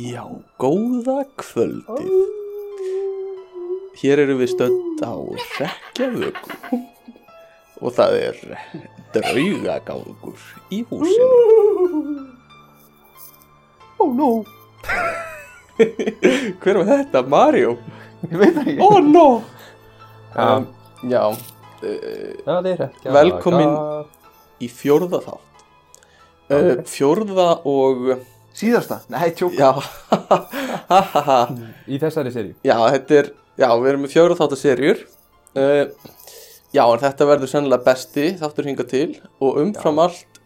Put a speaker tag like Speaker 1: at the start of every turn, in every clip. Speaker 1: Já, góða kvöldið. Hér erum við stödd á Rekkjavöku og það er draugagangur í húsinu.
Speaker 2: Oh no,
Speaker 1: Hver var þetta? Mario?
Speaker 2: ég veit það ekki
Speaker 1: Oh no!
Speaker 2: Já.
Speaker 1: Um, já, uh,
Speaker 2: Það er ekki
Speaker 1: Velkomin. í fjórða þátt. Uh, fjórða og,
Speaker 2: Síðasta, nei, tjók
Speaker 1: já, ha ha ha.
Speaker 3: Í þessari seri
Speaker 1: Já, þetta er, já, við erum með fjóra þáttaserjur uh, Já, en þetta verður sennilega besti þáttur hinga til og umfram allt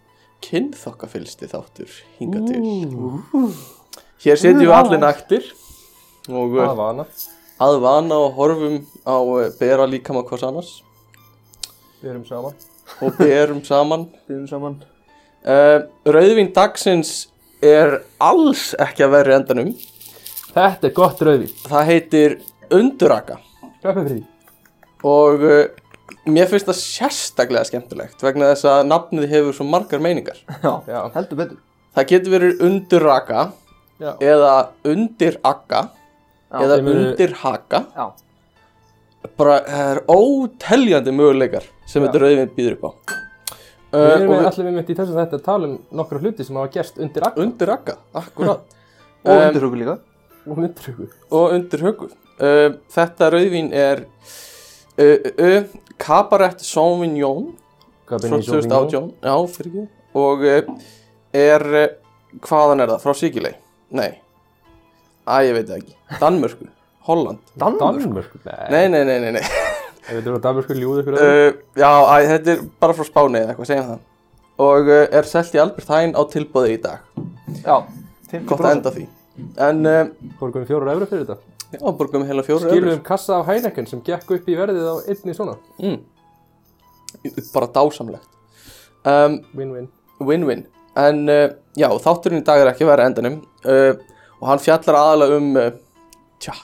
Speaker 1: kynþokkafylsti þáttur hinga til Hér setjum við allir naktir og
Speaker 3: Það
Speaker 1: uh,
Speaker 3: var hana
Speaker 1: að vana og horfum á uh, bera líkama hvers annars
Speaker 3: Við erum saman
Speaker 1: og berum saman
Speaker 2: Byrjum saman
Speaker 1: uh, Rauðvín dagsins er alls ekki að verri endanum
Speaker 3: Þetta er gott rauði
Speaker 1: Það heitir unduraka
Speaker 3: Klöppum fyrir því
Speaker 1: og uh, mér finnst það sérstaklega skemmtilegt vegna þess að nafnið hefur svo margar meiningar.
Speaker 2: Já,
Speaker 3: Já.
Speaker 2: heldur betur
Speaker 1: Það getur verið undurraka
Speaker 3: Já.
Speaker 1: eða undiraka eða
Speaker 3: þeim eru-
Speaker 1: undirhaka.
Speaker 2: Já,
Speaker 1: Bara það er óteljandi möguleikar sem
Speaker 3: Já.
Speaker 1: þetta rauðvinn býður upp á.
Speaker 3: Við
Speaker 1: Uh,
Speaker 3: erum
Speaker 1: og
Speaker 3: Eh, við...
Speaker 1: við,
Speaker 3: allir við mitt í þessum þetta að tala um nokkra hluti sem hafa gerst undir akkur
Speaker 1: undirraka, akkurat.
Speaker 2: og
Speaker 1: Um,
Speaker 2: um, undurhugur líka
Speaker 3: og undrögu
Speaker 1: og undir höggu. Uh, þetta rauðvín er uh, uh, uh, Cabaret Sauvignon frá 2018 já, fyrir ekki og eh, er, eh, hvaðan er það, frá Sikilei nei, að ég veit það ekki Danmörku, Holland
Speaker 2: Danmur
Speaker 3: Danmörk Nei
Speaker 1: nei, nei, nei, nei, nei.
Speaker 3: Ef við þurfum að Danmörk ljúðu ykkur uh,
Speaker 1: Uh, já, æ, þetta er bara frá Spáni eða eitthvað, segjum það og uh, er selt í Albert Hain á tilbúði í dag
Speaker 2: Já,
Speaker 1: gott að enda á því en, uh,
Speaker 3: Borgum fjórar eurur fyrir þetta
Speaker 1: já, borgum heila fjóra
Speaker 3: Skilum kassa af Heineken sem gekk upp í verðið á einni svona
Speaker 1: eurur. bara dásamlegt um,
Speaker 3: Win-win
Speaker 1: Win-win. En uh, já, þátturinn í dag er ekki verið endanum uh, og hann fjallar aðalega um, uh, tja,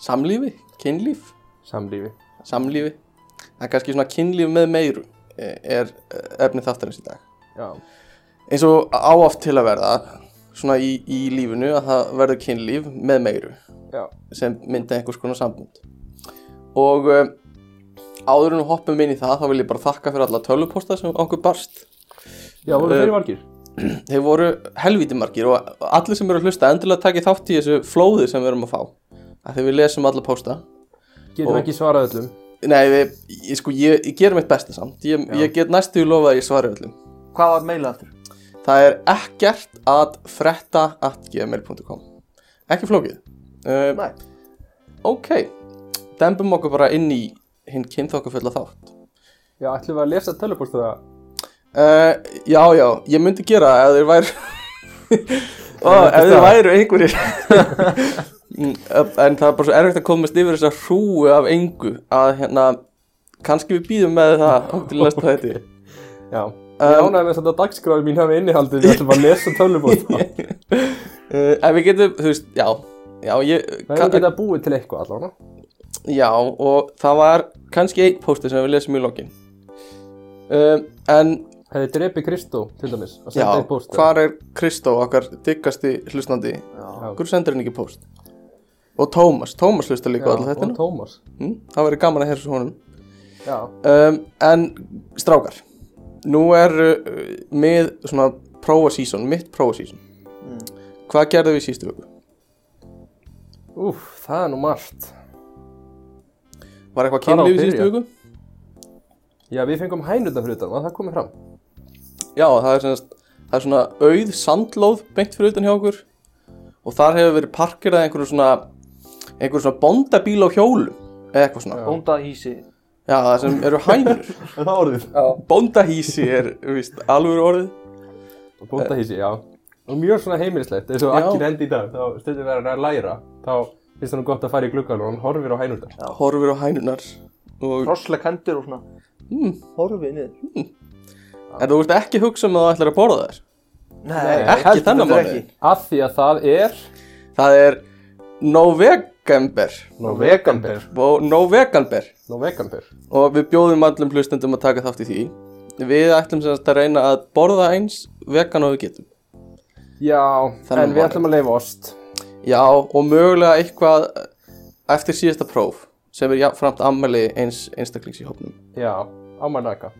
Speaker 1: samlífi, kynlíf,
Speaker 3: Samlífi
Speaker 1: samlífi. Það er kannski svona kynlíf með meiru eh, er eh, efni þátturins í dag.
Speaker 3: Já
Speaker 1: Eins og áaft til að verða svona í, í lífinu að það verður kynlíf með meiru
Speaker 3: Já
Speaker 1: sem mynda einhvers konar sambund og uh, áður en við hoppum inn í það þá vil ég bara þakka fyrir alla tölvupósta sem okkur barst
Speaker 3: Já, voru
Speaker 1: Eh,
Speaker 3: þeirri margir
Speaker 1: þeir voru helviti margir og allir sem eru að hlusta endilega takið þátt í þessu flóði sem við erum að fá af því við lesum alla pósta
Speaker 3: Getum
Speaker 1: og-
Speaker 3: ekki svarað öllum
Speaker 1: nei, við, ég, sko, ég, ég gerum mitt besta samt ég, ég get næstu í lofa að ég svari öllum
Speaker 2: Hvað var meila aftur?
Speaker 1: það er ekkert að fretta at gmail.com ekki flókið uh,
Speaker 2: Nei
Speaker 1: ok, dembum okkur bara inn í hinn kynþokkafulla þátt
Speaker 3: Já, ætlum við að lesa telepostu það
Speaker 1: uh, já, já, ég myndi gera það ef þeir væri Ó, ef þeir væri einhverjir Mm, en það er bara svo erfitt að komast yfir þessa hrúu af engu að hérna, kannski við býðum með það þangað til næsta þetta
Speaker 3: Já Ég ánægði með þetta dagskráði mín hafi innihaldið Við ætlum að lesa töluposta
Speaker 1: uh, en við getum, þú veist, já já, ég,
Speaker 3: Það er geta búið til eitthvað allavega
Speaker 1: já og það var kannski einn pósti sem við lesum í lokin um, en
Speaker 3: Hefði drepið Kristó, til dæmis, og
Speaker 1: já,
Speaker 3: senda eitt post
Speaker 1: hvar er Kristó okkar diggasti hlustandi
Speaker 2: Já,
Speaker 1: Hver sendur henni ekki post? Og Tómas, Tómas hlusta líka á alltaf þetta
Speaker 3: Og Tómas
Speaker 1: mm, Það verður gaman að heyra svo honum
Speaker 3: Já,
Speaker 1: um, En strákar Nú er uh, mið svona prófa season, mitt prófa season
Speaker 3: Mm.
Speaker 1: Hvað gerðum við í sístu vöku?
Speaker 3: úf, það er nú margt
Speaker 1: Var eitthvað
Speaker 3: Hvar á að
Speaker 1: kynlíf í sístu
Speaker 3: byrja?
Speaker 1: vöku?
Speaker 3: Já, við fengum hænurna fyrir utan, var það komið fram
Speaker 1: Já, það er, semast, það er svona auð sandlóð beint fyrir utan hjá okkur Og þar hefur verið parkerað einhverju svona einhverju svona bóndabíl á hjólum eða eitthvað svona Já,
Speaker 2: Bónda hísi
Speaker 1: það sem eru hænur
Speaker 2: Það orðið
Speaker 1: Bóndahísi er, víst, alveg orðið
Speaker 3: Og bóndahísi, já Og mjög svona heimilislegt, eins og
Speaker 1: Já.
Speaker 3: akkir endi í dag Þá stundum við að læra Þá finnst það nú gott að fara í gluggan og hann horfir á hænurna
Speaker 1: horfir á hænunar og,
Speaker 2: Rossleg hendur og svona
Speaker 3: Hmm.
Speaker 2: mm. Horfið niður
Speaker 1: en þú ert ekki að hugsa um að þú ætlar að borða þær
Speaker 2: Nei,
Speaker 1: ekki
Speaker 2: heldur
Speaker 1: þennan
Speaker 2: betur
Speaker 1: mánuðinn.
Speaker 2: ekki.
Speaker 3: Af því að það er
Speaker 1: það er no veg November
Speaker 3: Novegamber
Speaker 1: og November
Speaker 3: Novegamber
Speaker 1: og við bjóðum allum hlustendum að taka þátt í því við ætlum sem sagt að reyna að borða eins vegan og við getum
Speaker 3: Já,
Speaker 1: Þannig
Speaker 3: en við
Speaker 1: var
Speaker 3: ætlum að leifa ost
Speaker 1: já og mögulega eitthvað eftir síðasta próf sem er jafnframt ammæli eins einstaklings í hópnum
Speaker 3: Já, ámælnaka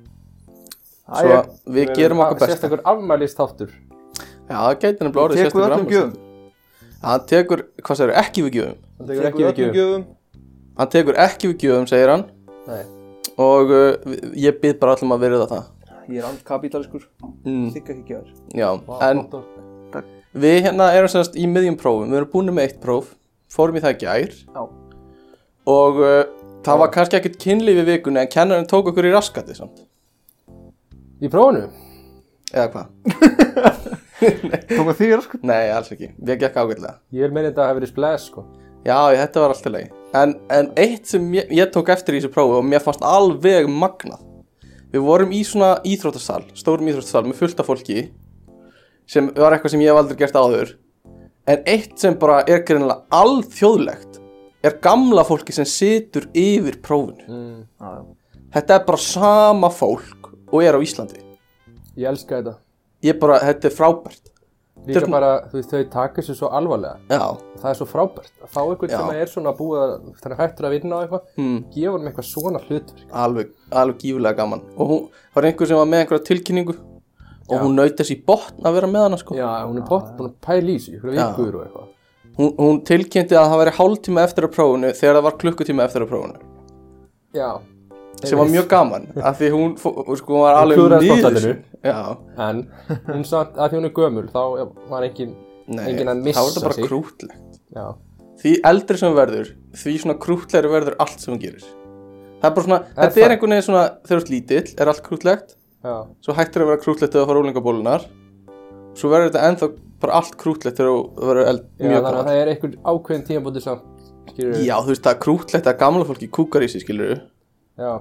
Speaker 1: svo að við
Speaker 3: Við
Speaker 1: gerum
Speaker 3: erum
Speaker 1: okkar
Speaker 3: að-
Speaker 1: besta
Speaker 3: Sérstakur afmælistáttur
Speaker 1: já það gæti nefnilega orðið
Speaker 2: Tekur
Speaker 1: sérstakur
Speaker 2: öllum gjöfum
Speaker 1: afmælisþáttur. hann tekur hvað segir ekki við gjöfum
Speaker 3: Það tekur ekki við gjöfum
Speaker 2: gjöfum
Speaker 1: hann tekur ekki við gjöfum segir hann
Speaker 3: Nei.
Speaker 1: og uh, við- ég bið bara allum að virða það
Speaker 2: Ég er andkapitaliskur
Speaker 1: mm,
Speaker 3: Hmm.
Speaker 2: Þykka ekki gjör
Speaker 1: já
Speaker 3: Vá,
Speaker 1: en
Speaker 3: gott orð.
Speaker 1: Við hérna erum semst í miðjum prófum, við erum búin með eitt próf, fórum í það í gær
Speaker 2: Já
Speaker 1: og uh, það var kannski ekkert kynlíf í vikunni en kennarinn tók okkur í raskati samt,
Speaker 3: Í prófunu?
Speaker 1: eða hvað?
Speaker 2: Tóka þýr sko
Speaker 1: Nei, alls ekki, við gekk ágætlega.
Speaker 3: Ég vil meina þetta að hafa verið splæs sko
Speaker 1: Já, ég- þetta var alltaf leið. En, en eitt sem ég, ég tók eftir í þessu prófi og mér fannst alveg magnað, við vorum í svona íþróttasal, stórum íþróttasal með fullta fólki sem var eitthvað sem ég hef aldrei gert áður en eitt sem bara er greinlega alþjóðlegt er gamla fólki sem situr yfir prófinu. Þetta er bara sama fólk og er á Íslandi.
Speaker 3: Ég elska þetta
Speaker 1: Ég bara, þetta er frábært.
Speaker 3: Líka
Speaker 1: svona-
Speaker 3: bara, þú veist, þau taka þessu svo alvarlega
Speaker 1: Já,
Speaker 3: Það er svo frábært að fá einhvern
Speaker 1: Já. Hmm.
Speaker 3: sem er svona búið að þannig hættur að vinna á eitthvað, gefa hann eitthvað svona sko. hlutverk.
Speaker 1: alveg, alveg gífulega gaman. Og hún, það var einhver sem var með einhverja tilkynningu og hún naut þess í botn að vera með hana sko.
Speaker 3: Já, hún er pott búin að pæla í sig, ykkur vikur og eitthvað.
Speaker 1: Hún, hún tilkynnti að það væri hálftíma eftir að prófunu þegar það var klukkutíma eftir að prófunu.
Speaker 3: Já,
Speaker 1: Sem var mjög gaman, af því hún, fó- sko, hún var alveg
Speaker 3: klúðraði
Speaker 1: niður
Speaker 3: stofnstæðinu.
Speaker 1: sín. Já,
Speaker 3: en hún samt að því hún er gömul, þá var engin,
Speaker 1: nei,
Speaker 3: engin að
Speaker 1: þá
Speaker 3: missa
Speaker 1: er þetta bara
Speaker 3: sig.
Speaker 1: krútlegt.
Speaker 3: Já,
Speaker 1: Því eldri sem hún verður, því svona krútlegri verður allt sem hún gerir. Það er bara svona, þetta
Speaker 3: það?
Speaker 1: er einhvern veginn svona, þegar þú ert lítill, er allt krútlegt.
Speaker 3: já,
Speaker 1: svo hættir að vera krútlegt þegar þú fara úlingabólunar svo verður þetta ennþá bara allt krútlegt þegar þú verður eld, mjög
Speaker 3: já þannig að
Speaker 1: gammal
Speaker 3: það er einhver ákveðin tímabóti samt, skilur
Speaker 1: Já, þú veist, það er krútlegt að gamla fólki kúkar í sig, skilur
Speaker 3: Já,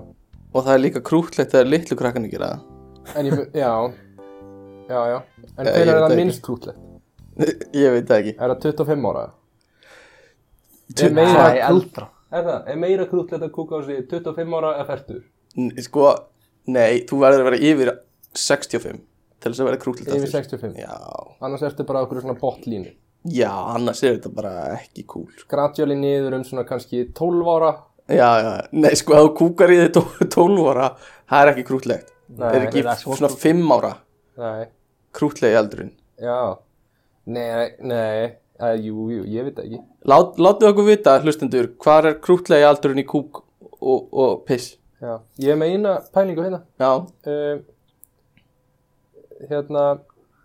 Speaker 1: og það er líka krútlegt að litlu krakkarnir gera
Speaker 3: en ég, já, já, já, en
Speaker 1: Já, ég
Speaker 3: hvernig
Speaker 1: veit
Speaker 3: er
Speaker 1: það
Speaker 3: það
Speaker 1: ekki.
Speaker 3: minnst krútlegt?
Speaker 1: það Ég veit það ekki
Speaker 3: Er það 25 ára?
Speaker 1: Tu-
Speaker 3: Er meira,
Speaker 2: Það er eldra
Speaker 3: er það, er meira krútlegt að kúka á sig 25 ára eða 40?
Speaker 1: N- Sko, nei, þú verður að vera yfir 65 til þess að vera krútlegt
Speaker 3: Yfir
Speaker 1: aftur.
Speaker 3: 65?
Speaker 1: Já,
Speaker 3: annars ertu bara okkur svona botlínu
Speaker 1: já, annars er þetta bara ekki cool
Speaker 3: gradjali niður um svona kannski 12 ára
Speaker 1: Já, já, nei, sko, ef þú kúkar í þig tó- 12 ára, það er ekki krútlegt
Speaker 3: Nei,
Speaker 1: Það er ekki
Speaker 3: það er svo
Speaker 1: svona 5 ára
Speaker 3: nei,
Speaker 1: krútlegi aldurinn
Speaker 3: já nei, nei, uh, jú, jú, ég veit það ekki
Speaker 1: Lát, látið okkur vita, hlustendur, hvar er krútlegi aldurinn í kúk og, og piss?
Speaker 3: já. ég er með eina pælingu hérna
Speaker 1: Já,
Speaker 3: um, hérna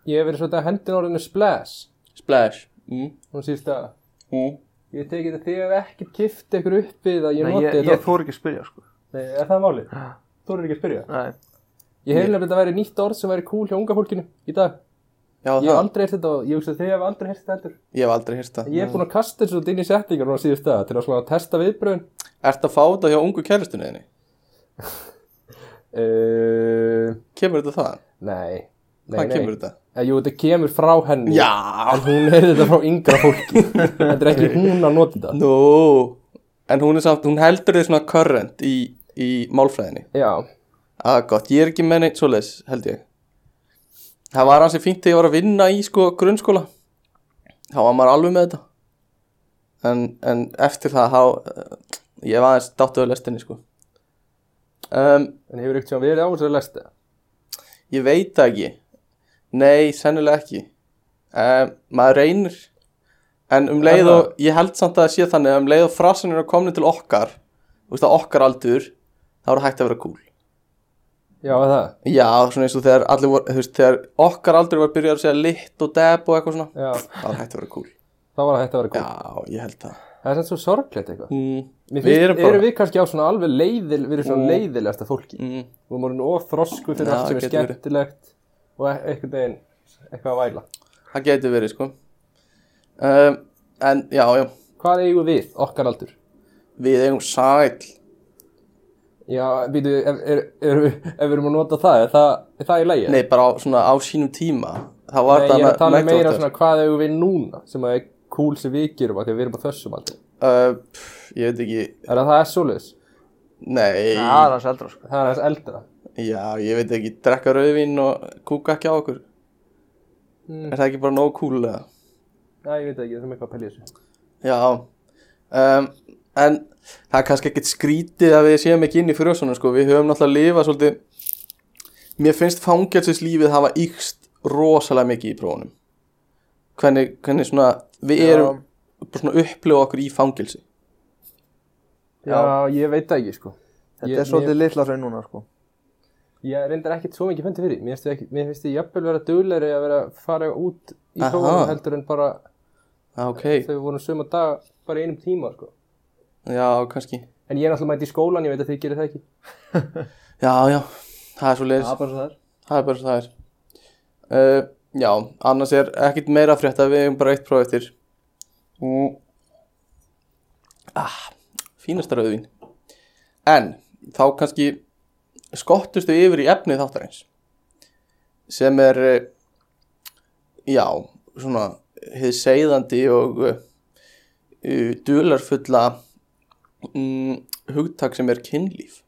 Speaker 3: ég hef verið svona hendin orðinu splash
Speaker 1: splash. Mm.
Speaker 3: hún síðst að
Speaker 1: Mm.
Speaker 3: ég teki þetta þegar við ekkert kift ykkur upp við að ég
Speaker 2: Nei,
Speaker 3: noti
Speaker 2: ég,
Speaker 3: þetta
Speaker 2: ég þór ekki að spyrja sko
Speaker 3: nei, er það málið? þú eru ekki að spyrja
Speaker 2: Nei
Speaker 3: ég hef nefnilega þetta væri nýtt orð sem væri cool hjá unga fólkinu í dag
Speaker 1: Já,
Speaker 3: ég hef
Speaker 1: það,
Speaker 3: aldrei heyrt þetta og ég hugsa að þið hef aldrei heyrt þetta heldur
Speaker 1: ég hef aldrei hýrt það.
Speaker 3: Ég er búinn að kasta þessu út inn í settingar núna síðust dag til að svona testa viðbröðin.
Speaker 1: Ertu að fá þetta hjá ungu kærlistunni þinni?
Speaker 3: Uh,
Speaker 1: Kemur þetta það?
Speaker 3: nei. nei.
Speaker 1: Hvaðan
Speaker 3: nei.
Speaker 1: kemur þetta?
Speaker 3: Eh, Jú, þetta kemur frá henni.
Speaker 1: Já!
Speaker 3: En hún er þetta frá yngra fólki. þetta er ekki hún að nota þetta.
Speaker 1: Nú, en hún er samt, hún heldur þig svona current í, í málfræðinni.
Speaker 3: Já.
Speaker 1: Ah, gott, ég er ekki með neitt svoleiðis, held ég. Það var hansi fínt þegar ég var að vinna í sko grunnskóla. Þá var maður alveg með þetta. En, en eftir það, þá, eh, ég var aðeins dáttuðu lestinni sko. Um,
Speaker 3: En hefur ykkur sem verið á þessu að lesta.
Speaker 1: ég veit það ekki. Nei, sennilega ekki. Um, maður reynir. En um leið og, ég held samt að það sé þannig, að um leið og frasanir eru komin til okkar, þú veist að okkar aldur, þá eru hægt að vera cool.
Speaker 3: Já, er það.
Speaker 1: Já, svona eins og þegar allir voru, þú veist, þegar okkar aldrei var byrjað að segja lit og deb og eitthvað svona
Speaker 3: Já.
Speaker 1: Það var hægt að vera cool
Speaker 3: Þá var þetta að vera góð.
Speaker 1: Já, ég held það
Speaker 3: Það er sem svo sorglegt eitthvað.
Speaker 1: mm,
Speaker 3: Mér
Speaker 1: Við erum bara
Speaker 3: við kannski á svona alveg leiðil, við erum svona leiðilegasta fólki.
Speaker 1: Mm.
Speaker 3: Við erum orðin of þrosku fyrir
Speaker 1: Já,
Speaker 3: allt sem er
Speaker 1: getur verið.
Speaker 3: skemmtilegt og e- einhvern veginn eitthvað að væla.
Speaker 1: Það getur verið, sko um, En, já, já,
Speaker 3: Hvað eigum við, okkar aldur?
Speaker 1: við eigum sæl
Speaker 3: Já, býtu, ef, er, er, ef við erum að nota það, er það, er það í lægi?
Speaker 1: Nei, bara á, svona á sínum tíma Það var
Speaker 3: ég er að
Speaker 1: þarna
Speaker 3: tala um
Speaker 1: Mac
Speaker 3: meira
Speaker 1: Doctor.
Speaker 3: svona hvað hefur við núna sem að er cool sem við gerum að því að við erum á þessum aldrei.
Speaker 1: uh, pff, ég veit ekki,
Speaker 3: Er það það er svoleiðis?
Speaker 1: nei,
Speaker 2: Það er hans eldra sko
Speaker 3: Það er aðeins eldra.
Speaker 1: já, ég veit ekki, drekka rauðvín og kúka ekki á okkur.
Speaker 3: Mm.
Speaker 1: Er það ekki bara nóg cool eða?
Speaker 3: Já, ég veit ekki, það er með eitthvað að pelja þessu.
Speaker 1: Já, um, en það er kannski ekkit skrítið að við séum ekki inn í frjósunum sko, við höfum náttúrulega lifað svolítið, mér finnst fangelsislífið hafa ykst rosalega mikið í prófunum. Hvernig, hvernig svona, við
Speaker 2: Já.
Speaker 1: erum bara svona upplifa okkur í fangelsi.
Speaker 3: Já, ég veit það ekki, sko.
Speaker 2: Þetta
Speaker 3: Ég-
Speaker 2: er svolítið litla hraun núna sko
Speaker 3: Ég reyndar ekkit svo mikið fundið fyrir. því. Mér finnst ég ekki, mér finnst ég jafnvel vera duglegri að vera að fara út í
Speaker 1: Aha.
Speaker 3: prófunum heldur en bara
Speaker 1: Já, ok,
Speaker 3: þegar við vorum sömu dag bara í einum tíma, sko.
Speaker 1: já, kannski.
Speaker 3: En ég er náttúrulega mætt í skólan, ég veit að þið gerir það ekki.
Speaker 1: Já, já, það er svo leiðis.
Speaker 2: er bara svo þar
Speaker 1: Það er bara svo það er. Uh, já, annars er ekkit meira að frétta, við hefum bara eitt próf eftir. Mm. Ah, fínasta rauðvín. En, þá kannski skottustu yfir í efnið þáttarins. Sem er, eh, já, svona, hið seiðandi og uh, dularfulla mm, hugtak sem er kynlíf.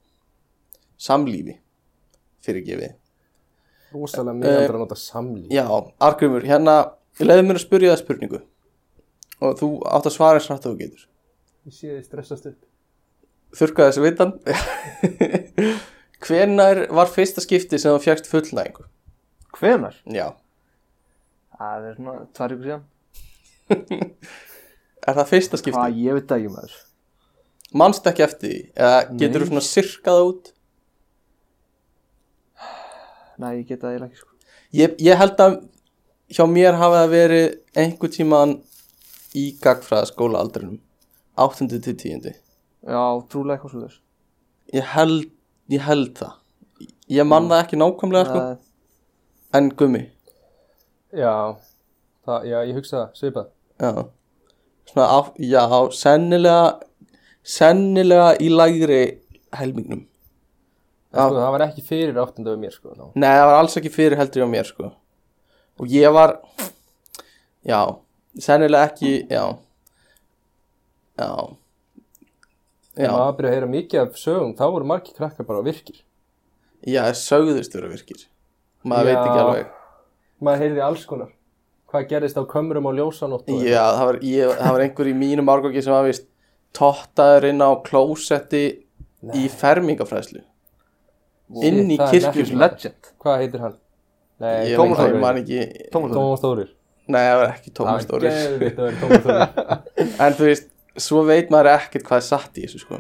Speaker 1: Samlífi, fyrirgefið.
Speaker 3: Rosalega mikið aldrei að nota samlíf.
Speaker 1: Já, Argrymur, hérna, ég leiði mér að spyrja það spurningu og þú átt að svara eins hrætt að þú getur.
Speaker 3: Ég sé þið stressast upp.
Speaker 1: Þurka þessu vitan. Hvenær var fyrsta skipti sem þú fjækst fullnæðingu?
Speaker 2: Hvenar?
Speaker 1: Já.
Speaker 2: Það er svona tvær ykkur síðan
Speaker 1: Er það fyrsta skipti?
Speaker 2: Hvað, ég veit það ekki maður
Speaker 1: Manst ekki eftir því? Eða getur þú svona sirkað út?
Speaker 2: Nei, ég get það eiginlega ekki sko
Speaker 1: Ég, ég held að hjá mér hafi það verið einhver tíman í gagfræða skóla aldrinum. 8. til 10.
Speaker 2: Já, trúlega eitthvað svo þess
Speaker 1: Ég held, ég held það. Ég man það ekki nákvæmlega sko. En gummi.
Speaker 3: Já, það, já, ég hugsa það, svipað.
Speaker 1: Já, svona, á, já, sennilega, sennilega í lægri helmingnum.
Speaker 3: En Sko, það var ekki fyrir áttunda við mér, sko. Ná.
Speaker 1: Nei, það var alls ekki fyrir heldur hjá mér, sko. Og ég var, já, sennilega ekki, já, já,
Speaker 3: En
Speaker 1: já,
Speaker 3: maður byrja að heyra mikið af sögum, þá voru margir krakkar bara virkir.
Speaker 1: já, sögðust vera virkir. Maður veit ekki
Speaker 3: Já.
Speaker 1: alveg.
Speaker 3: Maður heyrði alls konar. Hvað gerðist á kömrum á ljósanótt og
Speaker 1: Já, það var, ég, það var einhver í mínum árgangi sem var vist tottaður inn á klósetti í fermingafræðslu. Inn í
Speaker 3: það er
Speaker 1: kirkjuslu.
Speaker 3: nefnilega-
Speaker 2: Legend
Speaker 3: Hvað heitir hann? Nei,
Speaker 1: Ég
Speaker 2: Tómas
Speaker 1: man-
Speaker 2: Þórir.
Speaker 1: man ekki
Speaker 2: Tómas Þórir.
Speaker 3: Tómas Þórir.
Speaker 1: Nei, það var ekki Tómas
Speaker 3: Það
Speaker 1: Þórir
Speaker 3: er geðvitt að vera Tómas Þórir.
Speaker 1: En þú veist, svo veit maður ekkert hvað er satt í þessu sko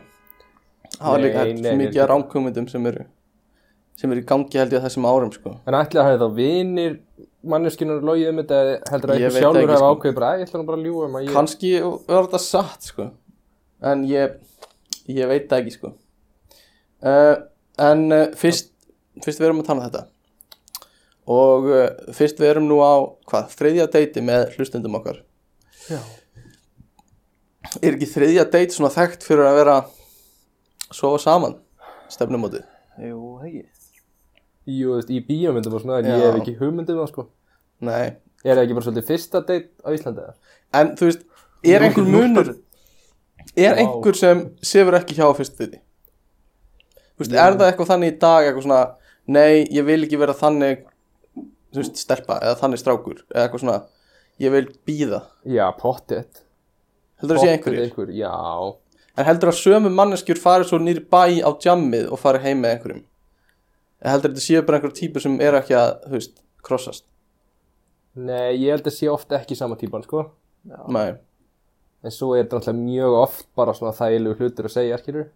Speaker 1: Það var
Speaker 3: Nei,
Speaker 1: líka
Speaker 3: nei, nei,
Speaker 1: mikið
Speaker 3: nei.
Speaker 1: ránkumundum sem eru sem eru í gangi held ég á þessum árum sko
Speaker 3: En ætli að hafa þá vinir manneskunar logið um þetta eða heldur að
Speaker 1: Ég
Speaker 3: einhver
Speaker 1: veit
Speaker 3: sjálfur
Speaker 1: ekki,
Speaker 3: hafa
Speaker 1: sko.
Speaker 3: ákveðið bara, "Æ, ég ætla nú bara að ljúa um að ég...
Speaker 1: Kanski var þetta satt sko En ég, ég veit það ekki sko uh, En uh, fyrst, fyrst við erum að tala um þetta Og uh, fyrst við erum nú á, hvað, þriðja deiti með hlustendum okkar
Speaker 3: Já.
Speaker 1: Er ekki þriðja deit svona þekkt fyrir að vera sofa saman stefnumótið?
Speaker 2: Jú, það ekki
Speaker 3: Jú, þú veist, í bíómyndum og svona, en
Speaker 1: Já.
Speaker 3: ég hef ekki hugmyndum það, sko.
Speaker 1: Nei,
Speaker 3: Er það ekki bara svolítið fyrsta date á Íslandi, eða?
Speaker 1: en þú veist er einhver munur er
Speaker 3: Vá.
Speaker 1: einhver sem sefur ekki hjá á fyrstu dæti þú veist, er það eitthvað þannig í dag eitthvað svona, nei, ég vil ekki vera þannig þú veist, stelpa eða þannig strákur, eða eitthvað svona ég vil býða,
Speaker 3: Já, pottet.
Speaker 1: heldur að sé einhverjir
Speaker 3: Einhver, já.
Speaker 1: en heldur að sömu manneskjur fari svo nýri bæ á djammið og fari heim með einhverjum eða heldur að þetta séu bara einhver típur sem er ekki að, þú veist, krossast
Speaker 3: Nei, ég held að sé ofta ekki sama típan, sko.
Speaker 1: nei,
Speaker 3: En svo er þetta náttúrulega mjög oft bara svona þægilegu hlutur að segja, skilur.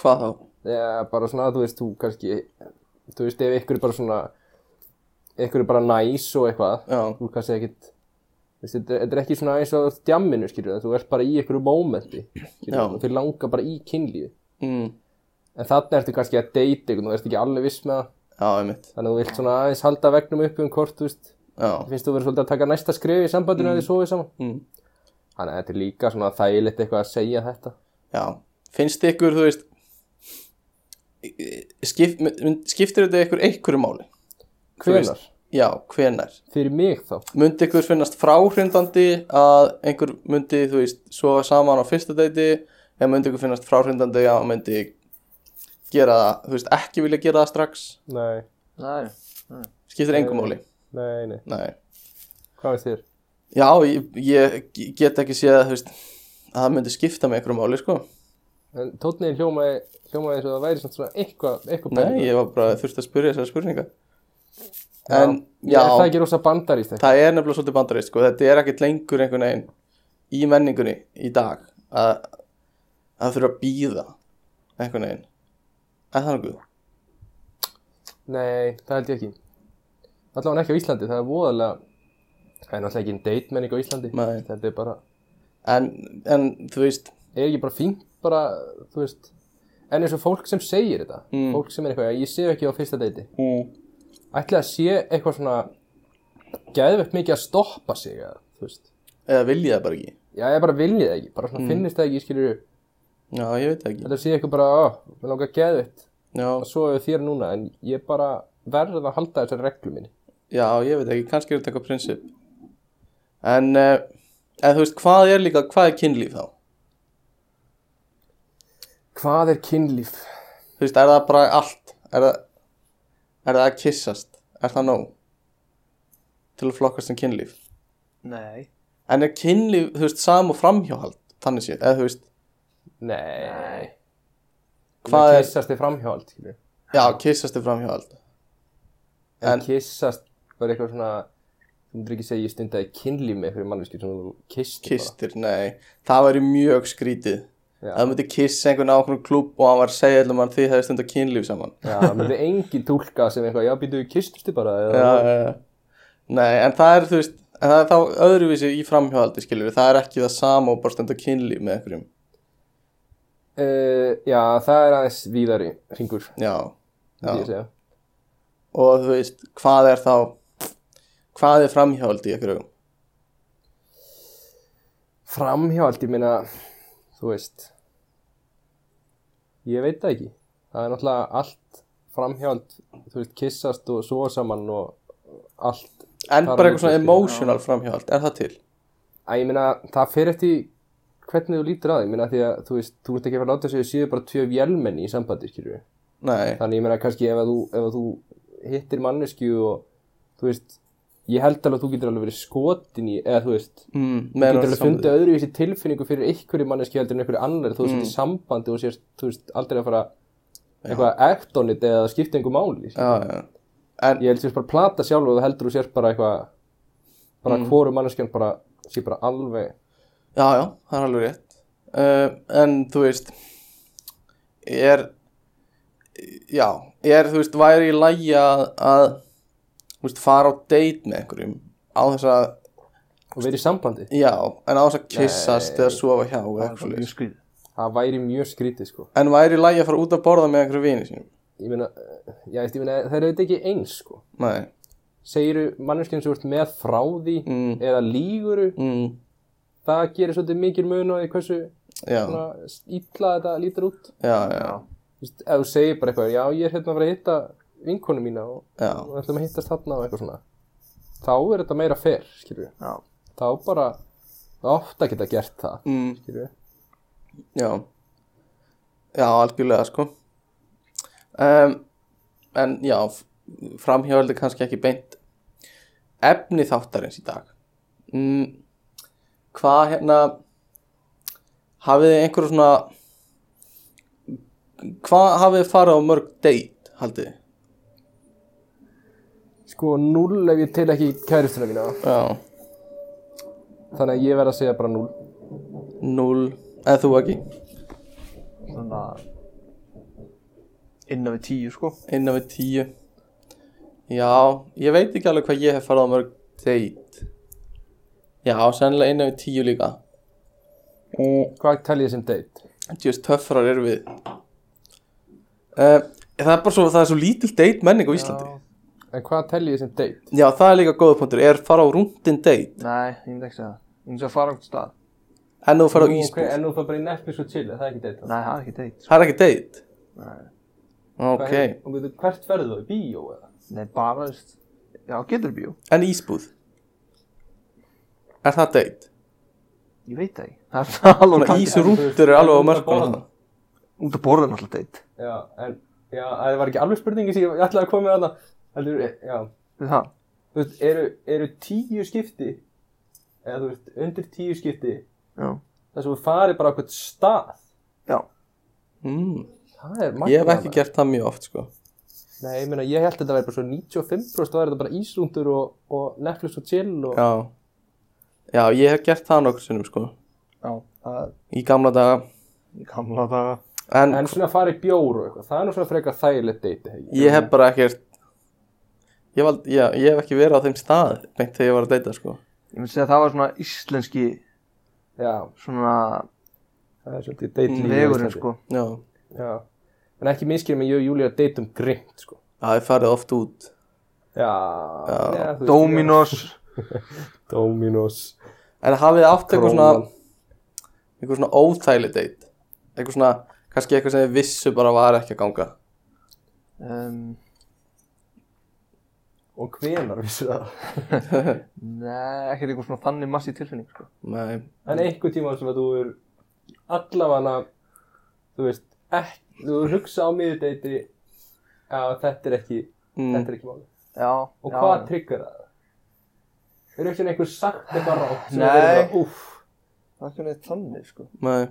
Speaker 1: hvað þá?
Speaker 3: Já, bara svona, þú veist, þú kannski, þú veist, ef ykkur er bara svona, ykkur er bara næs og eitthvað,
Speaker 1: Já,
Speaker 3: þú kannski ekkit, þú veist, þetta þetta er ekki svona eins og þú ert djamminu, skilur, þú ert bara í ykkur mómenti, skilur,
Speaker 1: Já.
Speaker 3: og þau langa bara í kynlífi.
Speaker 1: mm,
Speaker 3: En þarna ertu kannski að deyta ykkur, þú ert ekki alveg viss með það,
Speaker 1: já, einmitt
Speaker 3: þannig að þú vilt svona aðeins halda vegnum upp um hvort, þú veist,
Speaker 1: já,
Speaker 3: finnst þú verið svolítið að taka næsta skrif í sambandinu mm. að þið sofið saman.
Speaker 1: mm.
Speaker 3: Þannig að þetta er líka svona þægilegt eitthvað að segja þetta.
Speaker 1: Já, finnst þið ykkur, þú veist skip, mun- skiptir þetta ykkur einhverju máli? Þú
Speaker 3: Hvenar?
Speaker 1: veist, Já, hvenær?
Speaker 3: Fyrir mig þá.
Speaker 1: Myndi ykkur finnast fráhrindandi að einhver myndi, þú veist, sofa saman á fyrsta deiti eða myndi ykkur finnast fráhrindandi að hann myndi gera það, þú veist, ekki vilja gera það strax
Speaker 3: Nei,
Speaker 2: Nei,
Speaker 1: skiptir
Speaker 3: Nei.
Speaker 1: engum máli
Speaker 3: nei, nei.
Speaker 1: Nei.
Speaker 3: Hvað veist þér?
Speaker 1: Já, ég, ég get ekki séð að, þú veist, að það myndi skipta með einhverju máli, sko
Speaker 3: En tótniðin hljómaði, hljómaði eins og það væri samt svona eitthvað, eitthvað
Speaker 1: Nei, ég var bara þurft að spyrja þessari spurninga En, já,
Speaker 3: Er það ekki rosa bandarist eitthvað?
Speaker 1: það er nefnilega svolítið bandarist, sko Þetta er ekkert lengur einhvern veginn í menningunni í dag að að það þurfa að býða einhvern veginn Er það nokkuð?
Speaker 3: Nei, það held ég ekki. Allavega ekki á Íslandi, það er voðalega, það er náttúrulega ekki en date menning á Íslandi.
Speaker 1: Nei.
Speaker 3: Þetta er bara,
Speaker 1: En, en þú veist,
Speaker 3: er ekki bara fínt bara, þú veist, en eins og fólk sem segir þetta,
Speaker 1: Mm.
Speaker 3: fólk sem er eitthvað, ég séu ekki á fyrsta deiti,
Speaker 1: mm.
Speaker 3: ætli að sé eitthvað svona geðvegt mikið að stoppa sig eða, þú veist,
Speaker 1: eða vilja það bara ekki
Speaker 3: já ég bara viljið það ekki, bara svona finnist það ekki, ég skilur
Speaker 1: Já, ég veit það ekki
Speaker 3: þetta sé eitthvað bara, ó, mér langar geðvegt að
Speaker 1: Já,
Speaker 3: sofa við þér núna, en ég bara verð að halda þessar reglum minni.
Speaker 1: já ég veit það ekki, kannski er þetta eitthvað prinsip En, uh, en þú veist, hvað er líka, hvað er kynlíf þá?
Speaker 3: Hvað er kynlíf?
Speaker 1: Þú veist, er það bara allt? Er það, er það að kyssast? Er það nóg? Til að flokkast sem kynlíf
Speaker 2: nei.
Speaker 1: En er kynlíf, þú veist, sam og framhjáhald Þannig sé, eða þú veist,
Speaker 3: Nei.
Speaker 1: Hvað
Speaker 3: Hvað
Speaker 1: er-
Speaker 3: er? Kissast er framhjáld, skilur.
Speaker 1: já, kyssast er framhjáhald
Speaker 3: En,
Speaker 1: En-
Speaker 3: kissast var eitthvað svona, þú myndir ekki segja ég stundaði kynlíf með fyrir manneskju sem þú kistir
Speaker 1: Kistir, nei, það væri mjög skrítið
Speaker 3: Já.
Speaker 1: Að það myndi kissa einhvern á okkur klúb og hann var að segja allum hann því hefði stundar kynlíf saman
Speaker 3: Já, það myndi engin tólka sem eitthvað, já, býtu, kistustu bara eða,
Speaker 1: já, já, já. Nei, en það er þú veist en það er þá öðruvísi í framhjóðaldi skilur það er ekki það sama og bara stundar kynlíf með einhverjum,
Speaker 3: Uh, já, það er aðeins víðari ringur,
Speaker 1: já,
Speaker 3: myndi
Speaker 1: já.
Speaker 3: ég segja.
Speaker 1: og þú veist, hvað er þá hvað er framhjóðaldi í einhverjum
Speaker 3: Framhjáld, ég meina, þú veist, ég veit það ekki. Það er náttúrulega allt framhjáld, þú veist, kissast og svo saman og allt.
Speaker 1: en
Speaker 3: Bara
Speaker 1: bara eitthvað svona
Speaker 3: mikið,
Speaker 1: emotional framhjóðald, er það til?
Speaker 3: Æ, ég meina, það fer eftir hvernig þú lítur að því, ég meina, því að, þú veist, þú ert ekki að fara að láta sig að séu bara tvö vélmenni í sambandi, skilju.
Speaker 1: Nei,
Speaker 3: Þannig ég meina kannski ef að þú, ef að þú hittir manneskju og þú veist, ég held alveg að þú getur alveg verið skotin í, eða þú veist,
Speaker 1: mm,
Speaker 3: þú
Speaker 1: meðan
Speaker 3: getur
Speaker 1: þú
Speaker 3: alveg
Speaker 1: sambandi.
Speaker 3: fundið öðruvísi tilfinningu fyrir einhverju manneskju heldur en einhverju annar, þú veist, mm. í sambandi og sérst, þú veist, aldrei að fara eitthvað act on it eða skipta einhver máli. Ja.
Speaker 1: já, já. En,
Speaker 3: Ég held sérst bara plata sjálf og þú heldur þú sérst bara eitthvað, bara mm. hvoru manneskjan bara, sé bara alveg,
Speaker 1: já, já, það er alveg rétt uh, en þú veist er já, er þú veist væri í lagi að, að þú veist, fara á date með einhverjum á þess að,
Speaker 3: og verið í sambandi.
Speaker 1: já, en á þess að kissast eða sofa hjá eða eitthvað
Speaker 2: Mjög
Speaker 1: svoleiðis.
Speaker 2: skrýð.
Speaker 3: Það væri mjög skrítið, sko.
Speaker 1: en væri í lagi að fara út að borða með einhverjum vini sínum
Speaker 3: Ég meina, eh, já, ég meina, það er auðvitað ekki eins, sko.
Speaker 1: nei,
Speaker 3: segiru manneskinn sem þú ert með frá því
Speaker 1: Mm.
Speaker 3: eða líguru
Speaker 1: mm,
Speaker 3: það gerir svolítið mikil mun á því hversu
Speaker 1: já,
Speaker 3: svona, illa þetta lítur út
Speaker 1: já, já
Speaker 3: Vist, ef þú segir bara eitthvað, já ég er hérna að fara að hitta vinkonu mína og
Speaker 1: Já.
Speaker 3: og ætlum að hittast þarna og eitthvað svona þá er þetta meira fer, skilju
Speaker 2: Já.
Speaker 3: þá bara, það ofta geta gert það
Speaker 1: mm,
Speaker 3: skilju,
Speaker 1: já já, algjörlega sko um, en já framhjóðaldi kannski ekki beint efni þáttarins í dag mm, hvað hérna hafið þið einhverju svona hvað hafið þið farið á mörg date haldið þið?
Speaker 3: sko null ef ég til ekki kæristuna mína
Speaker 1: já,
Speaker 3: þannig að ég verð að segja bara null
Speaker 1: null eða þú ekki,
Speaker 2: Svona innan við tíu, sko.
Speaker 1: innan við tíu já, ég veit ekki alveg hvað ég hef farið á mörg date já, sennilega innan við tíu líka og
Speaker 3: hvað tel ég sem date?
Speaker 1: djúst töffrar eru við uh, það er bara svo það er svo lítil date menning á Íslandi
Speaker 3: en hvað tel ég sem date?
Speaker 1: Já, það er líka góða punktur, er fara á rúndin date
Speaker 2: Nei, ég myndi ekki segja það. Ég myndi segja að fara á einhvern stað.
Speaker 1: en þú fara á
Speaker 3: Nú,
Speaker 1: ísbúð,
Speaker 3: ok, en þú fara bara í Netflix og chill, er það er ekki date?
Speaker 2: Nei, það er ekki sko. deitt.
Speaker 1: það er ekki date
Speaker 2: Nei.
Speaker 1: ok,
Speaker 3: Og veitu, hvert ferðu þú? Í bíó eða?
Speaker 2: Nei, bara, þú veist, Já, getur bjó.
Speaker 1: En ísbúð Er það deit?
Speaker 2: Ég veit það ekki. Það er alveg
Speaker 1: Svona
Speaker 2: kallið.
Speaker 3: ís-
Speaker 1: ísrútur er alveg á
Speaker 3: Út að borða.
Speaker 1: mörgum
Speaker 2: Út að borða er náttúrulega deitt.
Speaker 3: Já, en, já, að það var ekki alveg spurningi sem ég ég ætlaði að koma með hana. Heldur, já,
Speaker 2: Þetta er það.
Speaker 3: þú veist, eru, eru tíu skipti, eða þú veist, undir tíu skipti,
Speaker 2: Já.
Speaker 3: þar sem þú farir bara á eitthvað stað.
Speaker 2: Já.
Speaker 1: mm,
Speaker 3: Það er magnað.
Speaker 1: Ég hef ekki
Speaker 3: maður.
Speaker 1: gert það mjög oft sko.
Speaker 3: Nei, ég meina, ég held að þetta væri bara svo 95% það er þetta bara íslundur og, og Netflix og chill og...
Speaker 1: Já Já, ég hef gert það nokkur sinnum sko.
Speaker 2: Já. Það er
Speaker 1: Í gamla daga
Speaker 2: í gamla daga.
Speaker 1: En,
Speaker 3: En svona að fara í bjór og eitthvað, það er nú svona frekar þægilegt deiti, hegi.
Speaker 1: ég hef bara ekkert Ég, vald, já, ég hef ekki verið á þeim stað beint þegar ég var að deyta sko.
Speaker 2: Ég myndi segja að það var svona íslenski
Speaker 3: Já,
Speaker 2: svona
Speaker 3: það er svolítið deitlíf.
Speaker 2: vegurinn sko.
Speaker 1: Já,
Speaker 3: Já, en ekki minnskir með ég og Júlía deitum grimt, sko.
Speaker 1: það er farið oft út
Speaker 3: Já, já þú veist,
Speaker 2: Dominos.
Speaker 3: já. Dominos.
Speaker 1: En hafið þið átt eitthvað svona
Speaker 3: Krónan.
Speaker 1: eitthvað svona óþæli date eitthvað svona, kannski eitthvað sem þið vissu bara var ekki að ganga
Speaker 2: Um,
Speaker 3: Og hvenar vissu það?
Speaker 2: nei, ekkert einhver svona þannig massi tilfinning sko.
Speaker 1: Nei,
Speaker 3: En einhver tíma sem að þú er allavega, þú veist, ekki, þú hugsa á miðudeiti að þetta er ekki,
Speaker 1: Mm.
Speaker 3: þetta er ekki máli.
Speaker 2: Já.
Speaker 3: Og
Speaker 2: já,
Speaker 3: hvað
Speaker 2: já.
Speaker 3: trigger það? Er ekki einhver sagt eitthvað rátt sem
Speaker 2: Nei.
Speaker 3: er bara, úff,
Speaker 2: Það er ekki neitt þannig sko.
Speaker 1: nei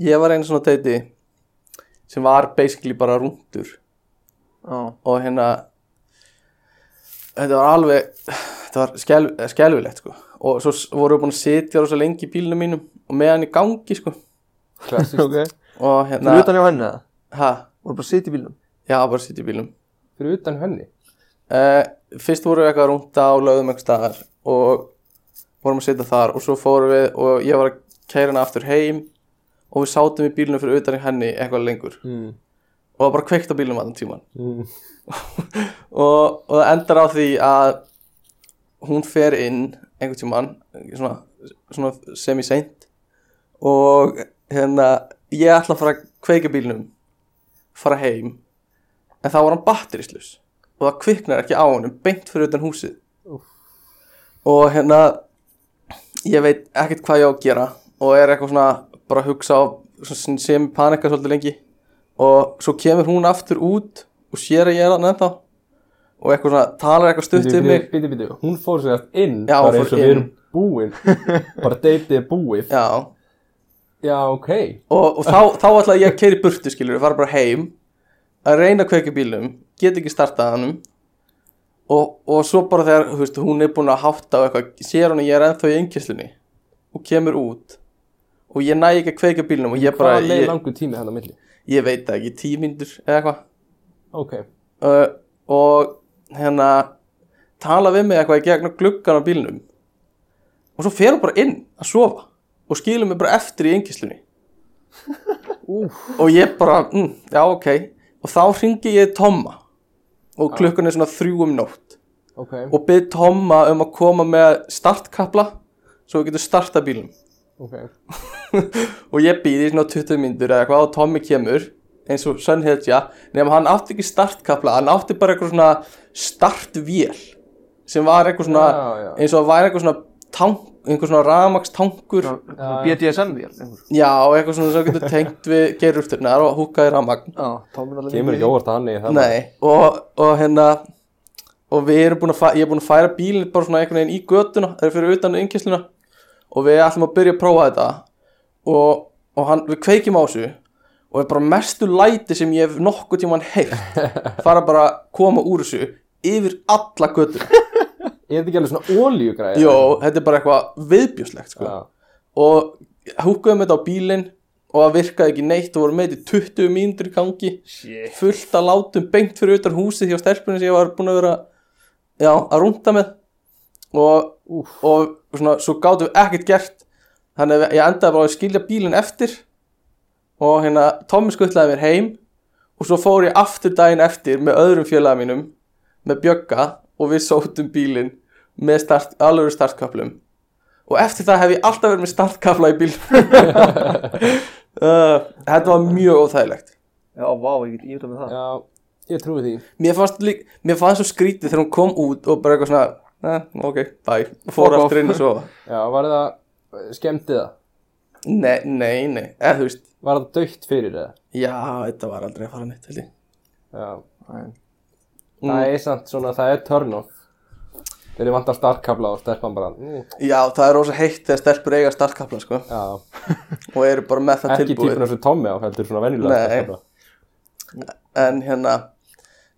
Speaker 1: Ég var einu svona date sem var basically bara rúndur
Speaker 2: Já.
Speaker 1: og hérna þetta var alveg þetta var skel, skelfilegt sko og svo s- vorum við búin að sitja rosa lengi í bílnum mínum og meðan í gangi sko
Speaker 3: klassist,
Speaker 2: Ok.
Speaker 1: og
Speaker 2: Þú
Speaker 1: hérna,
Speaker 2: eru utan hjá henni eða?
Speaker 1: ha,
Speaker 2: Voru bara að sitja í bílnum?
Speaker 1: já bara sitja í bílnum
Speaker 3: fyrir utan henni.
Speaker 1: Uh, fyrst vorum við eitthvað að rúnta á lögðum eitthvað staðar og vorum að sitja þar og svo fórum við og ég var að kæra hana aftur heim og við sátum í bílunum fyrir utan í henni eitthvað lengur
Speaker 3: Mm.
Speaker 1: og það var bara kveikt á bílunum allan tíman
Speaker 3: Mm.
Speaker 1: og, og það endar á því að hún fer inn einhvern tíman svona, svona semi-seint og hérna ég ætla að fara að kveika bílnum fara heim en þá var hann batterislaus og það kviknar ekki á honum beint fyrir utan húsið
Speaker 3: Úff.
Speaker 1: og hérna ég veit ekkert hvað ég á að gera og er eitthvað svona bara að hugsa á svona sem panika svolítið lengi og svo kemur hún aftur út og sér að ég er þannig ennþá og eitthvað svona talar eitthvað stutt
Speaker 3: Bíti,
Speaker 1: til mig
Speaker 3: bíti, bíti, hún fór sér allt inn,
Speaker 1: Já, hún
Speaker 3: bara
Speaker 1: fór
Speaker 3: eins og við
Speaker 1: inn.
Speaker 3: erum búin, bara deitið er búið.
Speaker 1: já
Speaker 3: Já, ok.
Speaker 1: og, og þá, þá ætlaði ég að keira í burtu skilur, fara bara heim að reyna að kveika í bílum, get ekki startað hann og, og svo bara þegar þú veist, hún er búin að hátta á eitthvað, sér hún að ég er ennþá í yngjöslunni og kemur út og ég næ ekki að kveika í bílnum og ég bara,
Speaker 3: Hvað leið
Speaker 1: ég,
Speaker 3: langur tími hann á milli?
Speaker 1: ég veit það ekki, tíu mínútur eða eitthvað
Speaker 3: Ok.
Speaker 1: uh, og hérna tala við mig eitthvað í gegnum gluggan á bílnum og svo fer hún bara inn að sofa og skilur mig bara eftir í yngjöslunni og ég bara, mm, já ok og þá ringi ég Tomma og klukkan er svona þrjú um nótt
Speaker 3: Ok,
Speaker 1: og byrð Tomma um að koma með startkapla svo við getum starta bílum
Speaker 3: ok.
Speaker 1: og ég býði í svona 20 mínútur eða eitthvað og Tommi kemur eins og sönn hetja nema hann átti ekki startkapla hann átti bara eitthvað svona startvél sem var eitthvað svona
Speaker 3: Já, já.
Speaker 1: eins og það væri eitthvað svona tank, einhver svona ramakstankur
Speaker 2: BDSM-vél einhver.
Speaker 1: já og eitthvað svona sem þú getur tengt við gerurfturnar og húkaði ramagn
Speaker 2: Já, Tómin alveg
Speaker 3: Kemur ekki óvart að hann eigi það.
Speaker 1: Nei, og, og hérna og við erum búin að færa, ég er búin að færa bílinn bara svona einhvern veginn í götuna, það er fyrir utan yngjösluna og við ætlum að byrja að prófa þetta og, og hann, við kveikjum á þessu og er bara mestu læti sem ég hef nokkuð tímann heyrt fara bara að koma úr þessu yfir alla götuna
Speaker 3: Er þetta ekki alveg svona ólíugræði?
Speaker 1: Jó, þetta er bara eitthvað viðbjóslegt sko.
Speaker 3: Já,
Speaker 1: og húkuðum þetta á bílinn og það virkaði ekki neitt og vorum með þetta í 20 mínútur í gangi
Speaker 2: Shit.
Speaker 1: fullt að látum beint fyrir utan húsið hjá stelpunni sem ég var búin að vera já, að rúnta með og, og svona, svo gátum við ekkert gert þannig að ég endaði bara á að skilja bílinn eftir og hérna Tommi skuttlaði mér heim og svo fór ég aftur daginn eftir með öðrum félaga mínum með Bjögga og við sótum bílinn með start, alvöru startkaplum og eftir það hef ég alltaf verið með startkafla í bíl uh, þetta var mjög óþægilegt
Speaker 2: Já, vá, ég get ífrað með það.
Speaker 3: já. Ég trúi því
Speaker 1: Mér fannst, lík, mér fannst svo skrítið þegar hún kom út og bara eitthvað svona eh, ok, bye, og
Speaker 2: Fuck
Speaker 1: fór
Speaker 2: off.
Speaker 1: aftur inn og sofa
Speaker 3: Já, var það skemmti það?
Speaker 1: Nei, nei, nei, eða þú veist
Speaker 3: Var það dögt fyrir það?
Speaker 1: Já, þetta var aldrei að fara neitt held ég.
Speaker 3: Já
Speaker 2: Nei.
Speaker 3: Það er samt svona, það er turn off Þeir eru vant að startkabla og stelpan bara mm,
Speaker 1: Já, það er rosa heitt þegar stelpur eiga startkapla sko,
Speaker 3: Já,
Speaker 1: og eru bara með það
Speaker 3: ekki
Speaker 1: tilbúið
Speaker 3: típun af þessu Tommy á, heldur svona venjulega
Speaker 1: Nei.
Speaker 3: startkabla
Speaker 1: en hérna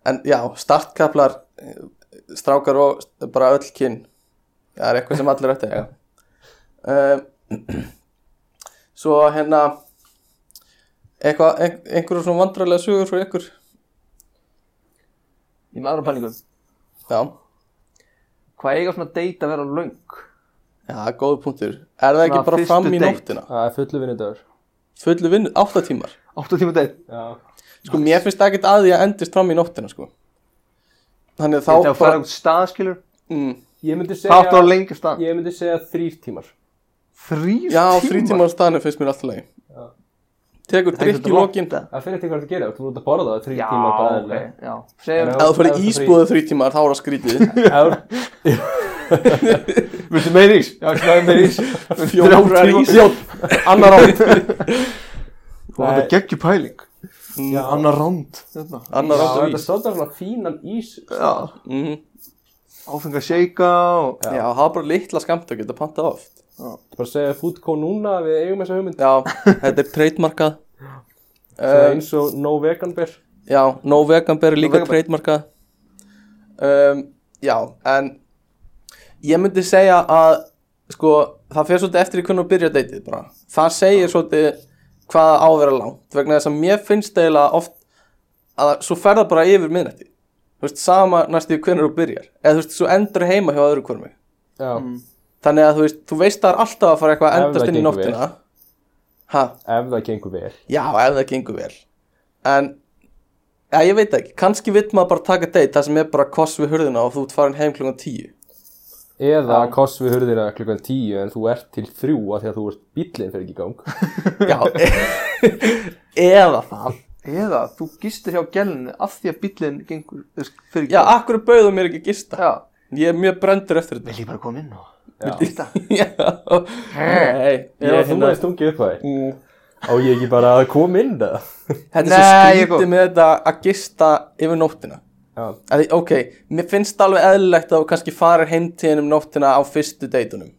Speaker 1: en já, startkaplar strákar og st- bara öll kyn það er eitthvað sem allir ætti að eiga um, svo hérna eitthvað, ein, einhverjum svona vandrarlega sögur frá ykkur
Speaker 2: Ég með aðra pælingu.
Speaker 1: já,
Speaker 2: Hvað eiga svona date að vera löng?
Speaker 1: já, góð punktur er það ekki
Speaker 2: Svona
Speaker 1: bara
Speaker 2: fyrstu
Speaker 1: fram í
Speaker 2: date.
Speaker 1: nóttina
Speaker 3: Það er fullu vinnudagur
Speaker 1: fullu vinnu, átta tímar
Speaker 2: 8 tíma date.
Speaker 3: Já,
Speaker 1: sko, mér finnst ekkert að því að endist fram í nóttina sko. þannig
Speaker 2: Þá
Speaker 1: að
Speaker 2: bara...
Speaker 1: þá
Speaker 2: fara út staðskilur.
Speaker 1: mm,
Speaker 3: ég myndi
Speaker 2: Það átt
Speaker 3: segja
Speaker 2: á lengi stað.
Speaker 3: Ég myndi segja þrýr tímar
Speaker 2: Þrýr
Speaker 1: já,
Speaker 2: tímar?
Speaker 1: þrý tímar á staðinu finnst mér alltaf lagi tekur
Speaker 2: Það er
Speaker 1: drikk í
Speaker 2: ekkert
Speaker 1: lokin
Speaker 2: langt,
Speaker 3: Það fyrir eftir hvað þú gerir, þú ert út að borða það þrýr
Speaker 2: Já,
Speaker 3: tímar bara
Speaker 2: ok.
Speaker 3: eðlilega.
Speaker 2: Já, segjum
Speaker 3: Já.
Speaker 1: Ef þú fyrir
Speaker 3: Ef þú
Speaker 1: ísbúðu þrý tímar þá er það skrítið
Speaker 3: Ef-
Speaker 2: Viltu meir ís? Já, hvað er meir ís?
Speaker 1: Fjórar ís.
Speaker 2: Annar ránd Það
Speaker 3: Nei.
Speaker 2: er geggjur pæling
Speaker 3: Já.
Speaker 2: Annar ránd Þetta
Speaker 1: Annar
Speaker 3: Já,
Speaker 1: áttu
Speaker 3: Þetta er
Speaker 1: ís
Speaker 3: svolítið svona fínan ís
Speaker 2: Já Mm.
Speaker 1: Mhm.
Speaker 2: Áfengar seika og
Speaker 1: Já, það er bara litla skammt að geta pantað oft
Speaker 3: Bara segja fútkó núna að við eigum þessa hugmynd
Speaker 1: Já, þetta er trademarkað
Speaker 3: Svona
Speaker 1: um,
Speaker 3: eins og no vegan bear
Speaker 1: Já, no vegan berry líka
Speaker 2: vegan ber.
Speaker 1: trademarkað um, Já, en ég myndi segja að sko, það fer svolítið eftir í hvernig að byrja deytið bara. Það segir svolítið hvað á að vera langt vegna þess að mér finnst eiginlega oft að svo ferða bara yfir miðnætti þú veist, sama næstu hvernig þú byrjar eða þú veist, svo endur heima hjá öðru hvernig
Speaker 3: Já,
Speaker 1: Þannig að þú veist, þú veist það er alltaf að fara eitthvað að
Speaker 3: Ef
Speaker 1: endast inn
Speaker 3: það
Speaker 1: í
Speaker 3: gengur
Speaker 1: nóttina ha,
Speaker 3: ef það gengur vel
Speaker 1: Já, ef það gengur vel En, ja, ég veit ekki kannski vill maður bara taka date það sem er bara koss við hurðina og þú ert farin heim klungan tíu
Speaker 3: Eða koss við hurðina klukkan tíu en þú ert til þrjú að því að þú ert bíllinn fyrir ekki í gang
Speaker 1: Já Eða það
Speaker 2: Eða þú gistir hjá gælunni af því að bíllinn gengur þú veist, fyrir
Speaker 1: Já, akkur bauðu mér ekki gista
Speaker 2: Já
Speaker 1: Ég er mjög brendur eftir þetta
Speaker 2: Vil ég bara koma inn og
Speaker 3: Já.
Speaker 1: Já Nei,
Speaker 3: Ef
Speaker 1: ég,
Speaker 3: þú
Speaker 1: hérna,
Speaker 3: er stungið upp á því Á ég ekki bara að koma inn það
Speaker 1: Þetta er
Speaker 2: Nei,
Speaker 1: svo
Speaker 2: ég er góð.
Speaker 1: skrítið með þetta að gista yfir nóttina
Speaker 3: Já,
Speaker 1: að, því- ok, mér finnst alveg eðlilegt að þú kannski farir heimtíðin um nóttina á fyrstu deitunum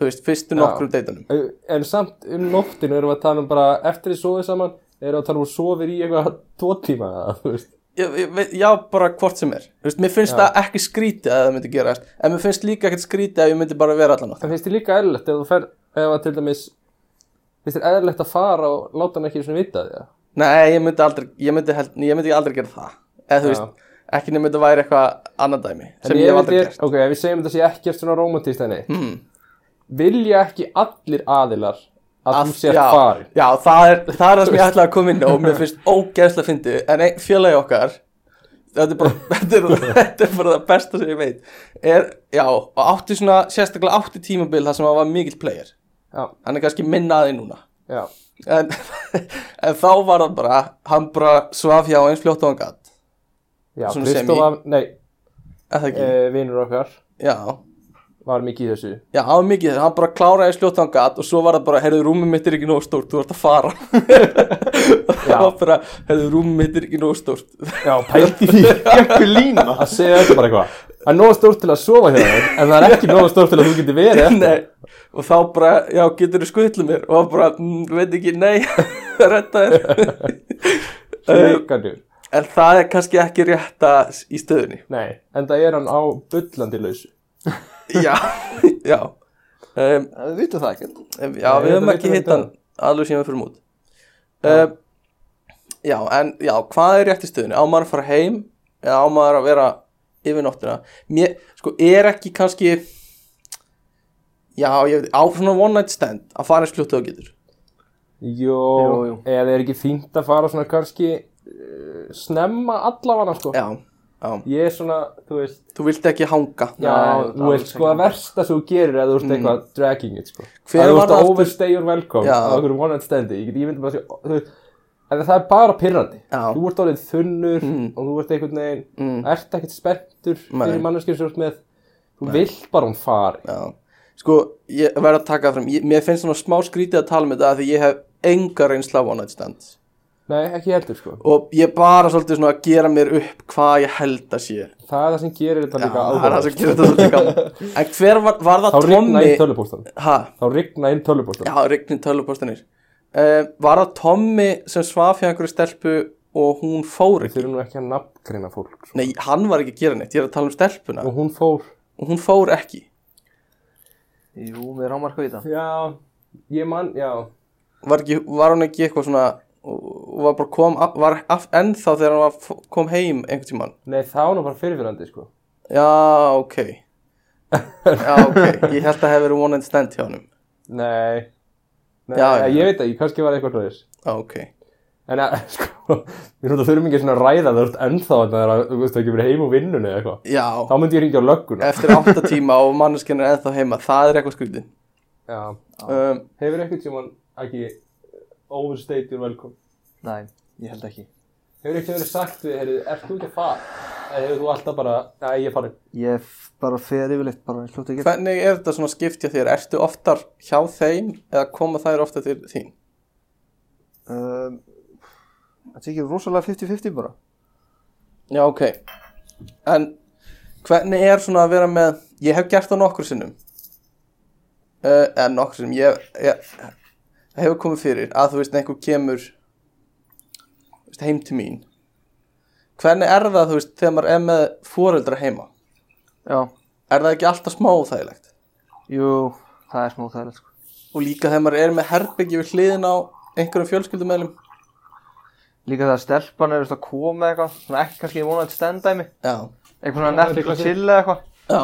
Speaker 1: þú veist, fyrstu nokkrum deitunum
Speaker 3: En samt um nóttinu erum við að tala um bara eftir þið sofið saman erum við að tala um sofir í eitthvað tvo tíma eða, þú veist.
Speaker 1: ég, ég, veit- já, bara hvort sem er þú veist, mér finnst það ekki skrítið að það myndi gerast en mér finnst líka ekkert skrítið að ég myndi bara vera allan nótt
Speaker 3: Það finnst þér líka eðlilegt ef þú fer ef að til dæmis finnst þér eðlilegt að fara og láta hann ekki svona vita því
Speaker 1: nei, ég myndi aldrei, ég myndi, held, ég myndi aldrei gera það eða þú
Speaker 3: Já.
Speaker 1: veist, ekki nefnir þetta væri eitthvað annan dæmi
Speaker 3: En
Speaker 1: sem ég hef aldrei
Speaker 3: þér-
Speaker 1: gert Hmm.
Speaker 3: Ok, ef við segjum þetta sé ekkert svona romantist enni mm. Vilja ekki allir aðilar að
Speaker 1: Að-
Speaker 3: þú sér
Speaker 1: já,
Speaker 3: farin
Speaker 1: já, það er, það er það sem ég ætlaði að koma inn á og mér finnst ógeðslega fyndi en ein, félagi okkar þetta er, bara, þetta, er, þetta er bara það besta sem ég veit er, já, og átti svona sérstaklega átti tímabil þar sem hann var mikill player
Speaker 3: Já,
Speaker 1: hann er kannski minnaði núna
Speaker 3: já,
Speaker 1: en, en þá var það bara hann bara svaf hjá eins fljótt og hann gatt
Speaker 3: já
Speaker 1: Svona
Speaker 3: Kristof
Speaker 1: semi. Hmm.
Speaker 3: var, nei,
Speaker 1: eða ekki,
Speaker 3: e, vinnur okkar
Speaker 1: já
Speaker 3: var mikið í þessu
Speaker 1: Já, það var mikið þess, hann bara kláraði eins fljótt og hann gatt og svo var það bara, heyrðu, rúmið mitt er ekki nóg stórt, þú ert að fara. það var bara, heyrðu, rúmið mitt er ekki nóg stórt,
Speaker 3: Já, pælti
Speaker 2: Því geggjur lína
Speaker 3: að segja þetta bara eitthvað Það er nóg stórt til að sofa hjá þér En það er ekki nóg stórt til að þú getur verið eftir.
Speaker 1: Nei, og þá bara, já, getur þú skutlu mér og hann bara, mm, veit ekki, nei retta þér eh.
Speaker 3: Leikardur
Speaker 1: en það er kannski ekki rétta s- í stöðunni
Speaker 3: Nei, en það er hann á bullandi lausu
Speaker 1: já, já um,
Speaker 2: Við vitum það ekkert
Speaker 1: em, já,
Speaker 3: Nei,
Speaker 1: við höfum
Speaker 3: þetta
Speaker 1: ekki
Speaker 3: vitum við
Speaker 1: hitt hann alveg síðan við fyrir mút um, já, en já, hvað er rétt í stöðunni á maður að fara heim eða á maður að vera yfir nóttina mér, sko, er ekki kannski já, ég veit, á svona one night stand að fara eins fljótt og þú getur
Speaker 3: Jó,
Speaker 2: Jú, jú.
Speaker 3: eða er ekki fínt að fara svona kannski uh, Snemma allafana sko
Speaker 1: já, já
Speaker 3: Ég er svona, þú veist
Speaker 1: Þú vilt ekki hanga
Speaker 3: Já,
Speaker 2: Nei,
Speaker 3: þú veist
Speaker 2: alls
Speaker 3: sko
Speaker 2: ekki.
Speaker 3: að versta sem þú gerir eða þú ert eitthvað dragging it sko
Speaker 1: Mm. Hver var
Speaker 3: Að Þú ert
Speaker 1: það
Speaker 3: að
Speaker 1: aftur?
Speaker 3: overstay your welcome
Speaker 1: Já.
Speaker 3: á einhverjum one night standi Ég get ímyndið bara að þú veist en það er bara pyrrandi
Speaker 1: Já.
Speaker 3: þú ert orðið þunnur
Speaker 1: Mm.
Speaker 3: og þú ert einhvern veginn
Speaker 1: Mm.
Speaker 3: ert ekkert spenntur
Speaker 1: Nei.
Speaker 3: fyrir manneskjum sem þú ert með þú vilt bara hún fari
Speaker 1: Já, sko, ég verð að taka það fram ég, Mér finnst svona smá skrítið að tala með þetta af Því ég hef enga reynsla á One Night Stand
Speaker 3: nei, ekki heldur sko
Speaker 1: Og ég er bara svolítið svona að gera mér upp Hvað ég held að sé Já,
Speaker 3: það er það sem gerir þetta
Speaker 1: það
Speaker 3: líka
Speaker 1: er það sem
Speaker 3: áhugavert.
Speaker 1: gerir þetta svolítið gaman En hver var, var
Speaker 3: þá
Speaker 1: það
Speaker 3: rigna inn
Speaker 1: Tommy
Speaker 3: tölupóstan
Speaker 1: Ha,
Speaker 3: þá rigna inn tölupóstan
Speaker 1: já, rignin tölvupostanir uh, Var það Tommy sem svaf hjá einhverju stelpu Og hún fór
Speaker 3: þau
Speaker 1: ekki
Speaker 3: eru nú ekki að nafngreina fólk sko.
Speaker 1: Nei, hann var ekki að gera neitt, ég er að tala um stelpuna
Speaker 3: og hún fór
Speaker 1: Og hún fór ekki
Speaker 2: Jú, við rámar hvað í það.
Speaker 3: já, ég mann, já
Speaker 1: Var, ekki, var hún ekki eitthvað svona og var bara kom, var af, ennþá þegar hann var, f- kom heim einhvern tímann
Speaker 3: nei, það var nú bara fyrirfyrrandi sko
Speaker 1: Já, ok Já, ok, ég held að hef verið one and stand hjá hann
Speaker 3: nei, nei
Speaker 1: Já, já.
Speaker 3: ég veit ekki, kannski var eitthvað hljóðis
Speaker 1: Já, ok
Speaker 3: En að, sko, við erum þurfum ekki svona að ræða það ennþá að það er að, þú veist, það ekki verið heim úr vinnunni eða eitthvað. Þá
Speaker 1: Já,
Speaker 3: myndi ég ringja á lögguna.
Speaker 1: eftir átta tíma og manneskinn er ennþá heima, það er eitthvað skrítið
Speaker 3: Já.
Speaker 1: um,
Speaker 3: Hefur eitthvað sem hann ekki overstayed your welcome?
Speaker 2: Nei, ég held ekki.
Speaker 3: Hefur eitthvað verið sagt við, heyrðu, ert þú ekki að fara? Eða hefur þú alltaf bara, að ég er farin.
Speaker 2: Ég f- bara fer yfirleitt, bara ég hljóti ekki.
Speaker 1: Hvernig er þetta svona skiptja þér? Ertu oftar hjá þeim eða koma þær ofta til þín?
Speaker 2: Um, Þetta er ekki rosalega 50-50 bara.
Speaker 1: Já, ok En hvernig er svona að vera með Ég hef gert það nokkur sinnum uh, En nokkur sinnum Ég, ég það hefur komið fyrir Að þú veist, einhver kemur þú veist, Heim til mín Hvernig er það, þú veist, þegar maður er með Fóreldra heima
Speaker 2: Já,
Speaker 1: Er það ekki alltaf smá þægilegt
Speaker 2: jú, það er smá þærlega sko.
Speaker 1: Og líka þegar maður er með herbyggi við hliðin á Einhverjum fjölskyldumeðlum
Speaker 2: Líka það að stelpan er veist að koma eitthvað, svona ekki kannski í vonandi stendæmi,
Speaker 1: Já,
Speaker 2: eitthvað svona Netflix og chill eða eitthvað.
Speaker 1: já,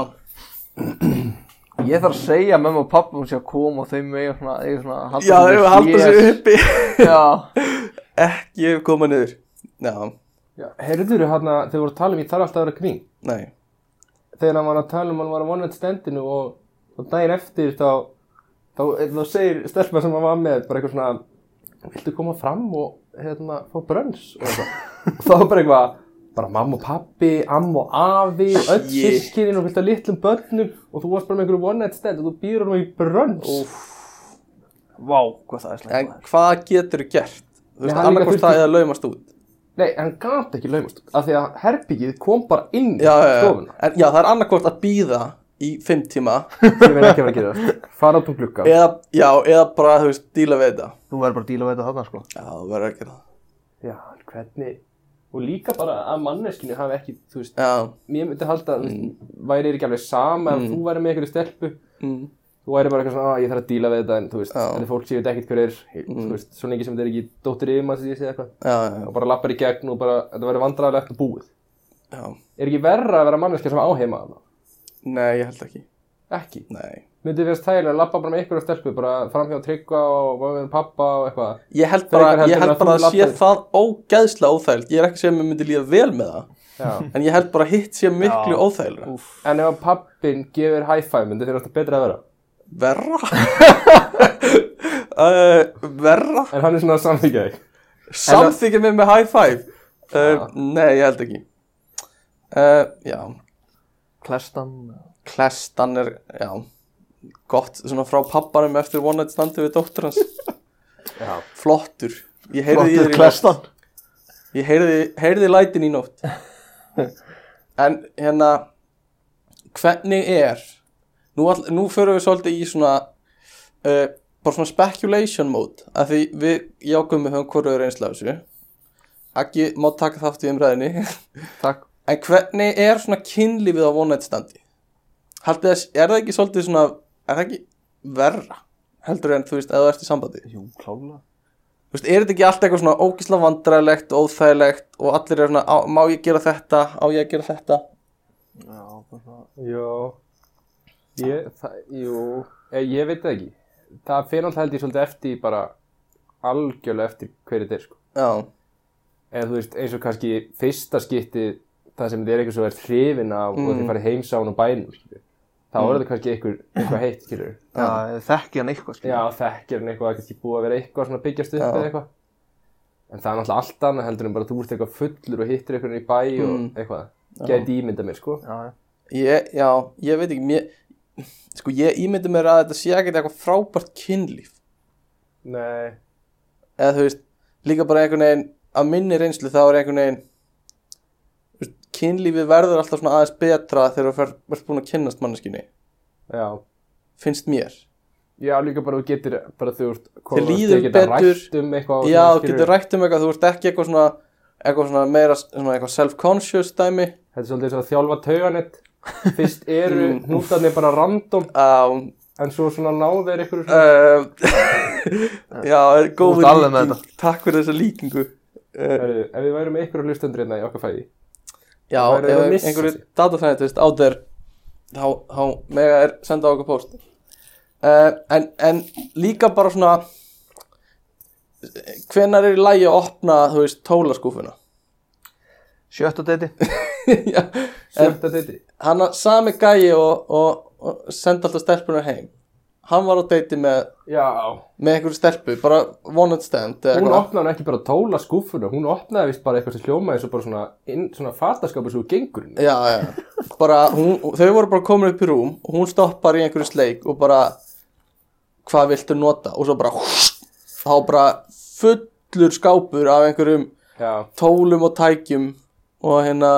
Speaker 2: Ég þarf að segja að mamma og pappa hún sé að koma og þau mega svona, eiga svona
Speaker 1: já,
Speaker 2: að sig
Speaker 1: þau
Speaker 2: við
Speaker 1: halda
Speaker 2: hlés.
Speaker 1: sér uppi
Speaker 2: Já,
Speaker 1: Ekki koma niður Já,
Speaker 3: Já, heyrður þú hann að, þegar voru að tala um, ég þarf alltaf að vera kring.
Speaker 1: nei
Speaker 3: Þegar hann var að tala um, hann var að vonað stendinu og, og daginn eftir þá, þá, þá segir stelpa sem hann var með, bara eitthvað svona, viltu koma fram og hérna, fá brönns og eitthvað. og þá var bara eitthvað, bara mamma og pappi, amma og afi, öll
Speaker 1: Shit.
Speaker 3: sískininn og fullt af litlum börnum og þú varst bara með einhverju one night stand og þú býður honum í brönns.
Speaker 2: vá, hvað það er slæmt.
Speaker 1: En hvað getur þú gert? Þú
Speaker 3: Nei,
Speaker 1: veist,
Speaker 3: hann líka
Speaker 1: annarkvort
Speaker 3: þurfti-
Speaker 1: það eða laumast út
Speaker 3: Nei, hann gæti ekki laumast út, af því að herbyggið kom bara inn í
Speaker 1: Já, já, já,
Speaker 3: stofuna.
Speaker 1: en, já það er annarkvort að býða í fimm tíma
Speaker 3: Ég veit ekki að vera að gera. Fara út um glugga.
Speaker 1: eða, já, eða bara, þú veist, díla við þetta
Speaker 2: Þú verður bara að díla við þetta þarna sko.
Speaker 1: Já, þú verður ekki það
Speaker 3: Já, en hvernig... Og líka bara að manneskinu hafi ekki, þú veist,
Speaker 1: Já,
Speaker 3: mér myndi halda að mm. væri þér ekki alveg sama ef þú væri með einhverju stelpu
Speaker 1: mm,
Speaker 3: þú væri bara eitthvað svona, "Ah, ég þarf að díla við þetta en þú veist,
Speaker 1: Já.
Speaker 3: þetta er fólk sem ég veit ekkert hver er mm. þú veist, svo lengi sem þetta er ekki dóttir yfirmann sem ég sé eitthvað,
Speaker 1: já, já,
Speaker 3: og bara lappar í gegn og bara, þetta væri vandræðilegt og búið
Speaker 1: já
Speaker 3: er ekki verra að vera manneskja sem á heima þarna?
Speaker 1: Nei, ég held ekki
Speaker 3: ekki,
Speaker 1: Nei
Speaker 3: myndi þér þess þægilega að lappa bara með einhverju stelpu, bara framhjá tryggva og mamma og pappa og eitthvað
Speaker 1: Ég held
Speaker 3: Frekar
Speaker 1: bara,
Speaker 3: heldur
Speaker 1: ég
Speaker 3: en
Speaker 1: held
Speaker 3: að
Speaker 1: bara
Speaker 3: þú
Speaker 1: að sé
Speaker 3: labbir.
Speaker 1: það ógeðslega óþægild Ég er ekki að segja að mér myndi líða vel með það
Speaker 3: Já.
Speaker 1: En ég held bara að hitt sé miklu óþægilega
Speaker 3: en ef að pappin gefur high five myndi þér þetta betra að vera
Speaker 1: Verra uh, Verra
Speaker 3: en hann er svona að samþykja þig
Speaker 1: Samþykja mig með high five uh, Nei, ég held ekki uh, Já,
Speaker 2: Klestan,
Speaker 1: klestan er Já, gott Svona frá pappanum eftir one night standi við dóttur hans
Speaker 3: Já.
Speaker 1: Flottur Ég heyrði í þér í
Speaker 2: flottur
Speaker 1: nótt
Speaker 2: klestan.
Speaker 1: Ég heyrði, heyrði lætin í nótt En hérna Hvernig er Nú, all, nú förum við svolítið í svona uh, Bara svona speculation mode Af því við, ég ákveðum við höfum hvoraður einslega þessu Akki má taka þátt í umræðinni
Speaker 2: Takk.
Speaker 1: En hvernig er svona kynlífið á vonættstandi? Haldið þess, er það ekki svolítið svona, er það ekki verra? Heldur en þú veist, eða þú ert í sambandi.
Speaker 2: Jú, klála.
Speaker 1: Þú veist, er þetta ekki allt eitthvað svona ógisla vandræðilegt, óþægilegt og allir er svona, á, má ég gera þetta, á ég að gera þetta?
Speaker 2: Já, bara svona.
Speaker 3: Jó, ég, það, jú, ég, ég veit það ekki. Það fyrir alltaf held ég svolítið eftir í bara algjörlega eftir hverju þetta er sko.
Speaker 1: Já,
Speaker 3: Eða þú veist eins og kannski fyrsta skipti það sem þið er eitthvað svo er hrifin af og þið farið heimsán og bænum skilju. Þá er þetta kannski einhver, eitthvað heitt skilju.
Speaker 2: Já, þekki hann eitthvað, sko. skilja.
Speaker 3: Já þekkir hann eitthvað, það er kannski búið að vera eitthvað svona byggjast upp
Speaker 1: Já.
Speaker 3: eða eitthvað. en það er náttúrulega allt annað heldur en bara þú ert eitthvað fullur og hittir eitthvað í bæ
Speaker 1: Mm.
Speaker 3: og eitthvað, gæti ímynda mér sko
Speaker 2: já, já.
Speaker 1: Ég, já, ég veit ekki, mér, sko ég ímyndi mér að þetta sé ekkert eitthvað frábært kynlíf.
Speaker 3: Nei,
Speaker 1: Eða þú veist, líka bara einhvern veginn, að minni reynslu þá er einhvern veginn, þú veist, kynlífið verður alltaf svona aðeins betra þegar þú fer- ert búin að kynnast manneskinni,
Speaker 3: já
Speaker 1: finnst mér.
Speaker 3: Já, líka bara þú getur, bara þú ert
Speaker 1: Þér líður betur.
Speaker 3: rætt um eitthvað og
Speaker 1: Já,
Speaker 3: svona,
Speaker 1: þú
Speaker 3: skilurðu.
Speaker 1: getur rætt um eitthvað, þú ert ekki eitthvað svona, eitthvað svona meira, svona eitthvað self-conscious dæmi.
Speaker 3: Þetta er svolítið eins og að þjálfa tauganett Fyrst eru
Speaker 1: Mm.
Speaker 3: hnútarnir bara random
Speaker 1: Um,
Speaker 3: En svo svona náðu þeir ykkur svona
Speaker 1: uh, Ehm, já, er góð
Speaker 2: ert alveg með
Speaker 1: Takk fyrir þessa líkingu. Uh,
Speaker 3: Heyrðu, Ef við værum með ykkur að hlustendur hérna í okkar fæði
Speaker 1: já,
Speaker 3: Það væri að
Speaker 1: ef
Speaker 3: missa
Speaker 1: einhverju
Speaker 3: sig.
Speaker 1: datasæntist á þér, þá, þá mega er senda á okkur post. Uh, en, en líka bara svona, hvenar er í lagi að opna, þú veist, tólaskúfuna?
Speaker 2: Sjötta deiti
Speaker 1: já,
Speaker 3: Sjötta þetta
Speaker 1: hann að sami gæi og, og, og senda alltaf stelpunar heim hann var á deiti með,
Speaker 3: Já
Speaker 1: með einhverju stelpu bara one night stand eða
Speaker 3: Hún
Speaker 1: eitthvað.
Speaker 3: opnaði hann ekki bara tóla skúfuna Hún opnaði vist bara eitthvað sem hljómaði eins og bara svona, inn, svona fataskapur sem þú gengur inn í.
Speaker 1: já, já. Bara, hún, þau voru bara komin upp í rúm og hún stoppar í einhverju sleik og bara hvað viltu nota og svo bara þá bara fullur skápur af einhverjum
Speaker 3: Já
Speaker 1: tólum og tækjum og hérna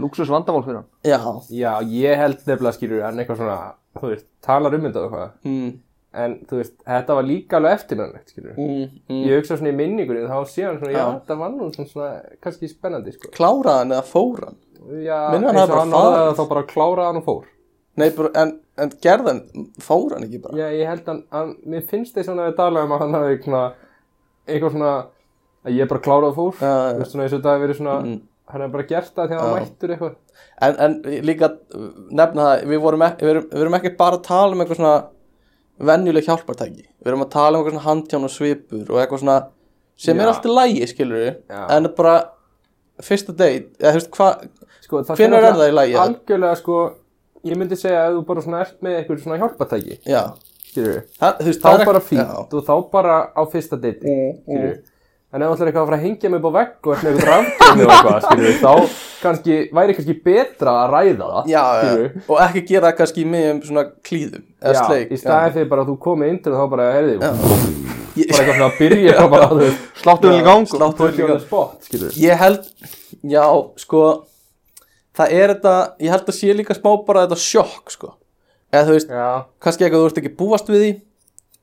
Speaker 2: Luxus vandamál fyrir hann
Speaker 1: já,
Speaker 3: Já, ég held nefnilega skýrur hann eitthvað svona, þú veist, talar um þetta og eitthvað
Speaker 1: mm,
Speaker 3: En þú veist, þetta var líka alveg eftirmennlegt, skýrur
Speaker 1: mm, mm.
Speaker 3: Ég hugsa svona í minningunni, þá sé hann svona, já,
Speaker 1: Já.
Speaker 3: þetta var nú svona, svona kannski spennandi, sko
Speaker 1: kláraði hann eða fór hann
Speaker 3: Já,
Speaker 1: Minnir hann
Speaker 3: eins
Speaker 1: hafi
Speaker 3: og
Speaker 1: bara
Speaker 3: hann orðaði
Speaker 1: farið.
Speaker 3: það þá bara kláraði hann og fór
Speaker 1: Nei, bara, en, en gerðan fór hann ekki bara
Speaker 3: Já, ég held hann, hann mér finnst þess að við tala um að hann hafi svona, eitthvað svona, að ég bara kláraði og fór
Speaker 1: Já, já. Mm.
Speaker 3: Þú veist, svona eins og þetta hafi verið svona, hann hafi bara gert það þegar hann
Speaker 1: Já.
Speaker 3: mættur eitthvað
Speaker 1: en, en líka uh, nefna það, við, vorum ekki, við, erum, við erum ekki bara að tala um eitthvað svona venjuleg hjálpartæki, við erum að tala um eitthvað svona handján og svipur og eitthvað svona sem
Speaker 3: Já.
Speaker 1: er alltaf lægi, skilur við
Speaker 3: Já.
Speaker 1: en bara fyrsta date eða þú veist hvað,
Speaker 3: sko, það
Speaker 1: Hvenær
Speaker 3: fer
Speaker 1: er það í lagi?
Speaker 3: Algjörlega, sko, ég myndi segja að þú bara svona ert með eitthvað svona hjálpatæki,
Speaker 1: já
Speaker 3: skilur við
Speaker 1: það, þú veist,
Speaker 3: Þá
Speaker 1: það er
Speaker 3: bara
Speaker 1: ekki- Mm,
Speaker 3: fínt og þá bara á fyrsta deiti, skilur við En ef þú ætlar eitthvað að fara að hengja mig upp á vegg og eitthvað rafgjörni og eitthvað, skilur við, þá kannski, væri kannski betra að ræða það,
Speaker 1: já, já,
Speaker 3: skilur
Speaker 1: já, og ekki gera það kannski í miðjum svona klíðum eða
Speaker 3: Já,
Speaker 1: sleik
Speaker 3: í staðið fyrir bara að þú komið inn til það þá bara, heyrði, bara
Speaker 1: Ég-
Speaker 3: eitthvað svona að byrja þá bara að þú
Speaker 2: Sláttu hún í gang
Speaker 1: Slátt
Speaker 3: Þú
Speaker 1: honum
Speaker 3: ert
Speaker 1: í
Speaker 3: líka
Speaker 1: gang.
Speaker 3: spott, skilur
Speaker 1: ég held, já, sko það er þetta, ég held að sé líka smá bara þetta sjokk, sko eða þú veist,
Speaker 3: Já,
Speaker 1: kannski eitthvað þú ert ekki búast við því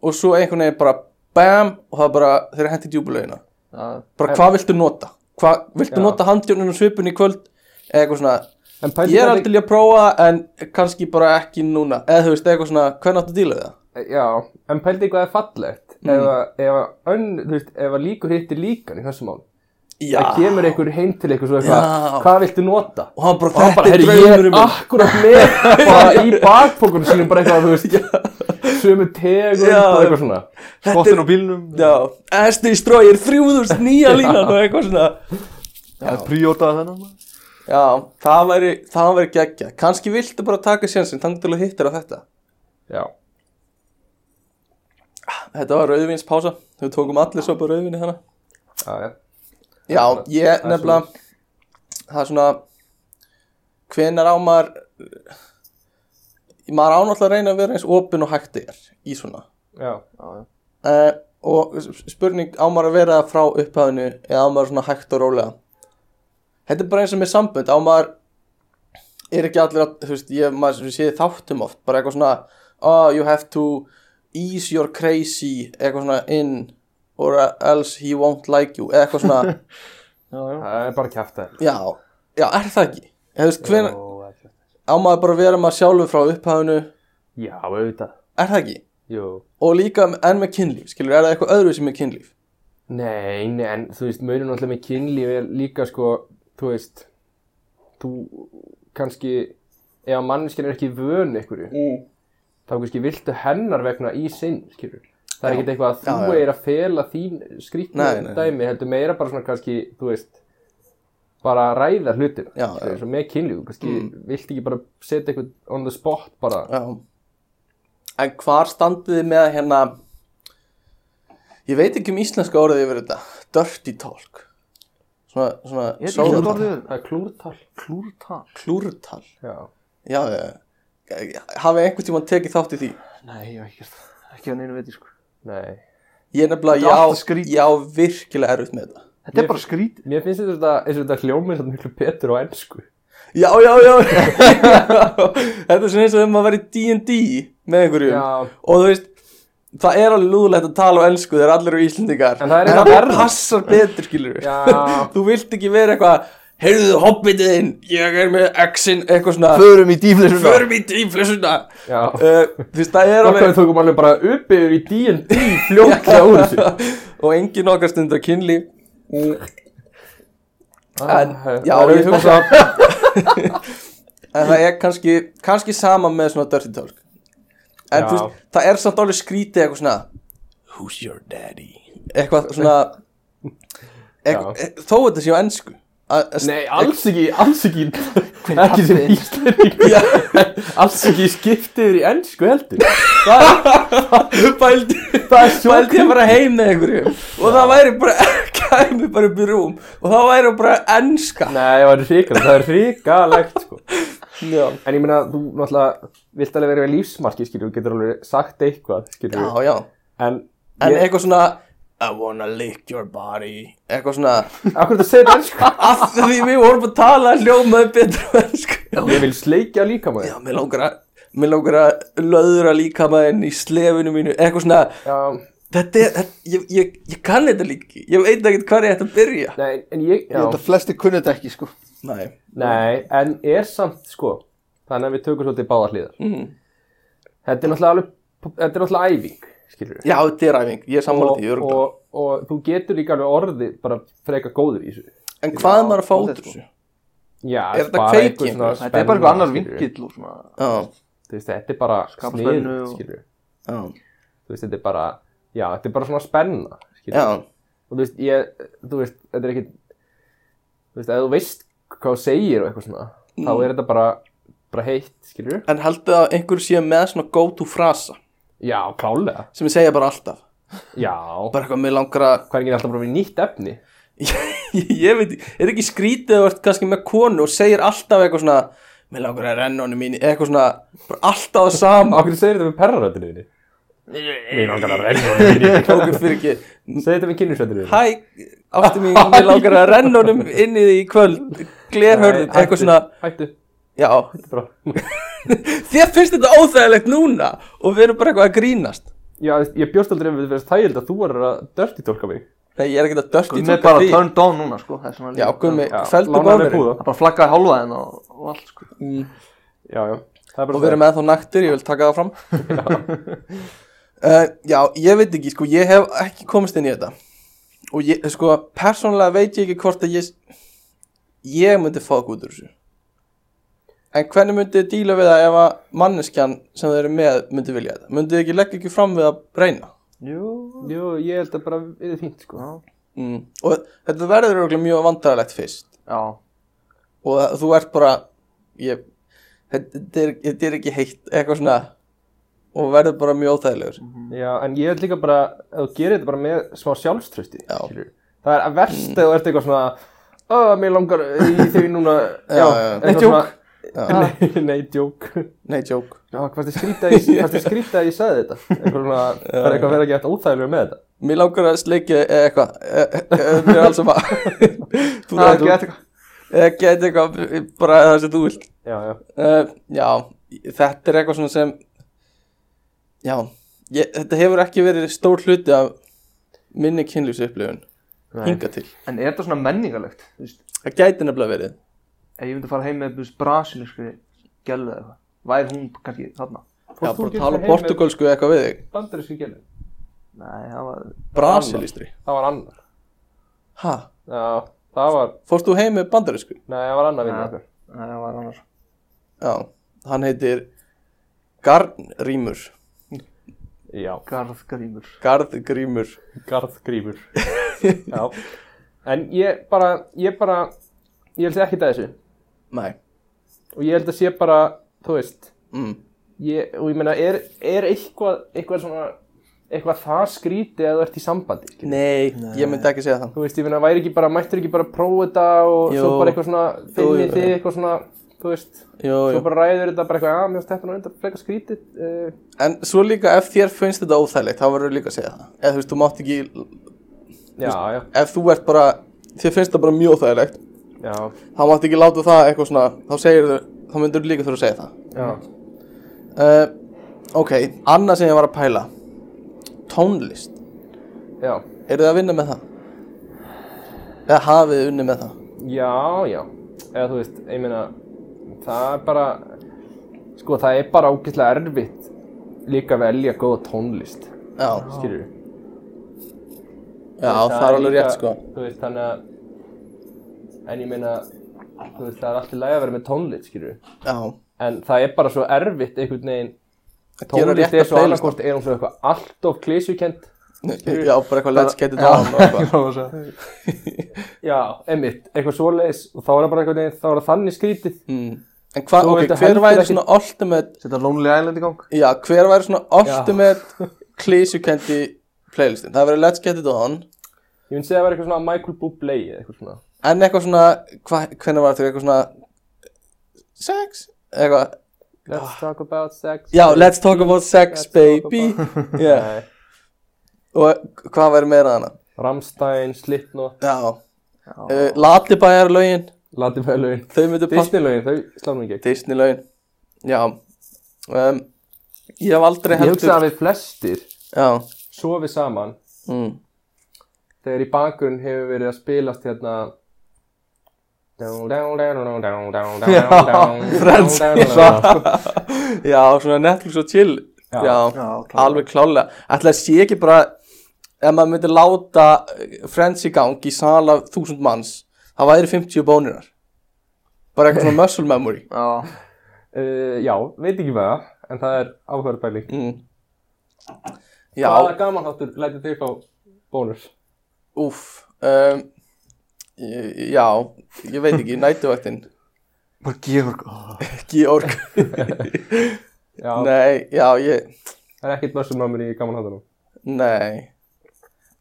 Speaker 1: og svo einhvern veginn bara bam og það bara, þeir eru hentið djúbulegina
Speaker 2: Já,
Speaker 1: bara hvað viltu nota? Hvað, viltu
Speaker 3: Já.
Speaker 1: nota handjónun og svipun í kvöld? Eða eitthvað svona,
Speaker 3: en pældi
Speaker 1: ég er
Speaker 3: hvernig-
Speaker 1: aldrei að prófa en kannski bara ekki núna eða þú veist, eitthvað svona, hvernig áttu að díla við það?
Speaker 3: Já, en pældi hvað er fallegt mm. ef, að- ef, að önn, þú veist, ef að líkur hittir líkan í þessu mál
Speaker 1: Já,
Speaker 3: Það kemur einhver heim til eitthvað svo
Speaker 1: Já.
Speaker 3: eitthvað Hvað viltu nota?
Speaker 1: og hann bara, um
Speaker 3: Og hann
Speaker 1: þetta
Speaker 3: bara,
Speaker 1: er
Speaker 3: herri, ég Ah." er
Speaker 1: draumurinn minn
Speaker 3: akkurat með bara í bakpókunum sínum bara eitthvað, þú veist Sumu tegund
Speaker 1: Já.
Speaker 3: og eitthvað svona
Speaker 2: Skottin á bílnum
Speaker 1: Já, Esti stróir 3000 nýja línan og eitthvað svona
Speaker 2: Príótaði þennan maður.
Speaker 1: Já, það væri, það væri geggja kannski viltu bara taka sjansinn, þannig til að hittir á þetta
Speaker 3: Já,
Speaker 1: Þetta var rauðvinspása, við tókum allir svo bara rauðvinni þannig
Speaker 3: já, já
Speaker 1: Já, ég
Speaker 3: er
Speaker 1: nefnilega það er svona hvenar á maður maður á náttúrulega að reyna að vera eins opinn og hægt er í svona
Speaker 3: Já,
Speaker 1: uh, og s- spurning á maður að vera það frá upphafinu eða á maður svona hægt og rólega þetta er bara eins og með sambönd á maður er ekki allir að, þú veist, ég maður sé þáttum oft bara eitthvað svona oh, you have to ease your crazy eitthvað svona in or else he won't like you eða eitthvað svona
Speaker 2: Já,
Speaker 3: það er bara kjæft það
Speaker 1: Já, já, er það ekki? Ég veist, hven,
Speaker 3: Jó,
Speaker 1: á maður bara að vera maður sjálfur frá upphafinu,
Speaker 3: Já, auðvitað
Speaker 1: er það ekki?
Speaker 3: Jú
Speaker 1: Og líka enn með kynlíf, skilur, er það eitthvað öðru sem er kynlíf?
Speaker 3: Nei, nei, en þú veist, munum náttúrulega með kynlíf er líka sko, þú veist, þú kannski, ef manneskinn er ekki vön einhverju,
Speaker 1: Mm.
Speaker 3: þá kannski viltu hennar vegna í sinn, skilur. Það er
Speaker 1: Já.
Speaker 3: ekkert eitthvað að þú
Speaker 1: Já, já.
Speaker 3: er að fela þín
Speaker 1: Nei,
Speaker 3: skrýtni
Speaker 1: nei, nei.
Speaker 3: dæmi, heldur meira bara svona kannski, þú veist, bara að ræða hlutina.
Speaker 1: Já,
Speaker 3: skilur,
Speaker 1: já. Mm.
Speaker 3: Svo með kynlíf, kannski viltu ekki bara setja eitthvað on the spot bara.
Speaker 1: Já. En hvar standið þið með hérna, ég veit ekki um íslenska orðið yfir þetta, dirty talk svona, svona
Speaker 2: Ég veit ekki hvað
Speaker 1: sóðurtal,
Speaker 2: orðið er.
Speaker 3: Það er klúrtal.
Speaker 2: Klúrtal.
Speaker 1: klúrtal
Speaker 3: Já.
Speaker 1: já, já, já, hafið einhvern tímann tekið þátt í því
Speaker 2: Nei, ég hef ekki gert það. Ekki að neina viti, sko.
Speaker 3: Nei.
Speaker 1: ég er nefnilega,
Speaker 2: Þetta er alltaf
Speaker 1: já,
Speaker 2: skrítið.
Speaker 1: já, virkilega erfitt með þetta
Speaker 2: Þetta
Speaker 3: Ég-
Speaker 2: er bara skrítið.
Speaker 3: Mér finnst þetta, eins og þetta hljómið þetta miklu betur á ennsku.
Speaker 1: já, já, já, þetta er svona eins og þegar maður var í D&D með einhverjum og þú veist það er alveg lúðulegt að tala á ensku þegar allir eru íslendingar
Speaker 3: En það er
Speaker 1: það
Speaker 3: eitthvað verra.
Speaker 1: passar betur skilur
Speaker 3: Já.
Speaker 1: þú vilt ekki vera eitthvað heyrðu hobbitiðinn, ég er með exin eitthvað svona,
Speaker 2: Förum í dýflisuna.
Speaker 1: förum í dýflissuna
Speaker 3: Já.
Speaker 1: uh, þú veist það er
Speaker 3: Okkar við
Speaker 1: alveg
Speaker 3: tókum alveg bara upp yfir í D&D fljótlega úr þessu.
Speaker 1: og engin okkar stundar Mm, kynli En,
Speaker 3: Ah,
Speaker 1: já,
Speaker 3: það er
Speaker 1: ég
Speaker 3: auðvitað
Speaker 1: hugsa-
Speaker 3: að-
Speaker 1: en það er kannski, kannski sama með svona dirty talk en
Speaker 3: Já.
Speaker 1: þú veist, það er samt alveg skrítið eitthvað svona who's your daddy eitthvað svona eitthvað, þó þetta sé á ensku að- að-
Speaker 3: Nei, alls ekki, alls ekki, ekki
Speaker 2: pabbi
Speaker 3: sem
Speaker 2: þinn?
Speaker 3: íslendingur,
Speaker 1: Já,
Speaker 3: alls ekki skiptið yfir í ennsku heldur.
Speaker 1: pældi
Speaker 3: Það er svo
Speaker 1: pældi að fara heim með einhverju og það væri bara kæmi bara upp í rúm og það væri bara enska
Speaker 3: Nei, það er hrikalegt, það er hrikalegt sko.
Speaker 1: já,
Speaker 3: En ég meina, þú náttúrulega vilt alveg vera í lífsmarki, skilju, þú getur alveg sagt eitthvað, skilju.
Speaker 1: já, já.
Speaker 3: En,
Speaker 1: en
Speaker 3: ég,
Speaker 1: eitthvað svona I wanna lick your body eitthvað svona
Speaker 3: akkur þetta segir ennsku?
Speaker 1: af því við vorum að tala hljómaði betur á ensku
Speaker 3: Ég vil sleikja líka maður.
Speaker 1: já, mér langar að mér langar að löðra líkamæðin í slefinu mínu eitthvað svona
Speaker 3: Já.
Speaker 1: þetta er, þetta, ég, ég, ég kann þetta líki ég veit ekkert hvað ég ætti að byrja
Speaker 3: Nei, en ég,
Speaker 2: Ég
Speaker 3: já.
Speaker 2: held að flesti kunni þetta ekki, sko.
Speaker 1: nei,
Speaker 3: Nei, en er samt, sko, þannig að við tökum svolítið báðar hliðar.
Speaker 1: mm.
Speaker 3: Þetta er náttúrulega alveg, þetta er náttúrulega æfing, skilju.
Speaker 1: já, þetta er æfing ég er um sammála
Speaker 3: Og,
Speaker 1: því,
Speaker 3: og,
Speaker 1: örgulega
Speaker 3: og, þú getur líka alveg orðið bara freka góður í þessu.
Speaker 1: En hvað
Speaker 2: Já,
Speaker 1: er maður að fá út
Speaker 2: þetta
Speaker 1: úr
Speaker 2: sko.
Speaker 1: þessu?
Speaker 3: Já,
Speaker 1: Er þetta
Speaker 3: bara
Speaker 1: kveiki
Speaker 3: einhver
Speaker 1: einhvers?
Speaker 3: svona
Speaker 2: Þetta er bara eitthvað
Speaker 3: spenna,
Speaker 2: annar
Speaker 3: skilurðu.
Speaker 2: vingill og svona.
Speaker 1: Já,
Speaker 3: Þú veist, Þetta er bara
Speaker 2: Skapa
Speaker 3: snið,
Speaker 2: spennu og-
Speaker 3: skilju.
Speaker 1: já,
Speaker 3: þú veist, þetta er bara, já, þetta er bara svona spenna, skilur.
Speaker 1: já,
Speaker 3: Og þú veist, ég, þú veist, þetta er ekkit, þú veist, ef þú veist hvað þú segir og eitthvað svona, þá er þetta bara, bara heitt, skilur.
Speaker 1: en heldur það að einhver sé með svona go to frasa
Speaker 3: Já, klálega,
Speaker 1: sem ég segja bara alltaf
Speaker 3: já.
Speaker 1: bara eitthvað með langar að
Speaker 3: Hvað er ekki alltaf bara við nýtt efni?
Speaker 1: ég veit, ekki- er ekki skrítið að þú ert kannski með konu og segir alltaf eitthvað svona með langar að renna honum mín eitthvað svona, bara alltaf það sama
Speaker 3: Akkur segir þetta með perraröndinu þinni? Mér langar að renna honum inn í
Speaker 1: tókur fyrir ekki
Speaker 3: Segir þetta með kynnisröndinu þinni?
Speaker 1: hæ, átti mín, með langar að renna honum inn í því í kvöld glerhörðum,
Speaker 3: Nei, hættu,
Speaker 1: eitthvað svona
Speaker 3: Hættu,
Speaker 1: já,
Speaker 3: þetta er bara.
Speaker 1: þér finnst þetta óþægilegt núna og við erum bara eitthvað að grínast
Speaker 3: Já, þú veist, ég bjóst aldrei við þess þægild að þú er að dörti tólka mig.
Speaker 1: Nei, ég er ekkert að dörti
Speaker 2: Gummi er bara turned on núna, sko. Það er svona
Speaker 1: Já, gummi,
Speaker 3: Já,
Speaker 1: feldu
Speaker 3: lánaðu mér
Speaker 1: bónir
Speaker 3: púða.
Speaker 2: Það er bara flaggaði hálfa henn og, og allt, sko.
Speaker 3: Já, já. Það er bara
Speaker 1: Og við erum ennþá naktir, ég vil taka það fram uh, Já, ég veit ekki, sko, ég hef ekki komist inn í þetta Og ég, sko, persónulega veit ég ekki hvort að ég Ég myndi fák út úr þessu En hvernig myndið þið díla við það ef að manneskjan sem þið eru með myndi vilja þetta? Myndið þið ekki leggja ekki fram við að reyna?
Speaker 2: Jú.
Speaker 3: Jú, ég held að bara við erum fínt, sko.
Speaker 1: Mm. Og þetta verður örugglega mjög vandrarlegt fyrst
Speaker 2: Já.
Speaker 1: og að þú ert bara ég, þetta, þetta er, þetta er ekki heitt eitthvað svona og verður bara mjög óþægilegur
Speaker 3: Já, en ég held líka bara, ef þú gerir þetta bara með smá sjálfströsti,
Speaker 1: Já.
Speaker 3: skilur. Það er að verst ef þú ert eitthvað svona, að mér langar í þau núna,
Speaker 1: Já, já.
Speaker 3: eitthvað
Speaker 2: Nei,
Speaker 3: svona-
Speaker 1: Já.
Speaker 3: Nei, nei, djók.
Speaker 1: Nei, jók
Speaker 3: Já, hvað er skrítið að ég, hvað er skrítið að ég sagði þetta? Eitthvað svona, það er eitthvað að vera ekki eftir óþægilega með þetta.
Speaker 1: Mér langar að sleikja eða eitthvað eða- eða mér er alls að þú
Speaker 3: Ah,
Speaker 2: Það er
Speaker 1: langar
Speaker 2: ekki eitthvað.
Speaker 1: eða geta eitthvað eh, bara það sem þú vilt
Speaker 3: Já, já.
Speaker 1: uh, Já, þetta er eitthvað svona sem já ég, þetta hefur ekki verið stór hluti af minni kynlýs upplifun hinga til,
Speaker 2: En er þetta svona menningalegt? Þú veist,
Speaker 1: það gæti nefnilega verið
Speaker 2: ef ég myndi fara heim með búst brasilískri gælu eða eitthvað, væri hún kannski þarna?
Speaker 1: Já,
Speaker 3: Fórst þú
Speaker 1: bara
Speaker 3: ekki
Speaker 1: tala
Speaker 3: heim með
Speaker 1: portugalsku eitthvað við þig
Speaker 3: Bandarísku gælu.
Speaker 2: Nei, það var...
Speaker 1: Brasilistri
Speaker 3: Það var annar.
Speaker 1: Ha,
Speaker 3: Já, það var,
Speaker 1: fórst þú heim með bandarísku?
Speaker 3: nei, það var annar vinnu
Speaker 2: Nei,
Speaker 3: okkar.
Speaker 2: Nei, það var annars.
Speaker 1: Já, hann heitir Garnrímur
Speaker 3: Já,
Speaker 2: Garðgrímur.
Speaker 1: Garðgrímur
Speaker 3: garðgrífur. já. En ég bara, ég bara, ég held ekki að þessu.
Speaker 1: Nei
Speaker 3: og ég held að sé bara, þú veist
Speaker 1: mm.
Speaker 3: ég, og ég meina, er, er eitthvað eitthvað svona eitthvað það skrítið að þú ert í sambandi skilur.
Speaker 1: Nei, ég myndi ekki segja það
Speaker 3: þú veist, ég finna, væri ekki bara, mættur ekki bara að prófa þetta og
Speaker 1: Jú.
Speaker 3: svo bara eitthvað svona
Speaker 1: Jú,
Speaker 3: finni
Speaker 1: jú.
Speaker 3: þið eitthvað svona, þú veist
Speaker 1: Jú,
Speaker 3: svo
Speaker 1: jú
Speaker 3: bara ræður þetta bara eitthvað, að mér finnst þetta nú reyndar frekar skrítið uh,
Speaker 1: En svo líka ef þér finnst þetta óþægilegt þá verður líka að segja það Eða þú veist, þú mátt ekki
Speaker 3: já, já,
Speaker 1: Ef þú ert bara, þér finnst það bara mjög óþægilegt
Speaker 3: já,
Speaker 1: Þá mátt ekki láta það eitthvað svona Þá segir þau, þá myndur þú líka þurfa að segja það
Speaker 3: já
Speaker 1: uh, Ok, annað sem ég var að pæla Tónlist
Speaker 3: já,
Speaker 1: Eru þið að vinna með það? Eða hafið þið unnið með það?
Speaker 3: já, já eða þú veist, ég meina það er bara sko, það er bara ógeðslega erfitt líka að velja góða tónlist
Speaker 1: Já,
Speaker 3: skilur við
Speaker 1: já
Speaker 3: Þú veist,
Speaker 1: það er alveg
Speaker 3: líka-
Speaker 1: rétt sko
Speaker 3: Þú veist, þannig að En ég meina Þú veist, það er alltaf læg að vera með tónlist, skilur
Speaker 1: Já,
Speaker 3: En það er bara svo erfitt einhvern veginn
Speaker 1: að gera sko.
Speaker 3: Tónlist
Speaker 1: rétt
Speaker 3: er
Speaker 1: að
Speaker 3: svo
Speaker 1: playlist
Speaker 3: annarkort Er hún svo eitthvað allt of klísukent
Speaker 1: Já, bara eitthvað let's get it on og eitthvað.
Speaker 3: Já, einmitt, eitthvað svoleiðis Og þá er það bara einhvern veginn, þá er það þannig skrítið
Speaker 1: mm. En hva,
Speaker 3: Þú
Speaker 1: ok,
Speaker 3: vildir
Speaker 1: hver
Speaker 3: heldur
Speaker 1: væri
Speaker 3: ekki-
Speaker 1: svona ultimate
Speaker 2: Setja Lonely Island í gang
Speaker 1: Já, hver væri svona ultimate klísukendi playlistin? Það verið let's get it on
Speaker 3: Ég myndi segja að það vera eitthvað svona Michael Bublé eða eitthvað svona
Speaker 1: En eitthvað svona, hva, hvernig var þetta eitthvað svona Sex? Eitthvað,
Speaker 3: Let's talk about sex
Speaker 1: Ah. já, let's talk about sex,
Speaker 3: Let's talk
Speaker 1: baby yeah.
Speaker 3: Nei,
Speaker 1: Og hvað væri meira þarna?
Speaker 3: Rammstein, Slipknot,
Speaker 1: Já, uh, Latibæjar lögin
Speaker 3: Latifælaugin
Speaker 1: Þau myndu passa
Speaker 3: Disney-laugin, þau slá mér ekki
Speaker 1: Disney lögin Já um, Ég hef aldrei
Speaker 3: Ég
Speaker 1: heldur
Speaker 3: hugsa að við flestir
Speaker 1: Já
Speaker 3: sofi saman
Speaker 1: mm.
Speaker 3: þegar í bakgrunn hefur verið að spilast hérna Friends
Speaker 1: Já, svona Netflix og chill Já,
Speaker 3: Já.
Speaker 2: Já, klárlega.
Speaker 1: alveg klálega Ætli að sé ekki bara Ef maður myndi láta eh, Friends í gang í sal af þúsund manns Það væri 50 bónirar Bara eitthvað svona muscle memory
Speaker 2: Já,
Speaker 3: uh, Já, veit ekki með það en það er áhverfæling
Speaker 1: mm. Já,
Speaker 3: Hvaða gaman þáttur lætur þig fá bónus?
Speaker 1: úff um, eh, Já, ég veit ekki, nætuvaktin
Speaker 2: bara gefur oh.
Speaker 1: Georg
Speaker 3: Já,
Speaker 1: Nei, já, ég
Speaker 3: það er ekkert mössum námur í gaman þáttunum
Speaker 1: Nei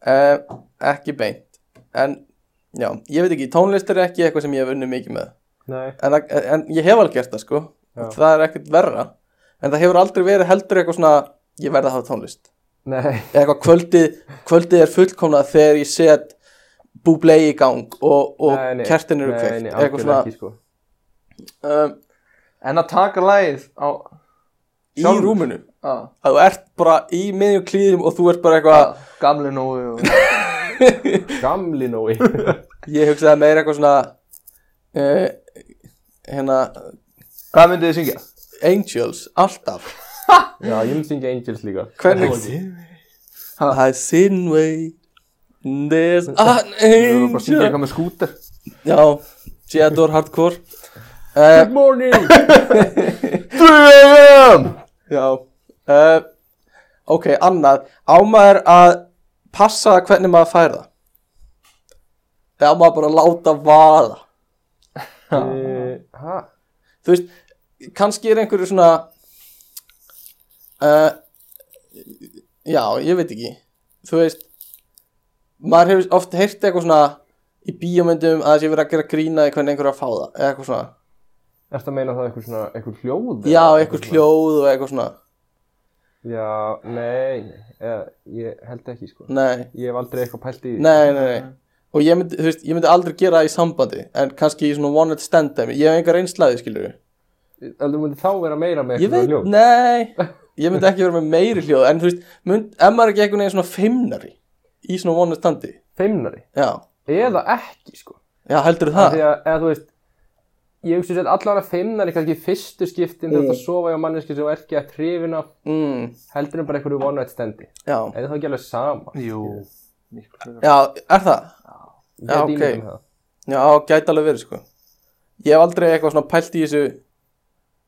Speaker 1: uh, Ekki beint En já, ég veit ekki, tónlist er ekki eitthvað sem ég hef unnið mikið með
Speaker 3: Nei,
Speaker 1: En, en ég hef alveg gert það sko
Speaker 3: Já.
Speaker 1: Það er ekkert verra En það hefur aldrei verið heldur eitthvað svona Ég verð að hafa tónlist
Speaker 3: nei,
Speaker 1: Eða eitthvað kvöldið, kvöldið er fullkomna þegar ég set búblei í gang og, og
Speaker 3: Nei, nei.
Speaker 1: kertin eru
Speaker 3: nei,
Speaker 1: kveikt
Speaker 3: nei,
Speaker 1: eitthvað
Speaker 3: algjörlega
Speaker 1: svona
Speaker 3: ekki sko
Speaker 1: um,
Speaker 2: En að taka lagið á
Speaker 1: í
Speaker 2: Sjálfur.
Speaker 1: rúminu
Speaker 2: á,
Speaker 1: að þú ert bara í miðjum klíðum og þú ert bara eitthvað
Speaker 2: gamli nógu og...
Speaker 3: Gamli nói
Speaker 1: ég hugsaði meira eitthvað svona uh, hérna
Speaker 2: Hvað myndið þið syngja?
Speaker 1: Angels, alltaf
Speaker 3: Já, ég myndi syngja Angels líka
Speaker 1: Hvernig? I sin way There's an
Speaker 2: Þú erum bara að
Speaker 1: angel
Speaker 2: syngja eitthvað með skúter
Speaker 1: Já, Seattle Hardcore uh,
Speaker 3: Good morning
Speaker 2: 3AM
Speaker 1: Já uh, Ok, annað Á maður að passa hvernig maður fær það Eða á maður bara að láta vaða
Speaker 3: Eh, Ha?
Speaker 1: Þú veist, kannski er einhverju svona uh, Já, ég veit ekki Þú veist maður hefur oft heyrt eitthvað svona í bíómyndum að það sé verið að gera grína hvernig einhverju að fá það, eða eitthvað svona
Speaker 3: Ertu að meina það eitthvað svona, eitthvað hljóð?
Speaker 1: Já,
Speaker 3: eða
Speaker 1: eitthvað
Speaker 3: svona?
Speaker 1: hljóð og eitthvað svona
Speaker 3: Já, nei, nei, eða, ég held ekki sko
Speaker 1: Nei,
Speaker 3: Ég hef aldrei eitthvað pælt í því.
Speaker 1: nei, nei, nei. Og ég myndi, þú veist, ég myndi aldrei gera það í sambandi En kannski í svona one night stand dæmi Ég hef engar einslaði, skilur við
Speaker 3: Heldur myndi þá vera meira með
Speaker 1: Ég veit,
Speaker 3: hljóð
Speaker 1: nei Ég myndi ekki vera með meiri hljóð En þú veist, mynd, ef maður er ekki einhvern veginn svona fimmnari Í svona one night standi
Speaker 3: Feimnari,
Speaker 1: Já,
Speaker 3: eða ekki sko
Speaker 1: já, heldur
Speaker 3: Af
Speaker 1: það
Speaker 3: Því að, eða þú veist Ég hugsi sér allavega feimnari kannski í fyrstu skiptin þegar þú ert að sofa hjá manneski sem þú ert ekki að trifina
Speaker 1: mm,
Speaker 3: heldur en bara einhverju one night standi
Speaker 1: Já,
Speaker 3: Eða þá ekki alveg sama
Speaker 2: Jú Miklu frekar.
Speaker 1: já, er það?
Speaker 3: Ég
Speaker 1: Já,
Speaker 3: get ímyndað
Speaker 1: ok.
Speaker 3: mér það.
Speaker 1: Já, gæti alveg verið, sko Ég hef aldrei eitthvað svona pælt í þessu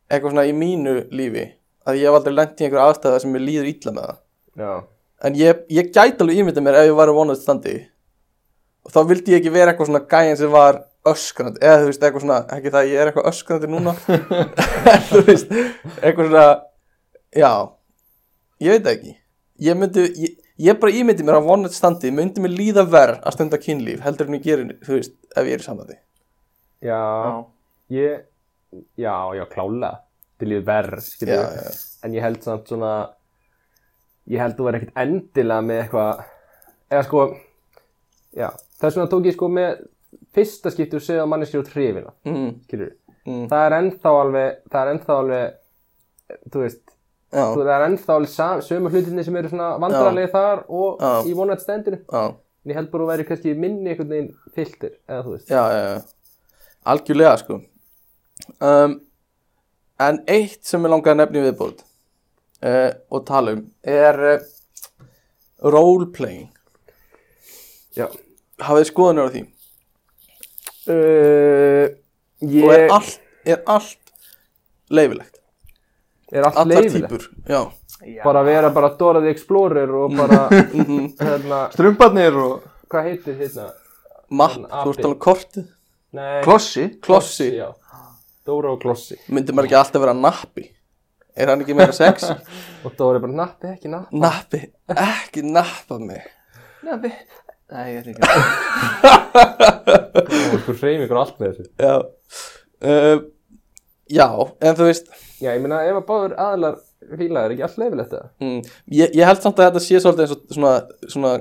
Speaker 1: Eitthvað svona í mínu lífi Að ég hef aldrei lent í einhverja aðstæða sem mér líður illa með það
Speaker 3: Já,
Speaker 1: En ég, ég gæti alveg ímynda mér ef ég var vonað standi og þá vildi ég ekki vera eitthvað svona gæin sem var öskrandi, eða þú veist, eitthvað svona ekki það að ég er eitthvað öskrandi núna en þú veist, eitthvað svona já, ég veit það ekki ég myndi, ég, ég bara ímyndi mér að vonnet standi, myndi mér líða verð að stunda kynlíf, heldur en ég gerir, þú veist, ef ég er í samvæði.
Speaker 3: já, ég, já, já, klálega til ég verð, skilur
Speaker 1: Já,
Speaker 3: við.
Speaker 1: já.
Speaker 3: en ég held samt svona ég held þú verð ekkert endilega með eitthvað eða sko já, þess vegna tók ég sko með fyrsta skipti og segja að manneskjur út hrifina
Speaker 1: Mm,
Speaker 3: skilur,
Speaker 1: mm,
Speaker 3: það er ennþá alveg það er ennþá alveg þú veist,
Speaker 1: já,
Speaker 3: þú, það er ennþá alveg sam, sömu hlutinni sem eru svona vandrarlega þar og
Speaker 1: Já.
Speaker 3: í vonat stendinu
Speaker 1: já,
Speaker 3: en ég held bara að vera kannski minni einhvern veginn filter, eða þú veist
Speaker 1: já, já, já, algjörlega, sko. Um, en eitt sem ég langaði að nefna í viðbúð uh, og tala um er uh, roleplaying.
Speaker 3: já.
Speaker 1: Hafið þið skoðanur á því?
Speaker 3: Uh, ég
Speaker 1: Og er allt, er allt leifilegt?
Speaker 3: er allt
Speaker 1: Allar
Speaker 3: leyfilegt.
Speaker 1: týpur, já.
Speaker 3: bara vera bara Dora the Explorer og bara
Speaker 1: Mhm.
Speaker 3: hérna,
Speaker 2: Strumbarnir og
Speaker 3: hvað heitir hérna
Speaker 1: Mapp,
Speaker 3: Api.
Speaker 1: þú ert alveg kortið.
Speaker 3: Nei,
Speaker 2: klossi
Speaker 1: Klossi,
Speaker 3: já. Dora og Klossi
Speaker 1: myndi maður ekki alltaf vera nappi? Er hann ekki meira sexy?
Speaker 3: og Dora er bara nappi, ekki nappi
Speaker 1: nappi, ekki nappa mig.
Speaker 2: Nei, ég veit ekki
Speaker 3: og þú reymi ykkur allt með þessu
Speaker 1: Já, uh, já en þú veist,
Speaker 3: já, ég meina ef að báður aðlar fíla er ekki allt leifilegt það
Speaker 1: mm, ég, ég held samt að þetta sé svolítið eins og svona, svona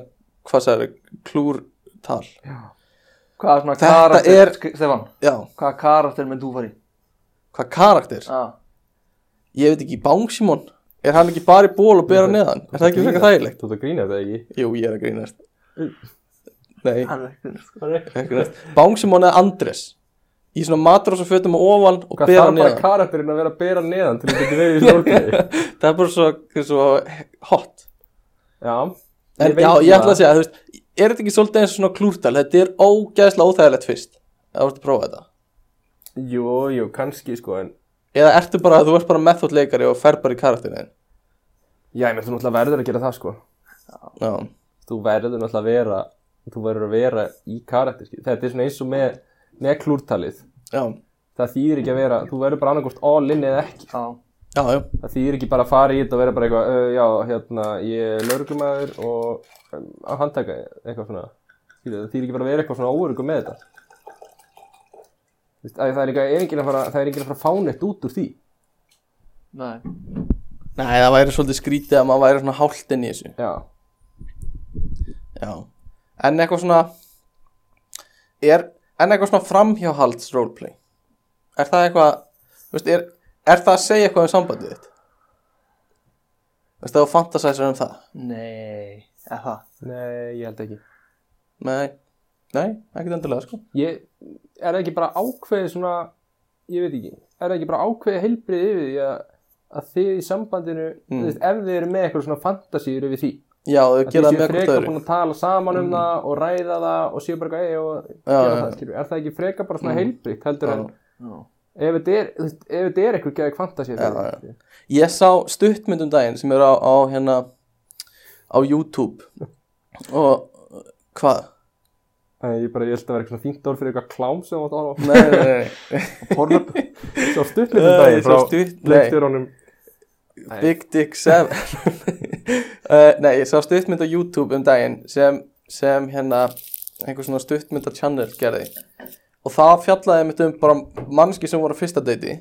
Speaker 1: hvað sagði, klúrtal.
Speaker 2: Hvað er svona
Speaker 1: Þetta
Speaker 2: karakter,
Speaker 1: er-
Speaker 2: Sk- Stefan,
Speaker 1: Já,
Speaker 2: hvaða karakter menn þú fari?
Speaker 1: hvað karakter?
Speaker 2: Já,
Speaker 1: Ég veit ekki, Bangsímon, er hann ekki bara í ból og bera neðan? Er það ekki frekar þægilegt?
Speaker 3: Þú ert að grína þetta ekki?
Speaker 1: Jú, ég er að grínast. Nei,
Speaker 2: hann er ekki sko.
Speaker 1: ekki grínast. Bangsímon eða Andres, í svona matrós og fötum og ofan og
Speaker 3: Hvað
Speaker 1: bera
Speaker 3: þarf bara
Speaker 1: neðan.
Speaker 3: karakterinn að vera að bera neðan til þú getur verið í stórkjöði?
Speaker 1: það er bara svo, svo hot
Speaker 3: já,
Speaker 1: en,
Speaker 3: veit
Speaker 1: já, ég ætla að
Speaker 3: það.
Speaker 1: segja, þú veist, er þetta ekki svolítið eins og svona klúrtal, þetta er ógæðslega óþægilegt fyrst eða þú ert að prófa þetta
Speaker 3: Jú, jú, kannski sko en
Speaker 1: eða ertu bara, þú ert bara methodleikari og fer bara í karakterinu þinn?
Speaker 3: Já, ég meina þú náttúrulega verður að gera það sko
Speaker 1: já,
Speaker 3: Þú verður náttúrulega að vera Þú verður að vera í karakter skilur. Þetta er svona eins og með, með klúrtalið
Speaker 1: já,
Speaker 3: Það þýðir ekki að vera Þú verður bara annarkort all in eða ekki
Speaker 2: Já,
Speaker 1: já, já,
Speaker 3: Það þýðir ekki bara að fara í þetta og vera bara eitthvað uh, Já, hérna, ég er lögregumæður og um, að handtaka eitthvað svona Skilur, Það þýðir ekki bara að vera eitthvað svona óörugum með þetta Þú veist, að Það er, líka, er enginn að fara Það er enginn að fara að fá neitt út úr því
Speaker 2: nei
Speaker 1: nei, það væri svolítið skrítið að maður væri svona hálft inn í þessu
Speaker 3: Já,
Speaker 1: já, en eitthvað svona er, en eitthvað svona framhjáhalds roleplay er það eitthvað, þú veist, er, er það að segja eitthvað um sambandið þitt veist, það var fantasæsar um það
Speaker 2: Nei, eða það
Speaker 3: nei, ég held ekki
Speaker 1: Nei, nei, ekkert endilega sko
Speaker 3: ég er það ekki bara ákveðið svona ég veit ekki, er það ekki bara ákveðið heilbrið yfir því að, að þið í sambandinu
Speaker 1: Mm.
Speaker 3: mm. veist, ef þið eru með eitthvað svona fantasíur yfir því
Speaker 1: Já, þau
Speaker 3: að
Speaker 1: gera það með
Speaker 3: þið séu
Speaker 1: hvort
Speaker 3: freka
Speaker 1: öðru Mm.
Speaker 3: búin að tala saman um það og ræða það og séu bara eitthvað "Ey, og
Speaker 1: já,
Speaker 3: gera
Speaker 1: já.
Speaker 3: það, skilur, er það ekki freka bara svona mm. heilbrið heldur
Speaker 1: Já.
Speaker 3: en
Speaker 2: Já,
Speaker 3: ef þetta er, þú veist, ef þetta er eitthvað geðið fantasíur
Speaker 1: Já, já. Ég sá stuttmyndum daginn sem eru á, á hérna á YouTube og hvað?
Speaker 3: ég bara, ég held að vera eitthvað svona fínt orð fyrir eitthvað klám sem þú átt að
Speaker 1: Nei, nei, nei, nei.
Speaker 2: pornöp
Speaker 3: horfa svo
Speaker 1: Nei,
Speaker 3: stuttmyndum daginn
Speaker 1: svo stutt- nei.
Speaker 3: frá leikstjóranum
Speaker 1: Big Dick 7 uh, Nei, ég sá stuttmynd á YouTube um daginn sem, sem hérna einhver svona stuttmynda channel gerði og það fjallaði mitt um bara mannski sem voru á fyrsta deiti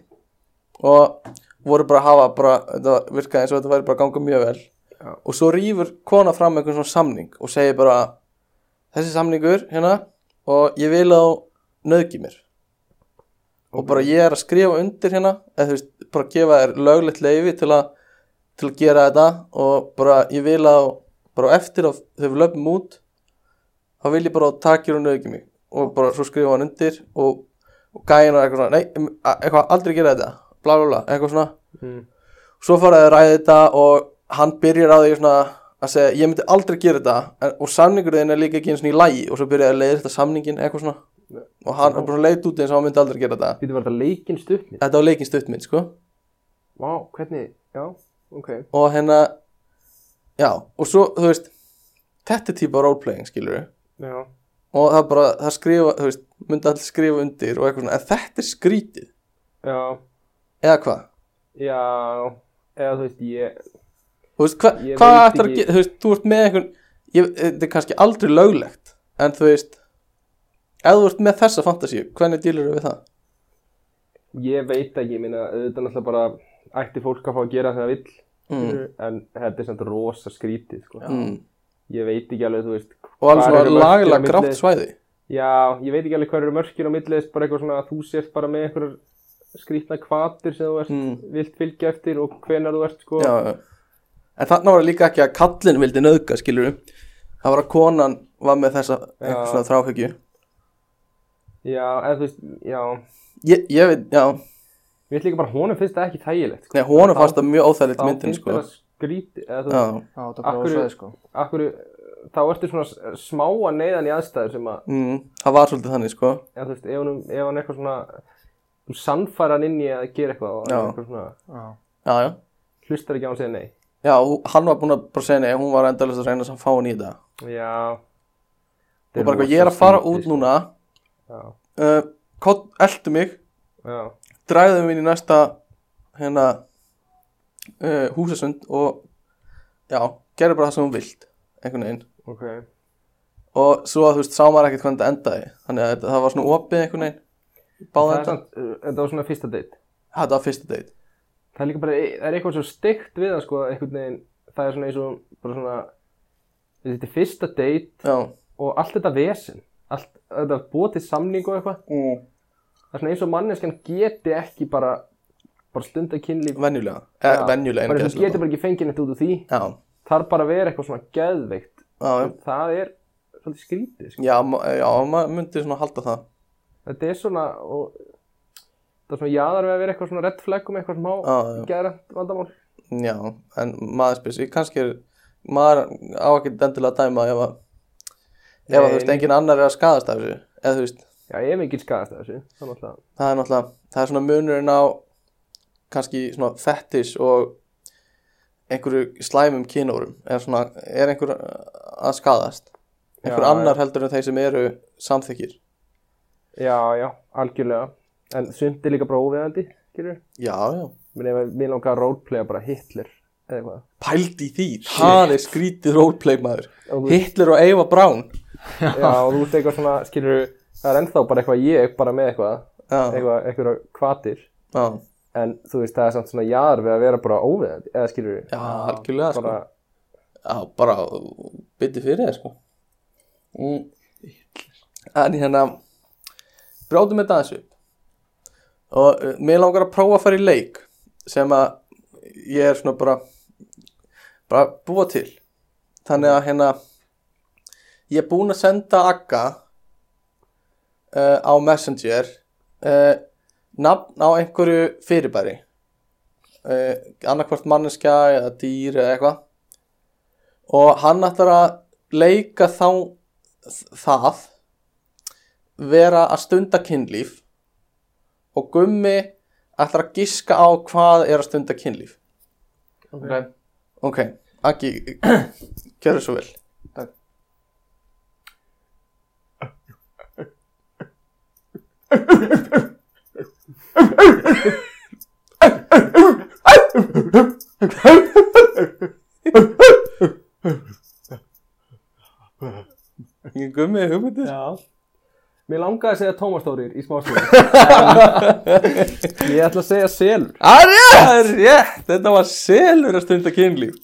Speaker 1: og voru bara að hafa bara, þetta virkaði eins og þetta væri bara að ganga mjög vel
Speaker 3: Já.
Speaker 1: og svo rýfur kona fram einhvern svona samning og segir bara þessi samningur hérna og ég vil að nöðgi mér og bara ég er að skrifa undir hérna eða þú veist, bara gefa þér löglegt leifi til að, til að gera þetta og bara ég vil að bara á eftir að þau við löpum út þá vil ég bara að takja hún auðvitað mig og bara svo skrifa hann undir og, og gæin og eitthvað svona nei, em, a- eitthvað aldrei gera þetta bla bla bla, eitthvað svona
Speaker 3: Mm.
Speaker 1: svo fara þau að ræða þetta og hann byrjar á því svona að segja ég myndi aldrei gera þetta en, og samningur þinn er líka ekki eins og í lægi og svo byrjaði að leiða þetta samningin eitthvað svona og hann er bara leit út eins og hann myndi aldrei gera þetta
Speaker 3: Býtu var þetta leikinn stuttmynd?
Speaker 1: þetta var leikinn stuttmynd sko
Speaker 3: Vá, hvernig, já, ok
Speaker 1: og hérna já og svo þú veist þetta er típa roleplaying skilur
Speaker 3: Já,
Speaker 1: og það er bara það skrifa þú veist myndi allir skrifa undir og eitthvað svona en þetta er skrítið
Speaker 3: já,
Speaker 1: eða hvað
Speaker 3: já, eða þú veist, ég,
Speaker 1: Þú veist, hva,
Speaker 2: Ég
Speaker 1: hvað
Speaker 2: veit
Speaker 1: ætlar að
Speaker 2: ekki.
Speaker 1: gera, þú veist, þú ert með einhvern, ég, þetta er kannski aldrei löglegt, en þú veist, ef þú ert með þessa fantasíu, hvernig dýlur við það?
Speaker 3: Ég veit ekki, ég meina, auðvitað náttúrulega bara ætti fólk að fá að gera þegar það vill,
Speaker 1: Mm,
Speaker 3: en þetta er samt rosa skrítið, sko.
Speaker 1: mm.
Speaker 3: Ég veit ekki alveg, þú veist,
Speaker 1: Og alveg
Speaker 3: Hvar eru
Speaker 1: svona
Speaker 3: mörkin á
Speaker 1: lagalega
Speaker 3: milli?
Speaker 1: grátt svæði.
Speaker 3: já, ég veit ekki alveg hvað eru mörkin á milliðist, bara eitthvað svona að þú sért bara með einhverjar skrítna kvatir sem þú ert,
Speaker 1: Mm.
Speaker 3: vilt fylgja eftir og hvenar þú ert, sko.
Speaker 1: Já, já. En þarna var líka ekki að kallin vildi nöðga, skilur við. Það var að konan var með þessa einhvers svona þráhyggju.
Speaker 3: Já, en þú veist, já,
Speaker 1: Ég, ég veit, já,
Speaker 3: ég veit líka bara honum finnst það ekki þægilegt, sko.
Speaker 1: nei, honum
Speaker 3: Þá-
Speaker 1: fannst það mjög óþægilegt
Speaker 3: Þá
Speaker 1: myndin,
Speaker 3: finnst
Speaker 1: sko.
Speaker 3: það skrítið, eða þú
Speaker 1: Já,
Speaker 3: veist,
Speaker 2: Já, þetta er
Speaker 3: Af
Speaker 2: bara
Speaker 3: hverju-
Speaker 2: svæði sko
Speaker 3: akkur, þá ertu svona s- smá að neyðan í aðstæður sem að
Speaker 1: mm, það var svolítið þannig, sko.
Speaker 3: Já, þú veist, ef hann, ef hann eitthvað svona þú sannfæra hann inn í að gera eitthvað og hann
Speaker 1: Já.
Speaker 3: eitthvað svona,
Speaker 2: Já,
Speaker 1: Já, já.
Speaker 3: hlustar ekki á hann að segja nei
Speaker 1: Já, hú- hann var búin að bara segja nei, hún var endalist að reyna að fá hann í þetta.
Speaker 3: Já
Speaker 1: Og bara eitthvað, ég er að fara út núna,
Speaker 3: sko." Já,
Speaker 1: uh, kott, eldu mig,
Speaker 3: já,
Speaker 1: dræðu mig inn í næsta, hérna, uh, húsasund og, já, gerðu bara það sem hún vilt, einhvern veginn.
Speaker 3: ok
Speaker 1: og svo að þú veist sá maður ekkert hvernig þetta endaði þannig að þetta, það var svona opið einhvern veginn báða
Speaker 3: Það er
Speaker 1: þetta,
Speaker 3: samt, uh, þetta var svona fyrsta date
Speaker 1: þetta var fyrsta date
Speaker 3: Það er líka bara, það er eitthvað svo stygt við það sko, einhvern veginn, það er svona eins og bara svona, þetta er fyrsta date
Speaker 1: já,
Speaker 3: og allt þetta vesen allt, þetta búið til samning og eitthvað
Speaker 1: mm.
Speaker 3: það er svona eins og manneskjan geti ekki bara, bara stunda kynlíf
Speaker 1: venjulega, eh,
Speaker 3: Já,
Speaker 1: venjulega
Speaker 3: bara
Speaker 1: innan
Speaker 3: sem geti
Speaker 1: gæsalappa.
Speaker 3: bara ekki fengið neitt út úr því
Speaker 1: já,
Speaker 3: þarf bara að vera eitthvað svona geðveikt
Speaker 1: já,
Speaker 3: það er svolítið skrítið sko.
Speaker 1: já, ma- já, maður myndi svona halda það
Speaker 3: þetta er svona og, það er svona jaðar við að vera eitthvað svona redd flag um eitthvað smá
Speaker 1: Já, já.
Speaker 3: geðrætt vandamál
Speaker 1: já, en maður spyrs, ég kannski er maður á ekki endilega að dæma ef að, ef að
Speaker 3: Nei,
Speaker 1: þú veist
Speaker 3: nei.
Speaker 1: engin annar er að skadast af þessu, eða þú veist
Speaker 3: já, ef enginn skadast af þessu þá náttúrulega
Speaker 1: það er náttúrulega, það er svona munurinn á kannski svona fettis og einhverju slæmum kynórum er svona, er einhver að skadast einhver
Speaker 3: Já,
Speaker 1: annar heldur en þeir sem eru samþykir
Speaker 3: já, já, algjörlega en sumt er líka bara óviðandi skilur
Speaker 1: já, já,
Speaker 3: minn ef mér langar að roleplaya bara Hitler eða eitthvað
Speaker 1: pældi í því það er skrítið roleplay maður
Speaker 3: Og þú-
Speaker 1: Hitler og Eva Braun
Speaker 3: já, og þú veist eitthvað svona skilur það er ennþá bara eitthvað ég bara með eitthvað
Speaker 1: já,
Speaker 3: eitthvað, eitthvað kvatir
Speaker 1: já,
Speaker 3: en þú veist það er samt svona jaðar við að vera bara óviðandi eða skilur
Speaker 1: já algjörlega sko.
Speaker 3: bara
Speaker 1: Já, bara bytti fyrir það sko mm. En hérna Brjóðum þetta aðeins upp Og uh, mér langar að prófa að fara í leik Sem að Ég er svona bara Bara búa til Þannig að hérna Ég er búinn að senda Agga uh, Á Messenger uh, Nafn á einhverju fyrirbæri uh, Annarkvort manneskja Eða dýr eða eitthvað og hann ætlar að leika þá það vera að stunda kynlíf og gummi ætlar að giska á hvað er að stunda kynlíf
Speaker 2: Ok.
Speaker 1: ok, Aki gjörðu svo vel
Speaker 2: Takk.
Speaker 1: Ég gummi hugmyndir
Speaker 3: Mér langaði að segja Tómas Þórir í smástöðu Ég ætla að segja selur
Speaker 1: Það er rétt, það er rétt, þetta var selur að stunda kynlíf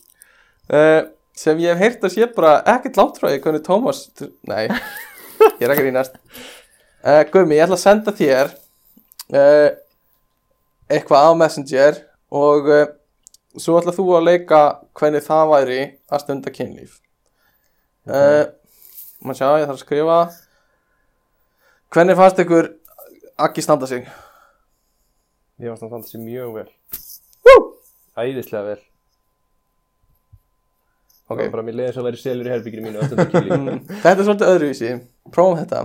Speaker 1: uh, sem ég hef heyrt að sé bara ekkert látráði hvernig Tómas, nei, ég er ekki rínast uh, Gumi, ég ætla að senda þér uh, eitthvað á Messenger og uh, svo ætla þú að leika hvernig það væri að stunda kynlíf uh, maður sjá, ég þarf að skrifa hvernig fannst ykkur Akki standa sig?
Speaker 3: Ég var samt að þessi mjög vel
Speaker 1: Woo!
Speaker 3: Æðislega vel
Speaker 1: Ok.
Speaker 3: Það var bara mér leiðis að vera selur í herbygginu mínu öllum að kýli
Speaker 1: Þetta er svolítið öðruvísi Prófum þetta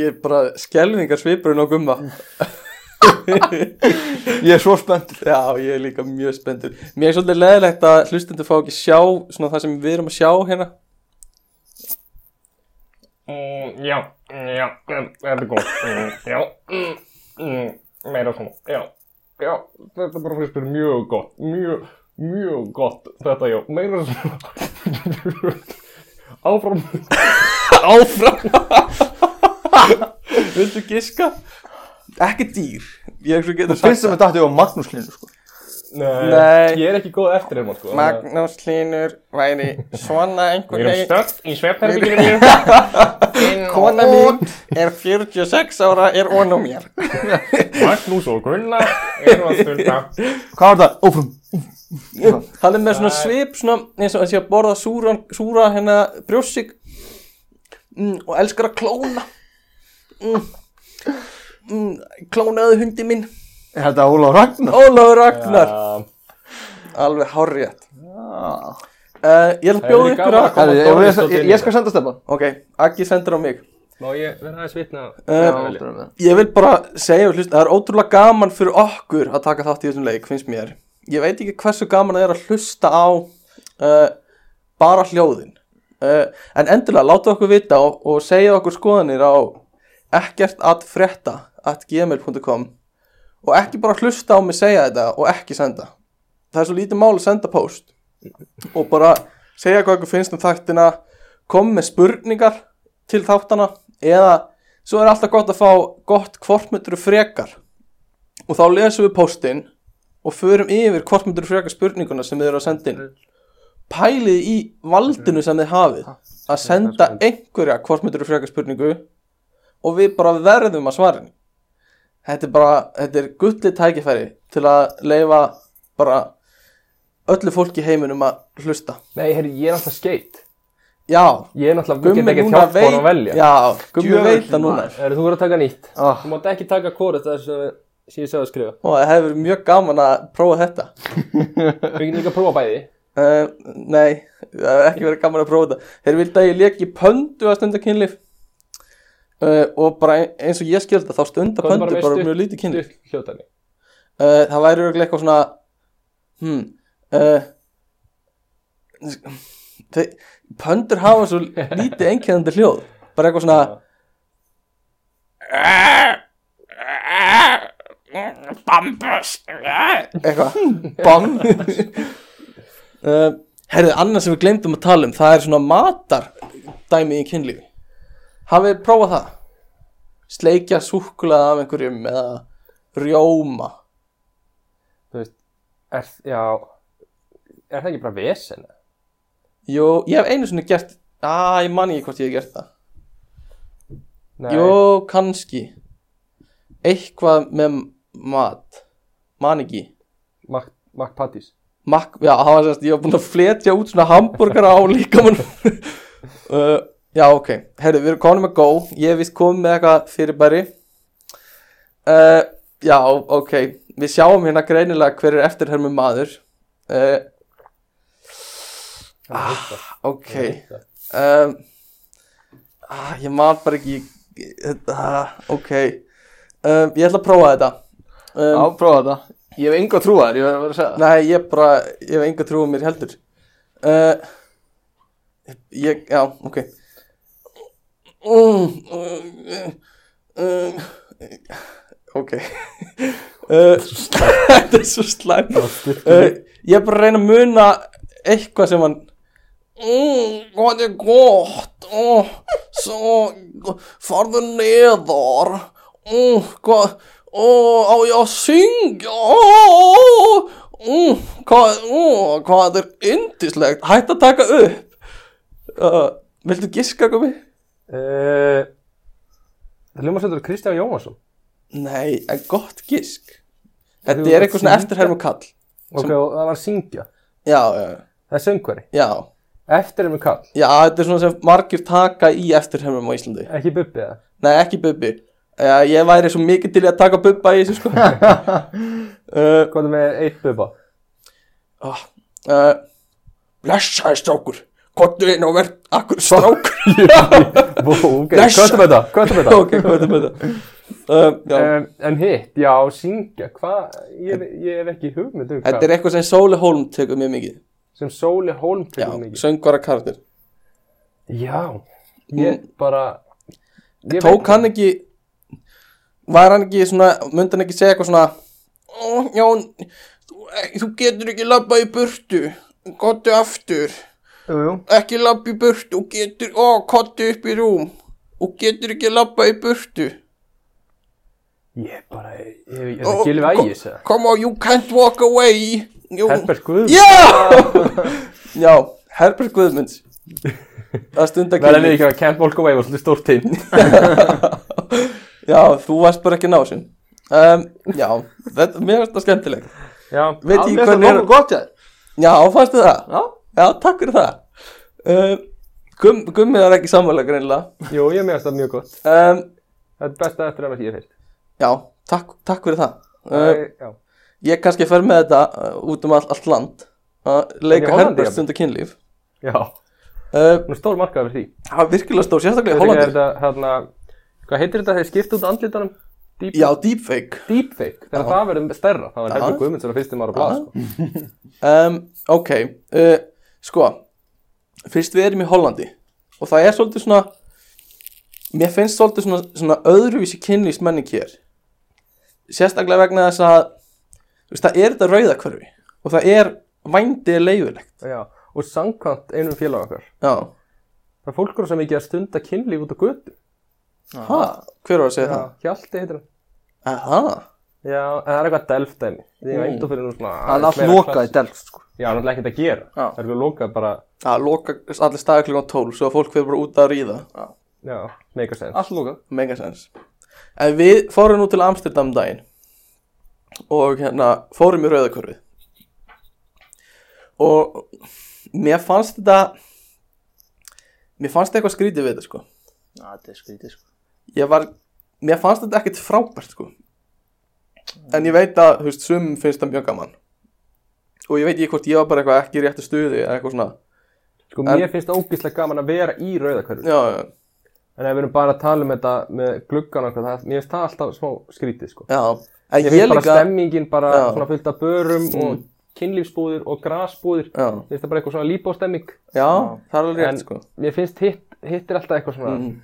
Speaker 1: Ég er bara skelvingar svipurinn á gumma
Speaker 2: Ég er svo spennt
Speaker 1: Já, ég er líka mjög spenntur Mér er svolítið leðilegt að hlustendur fá ekki sjá Svona það sem við erum að sjá hérna
Speaker 4: Mm, já, já, þetta er góð. Mm, já, mm, mm, meira svona, já, já, þetta er bara fyrst mjög gott, mjög,
Speaker 5: mjög gott þetta já, meira svona áfram
Speaker 1: Áfram Viltu giska? Ekki dýr Ég um hef svo getur
Speaker 6: Fyrst sem við dættu á Magnús Hlynur sko.
Speaker 5: Nei,
Speaker 1: Nei.
Speaker 5: ég er ekki góð eftir þeim sko.
Speaker 1: Magnús Hlynur væri svona
Speaker 5: Við
Speaker 1: einhvern
Speaker 5: erum
Speaker 1: veginn
Speaker 5: stödd í svefnherbygginu mínu
Speaker 1: Kona mín er 46 ára er onum mér
Speaker 5: Magnús og Gunnar erum að stunda
Speaker 6: Hvað var það? Ófram
Speaker 1: Hann er með svona svip svona, eins og hann sé að borða súra, súra hérna brjósik mm, og elskar að klóna mm, mm, klónaðu hundi minn
Speaker 6: Ég held að Óla Ragnar
Speaker 1: Ólafur Ragnar alveg hárrétt
Speaker 2: Ah.
Speaker 1: uh, Ég ætla að bjóða
Speaker 5: Hefði
Speaker 1: ykkur
Speaker 5: gaman að
Speaker 1: að
Speaker 5: koma
Speaker 2: Herri,
Speaker 5: Dóri
Speaker 2: ég, ég,
Speaker 5: svolítið
Speaker 2: ég,
Speaker 5: inn í
Speaker 2: ég skal senda stefa
Speaker 1: Ok, Aggi sendir á mig
Speaker 5: Má ég vera aðeins vitna
Speaker 1: uh, Ég vil bara segja við hlust, það er ótrúlega gaman fyrir okkur að taka þátt í þessum leik, finnst mér Ég veit ekki hversu gaman það er að hlusta á uh, bara hljóðin uh, En endurlega, láta okkur vita og, og segja okkur skoðanir á ekkertatfrétta.gmail.com og ekki bara hlusta á mig segja þetta og ekki senda það er svo lítið mál að senda post og bara segja hvað ykkur finnst um þættina kom með spurningar til þáttana eða svo er alltaf gott að fá gott hvort myndur frekar og þá lesum við postin og förum yfir hvort myndur frekar spurninguna sem þið eru að senda inn pælið í valdinu sem þið hafið að senda einhverja hvort myndur frekar spurningu og við bara verðum að svara henni þetta er bara, þetta er gullið tækifæri til að leifa bara öllu fólki í heiminum að hlusta
Speaker 7: Nei, herri, ég er alltaf skeitt
Speaker 1: já,
Speaker 7: Ég er náttúrulega,
Speaker 1: Gummi
Speaker 7: get ekki
Speaker 1: núna
Speaker 7: hjálpa
Speaker 1: veit
Speaker 7: hann að velja
Speaker 1: já, Gummi
Speaker 6: Djöfull
Speaker 1: veit það núna
Speaker 7: Herri, þú verður að taka nýtt
Speaker 6: Ah.
Speaker 7: Þú mátt ekki taka kóra þetta sem við- sem ég sagði að skrifa
Speaker 1: og það hefur verið mjög gaman að prófa þetta
Speaker 7: Við getum líka að prófa bæði
Speaker 1: uh, nei, það hefur ekki verið gaman að prófa þetta þeir vildi að ég leki pöndu að stunda kynlíf uh, og bara ein- eins og ég skildi þá stunda
Speaker 7: Komdu
Speaker 1: pöndu bara,
Speaker 7: með stutt-
Speaker 1: mjög lítið kynlíf
Speaker 7: stutt hljóðdæmi.
Speaker 1: uh, það væri örugglega eitthvað svona hmm, uh, þe- pöndur hafa svo lítið einkennandi hljóð bara eitthvað svona
Speaker 5: Bambus
Speaker 1: eitthvað bam uh, herrið, annað sem við glemdum að tala um það er svona matar dæmi í kynlífi hafið þið prófað það sleikja súkkulaði af einhverjum eða rjóma
Speaker 7: Er, já, er það ekki bara vesen?
Speaker 1: Jó, ég hef einu svona gert Æ, ég man ekki hvort ég hef gert það
Speaker 7: Nei,
Speaker 1: Jó, kannski Eitthvað með mat Man ekki
Speaker 7: Mac, Mac Patties
Speaker 1: Mak, Já, það var sérst, ég var búinn að fletja út svona hambúrgara á líkamann uh, Já, ok Herru, við erum komin með gó Ég hef vist komið með eitthvað fyrirbæri uh, Já, ok Við sjáum hérna greinilega hver er eftirhermi maður uh, ah, Ok um, ah, Ég man bara ekki þetta, ah, Ok um, Ég ætla að prófa þetta um,
Speaker 2: Já, prófa þetta. Ég hef enga trú að þér, ég verður að vera að segja það.
Speaker 1: Nei, ég bara, ég hef enga trú á mér heldur uh, Ég, já, ok mm, uh, uh, Ok uh, Þetta er svo slæm uh, Ég er bara að reyna að muna eitthvað sem hann Mm, hvað er gott oh, Svo Farðu neðar mm, Hvað oh, Á ég að syngja oh, mm, hvað, oh, hvað er yndislegt Hætt að taka upp uh, Viltu giska komi?
Speaker 7: uh, Það ljóma svolítið Kristján Jóhansson
Speaker 1: Nei, en gott gisk
Speaker 7: Þú
Speaker 1: Þetta er eitthvað svona
Speaker 7: syngja?
Speaker 1: eftirhermu kall
Speaker 7: Ok, og það var að syngja
Speaker 1: Já, já, já,
Speaker 7: Það er söngveri
Speaker 1: já
Speaker 7: Eftir er með kall
Speaker 1: Já, þetta er svona sem margir taka í eftirhermum á Íslandi
Speaker 7: Ekki bubbi það
Speaker 1: Nei, ekki Bubbi. Uh, ég væri svo mikið til í að taka Bubba í þessu sko. uh,
Speaker 7: Hvað er með eitt bubba?
Speaker 1: oh, uh, blessaði strákur. Kottu inn og verð akkur strákur.
Speaker 7: Vó, ok,
Speaker 1: Bless.
Speaker 7: hvað er með það? Hvað er með það?
Speaker 1: ok, hvað er þetta með þetta? Um, já,
Speaker 7: Um, en hitt, já, syngja Hvað, ég, ég hef ekki hugmynd um
Speaker 1: þetta
Speaker 7: hvað
Speaker 1: er eitthvað sem Sóli Hólm tekur mjög mikið.
Speaker 7: Sem Sóli Hólm
Speaker 1: Já,
Speaker 7: tekur mikið
Speaker 1: söngvara karakter.
Speaker 7: Já, ég bara ég
Speaker 1: Tók
Speaker 7: veit-
Speaker 1: hann ekki, var hann ekki svona, myndi hann ekki segja eitthvað svona, "Ó, Jón, þú, ek- þú getur ekki labba í burtu Kottu aftur
Speaker 8: Jú, jú.
Speaker 1: Ekki labba í burtu og getur Ó, kottu upp í rúm Og getur ekki labba í burtu
Speaker 3: Ég bara, ég, ég, þetta er gilfi ægis eða?
Speaker 1: Come on, you can't walk away you...
Speaker 3: Herbert Guðmunds?
Speaker 1: Já Já, Herbert Guðmunds Það stunda
Speaker 3: Það er ekki að Can't Walk Away var svolítið stórt tinn.
Speaker 1: Já, þú varst bara ekki násin um, Já, þetta, mér finnst það skemmtilegt
Speaker 3: Já,
Speaker 1: Veit
Speaker 2: Já,
Speaker 1: ég
Speaker 2: mér
Speaker 1: hvernig
Speaker 2: finnst það
Speaker 1: er
Speaker 2: nokkuð gott, ja.
Speaker 1: Já, fannstu það?
Speaker 2: Já.
Speaker 1: Já, takk fyrir það um, gum, Gummið er ekki samvælega greinlega
Speaker 3: jú, ég meðast það mjög gott.
Speaker 1: um,
Speaker 3: Það er besta eftir að ég fyrst.
Speaker 1: Já, takk, takk fyrir það
Speaker 3: Það
Speaker 1: um,
Speaker 3: er- já.
Speaker 1: Ég kannski fer með þetta uh, út um all, allt land að
Speaker 3: En í
Speaker 1: leika
Speaker 3: Hollandi,
Speaker 1: Herbert
Speaker 3: jafnvel?
Speaker 1: stunda kynlíf
Speaker 3: Já,
Speaker 1: um,
Speaker 3: nú stór markaður fyrir því.
Speaker 1: Það er virkilega stór, sérstaklega í
Speaker 3: Þetta er
Speaker 1: Hollandi
Speaker 3: þetta, hérna, hvað heitir þetta þegar skipt út andlitunum? Deep,
Speaker 1: Já, deepfake
Speaker 3: Deepfake, þegar það verður stærra, það verður Herbert Guðmunds að fyrstum ára blað, sko.
Speaker 1: um, Ok, uh, sko Fyrst við erum í Hollandi Og það er svolítið svona Mér finnst svolítið svona, svona öðruvísi kynlýsmenning hér Sérstaklega vegna þess að þú veist, Það er þetta rauðakörfi Og það er vændið leifilegt
Speaker 3: Já, og samkvæmt einum félag okkar.
Speaker 1: Já,
Speaker 3: Það er fólkur sem ekki að stunda kynlíf út á götu.
Speaker 1: ha, hver var að segja það?
Speaker 3: Hjalti heitir hann.
Speaker 1: Aha,
Speaker 3: Já, en það er eitthvað delftæmi.
Speaker 1: Hmm.
Speaker 3: Ég mm. veit þú fyrir nú svona...
Speaker 2: Það er allt lokað í delf, sko.
Speaker 3: Já, hann er ekkert að gera.
Speaker 1: Já.
Speaker 3: Það er eitthvað lokað bara,
Speaker 1: að loka allir staði klukkan 12 Svo að fólk fyrir bara út að ríða
Speaker 3: já, make a sense.
Speaker 2: Allt lokað.
Speaker 1: Megasens En við fórum nú til Amsterdam um daginn Og hérna Fórum í rauðakörfið Og Mér fannst þetta Mér fannst eitthvað skrítið við þetta sko
Speaker 8: Já, þetta er skrítið, sko.
Speaker 1: Ég var Mér fannst þetta ekkert frábært sko En ég veit að, þú veist, sum finnst það mjög gaman Og ég veit ekki hvort ég var bara eitthvað ekki í réttu stuði eða eitthvað svona
Speaker 3: Sko,
Speaker 1: En-
Speaker 3: mér finnst það ógíslega gaman að vera í rauðakörfinu.
Speaker 1: Já, já,
Speaker 3: En ef við erum bara að tala um þetta með gluggan og eitthvað, það- mér finnst það alltaf smá skrítið, sko.
Speaker 1: já En
Speaker 3: Ég
Speaker 1: ég,
Speaker 3: finnst bara
Speaker 1: líka
Speaker 3: stemmingin bara
Speaker 1: Já. Hmm.
Speaker 3: svona fullt af börum og kynlífsbúðir og grasbúðir.
Speaker 1: Já.
Speaker 3: Mér finnst það bara eitthvað svona líbóstemming.
Speaker 1: Já, það er alveg
Speaker 3: En-
Speaker 1: rétt sko Hmm.
Speaker 3: Mér finnst hitt, hitt er alltaf eitthvað svona...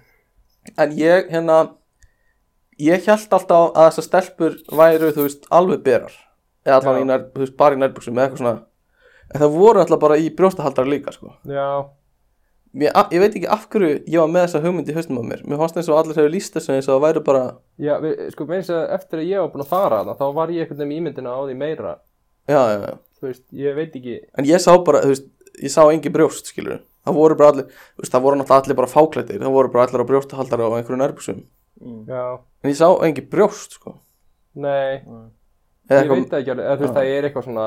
Speaker 1: en ég hérna ég held alltaf að þessar stelpur væru þú veist alveg berar eða allan
Speaker 3: Já.
Speaker 1: í nær, þú veist bara í nærbuksum eða eitthvað svona en það voru alltaf bara í brjóstahaldara líka sko
Speaker 3: Já,
Speaker 1: ég, ég veit ekki af hverju ég var með þessa hugmynd í haustum af mér mér fannst eins og allir hefur líst þessu eins og það væru bara
Speaker 3: já, við, sko, meins að eftir að ég var búinn að fara þarna, þá var ég einhvern veginn með ímyndina á því meira,
Speaker 1: já, já, já.
Speaker 3: þú veist, ég veit ekki,
Speaker 1: en ég sá bara þú veist ég sá engi brjóst skilur það voru bara allir þú veist það voru náttúrulega allir bara fáklættir það voru bara allir á brjóstahaldara og einhverju nærbuksum
Speaker 3: já,
Speaker 1: en ég sá engi brjóst sko
Speaker 3: nei,
Speaker 1: eða
Speaker 3: ég
Speaker 1: eitthvað
Speaker 3: veit það ekki alveg, eða þú veist, það er eitthvað svona,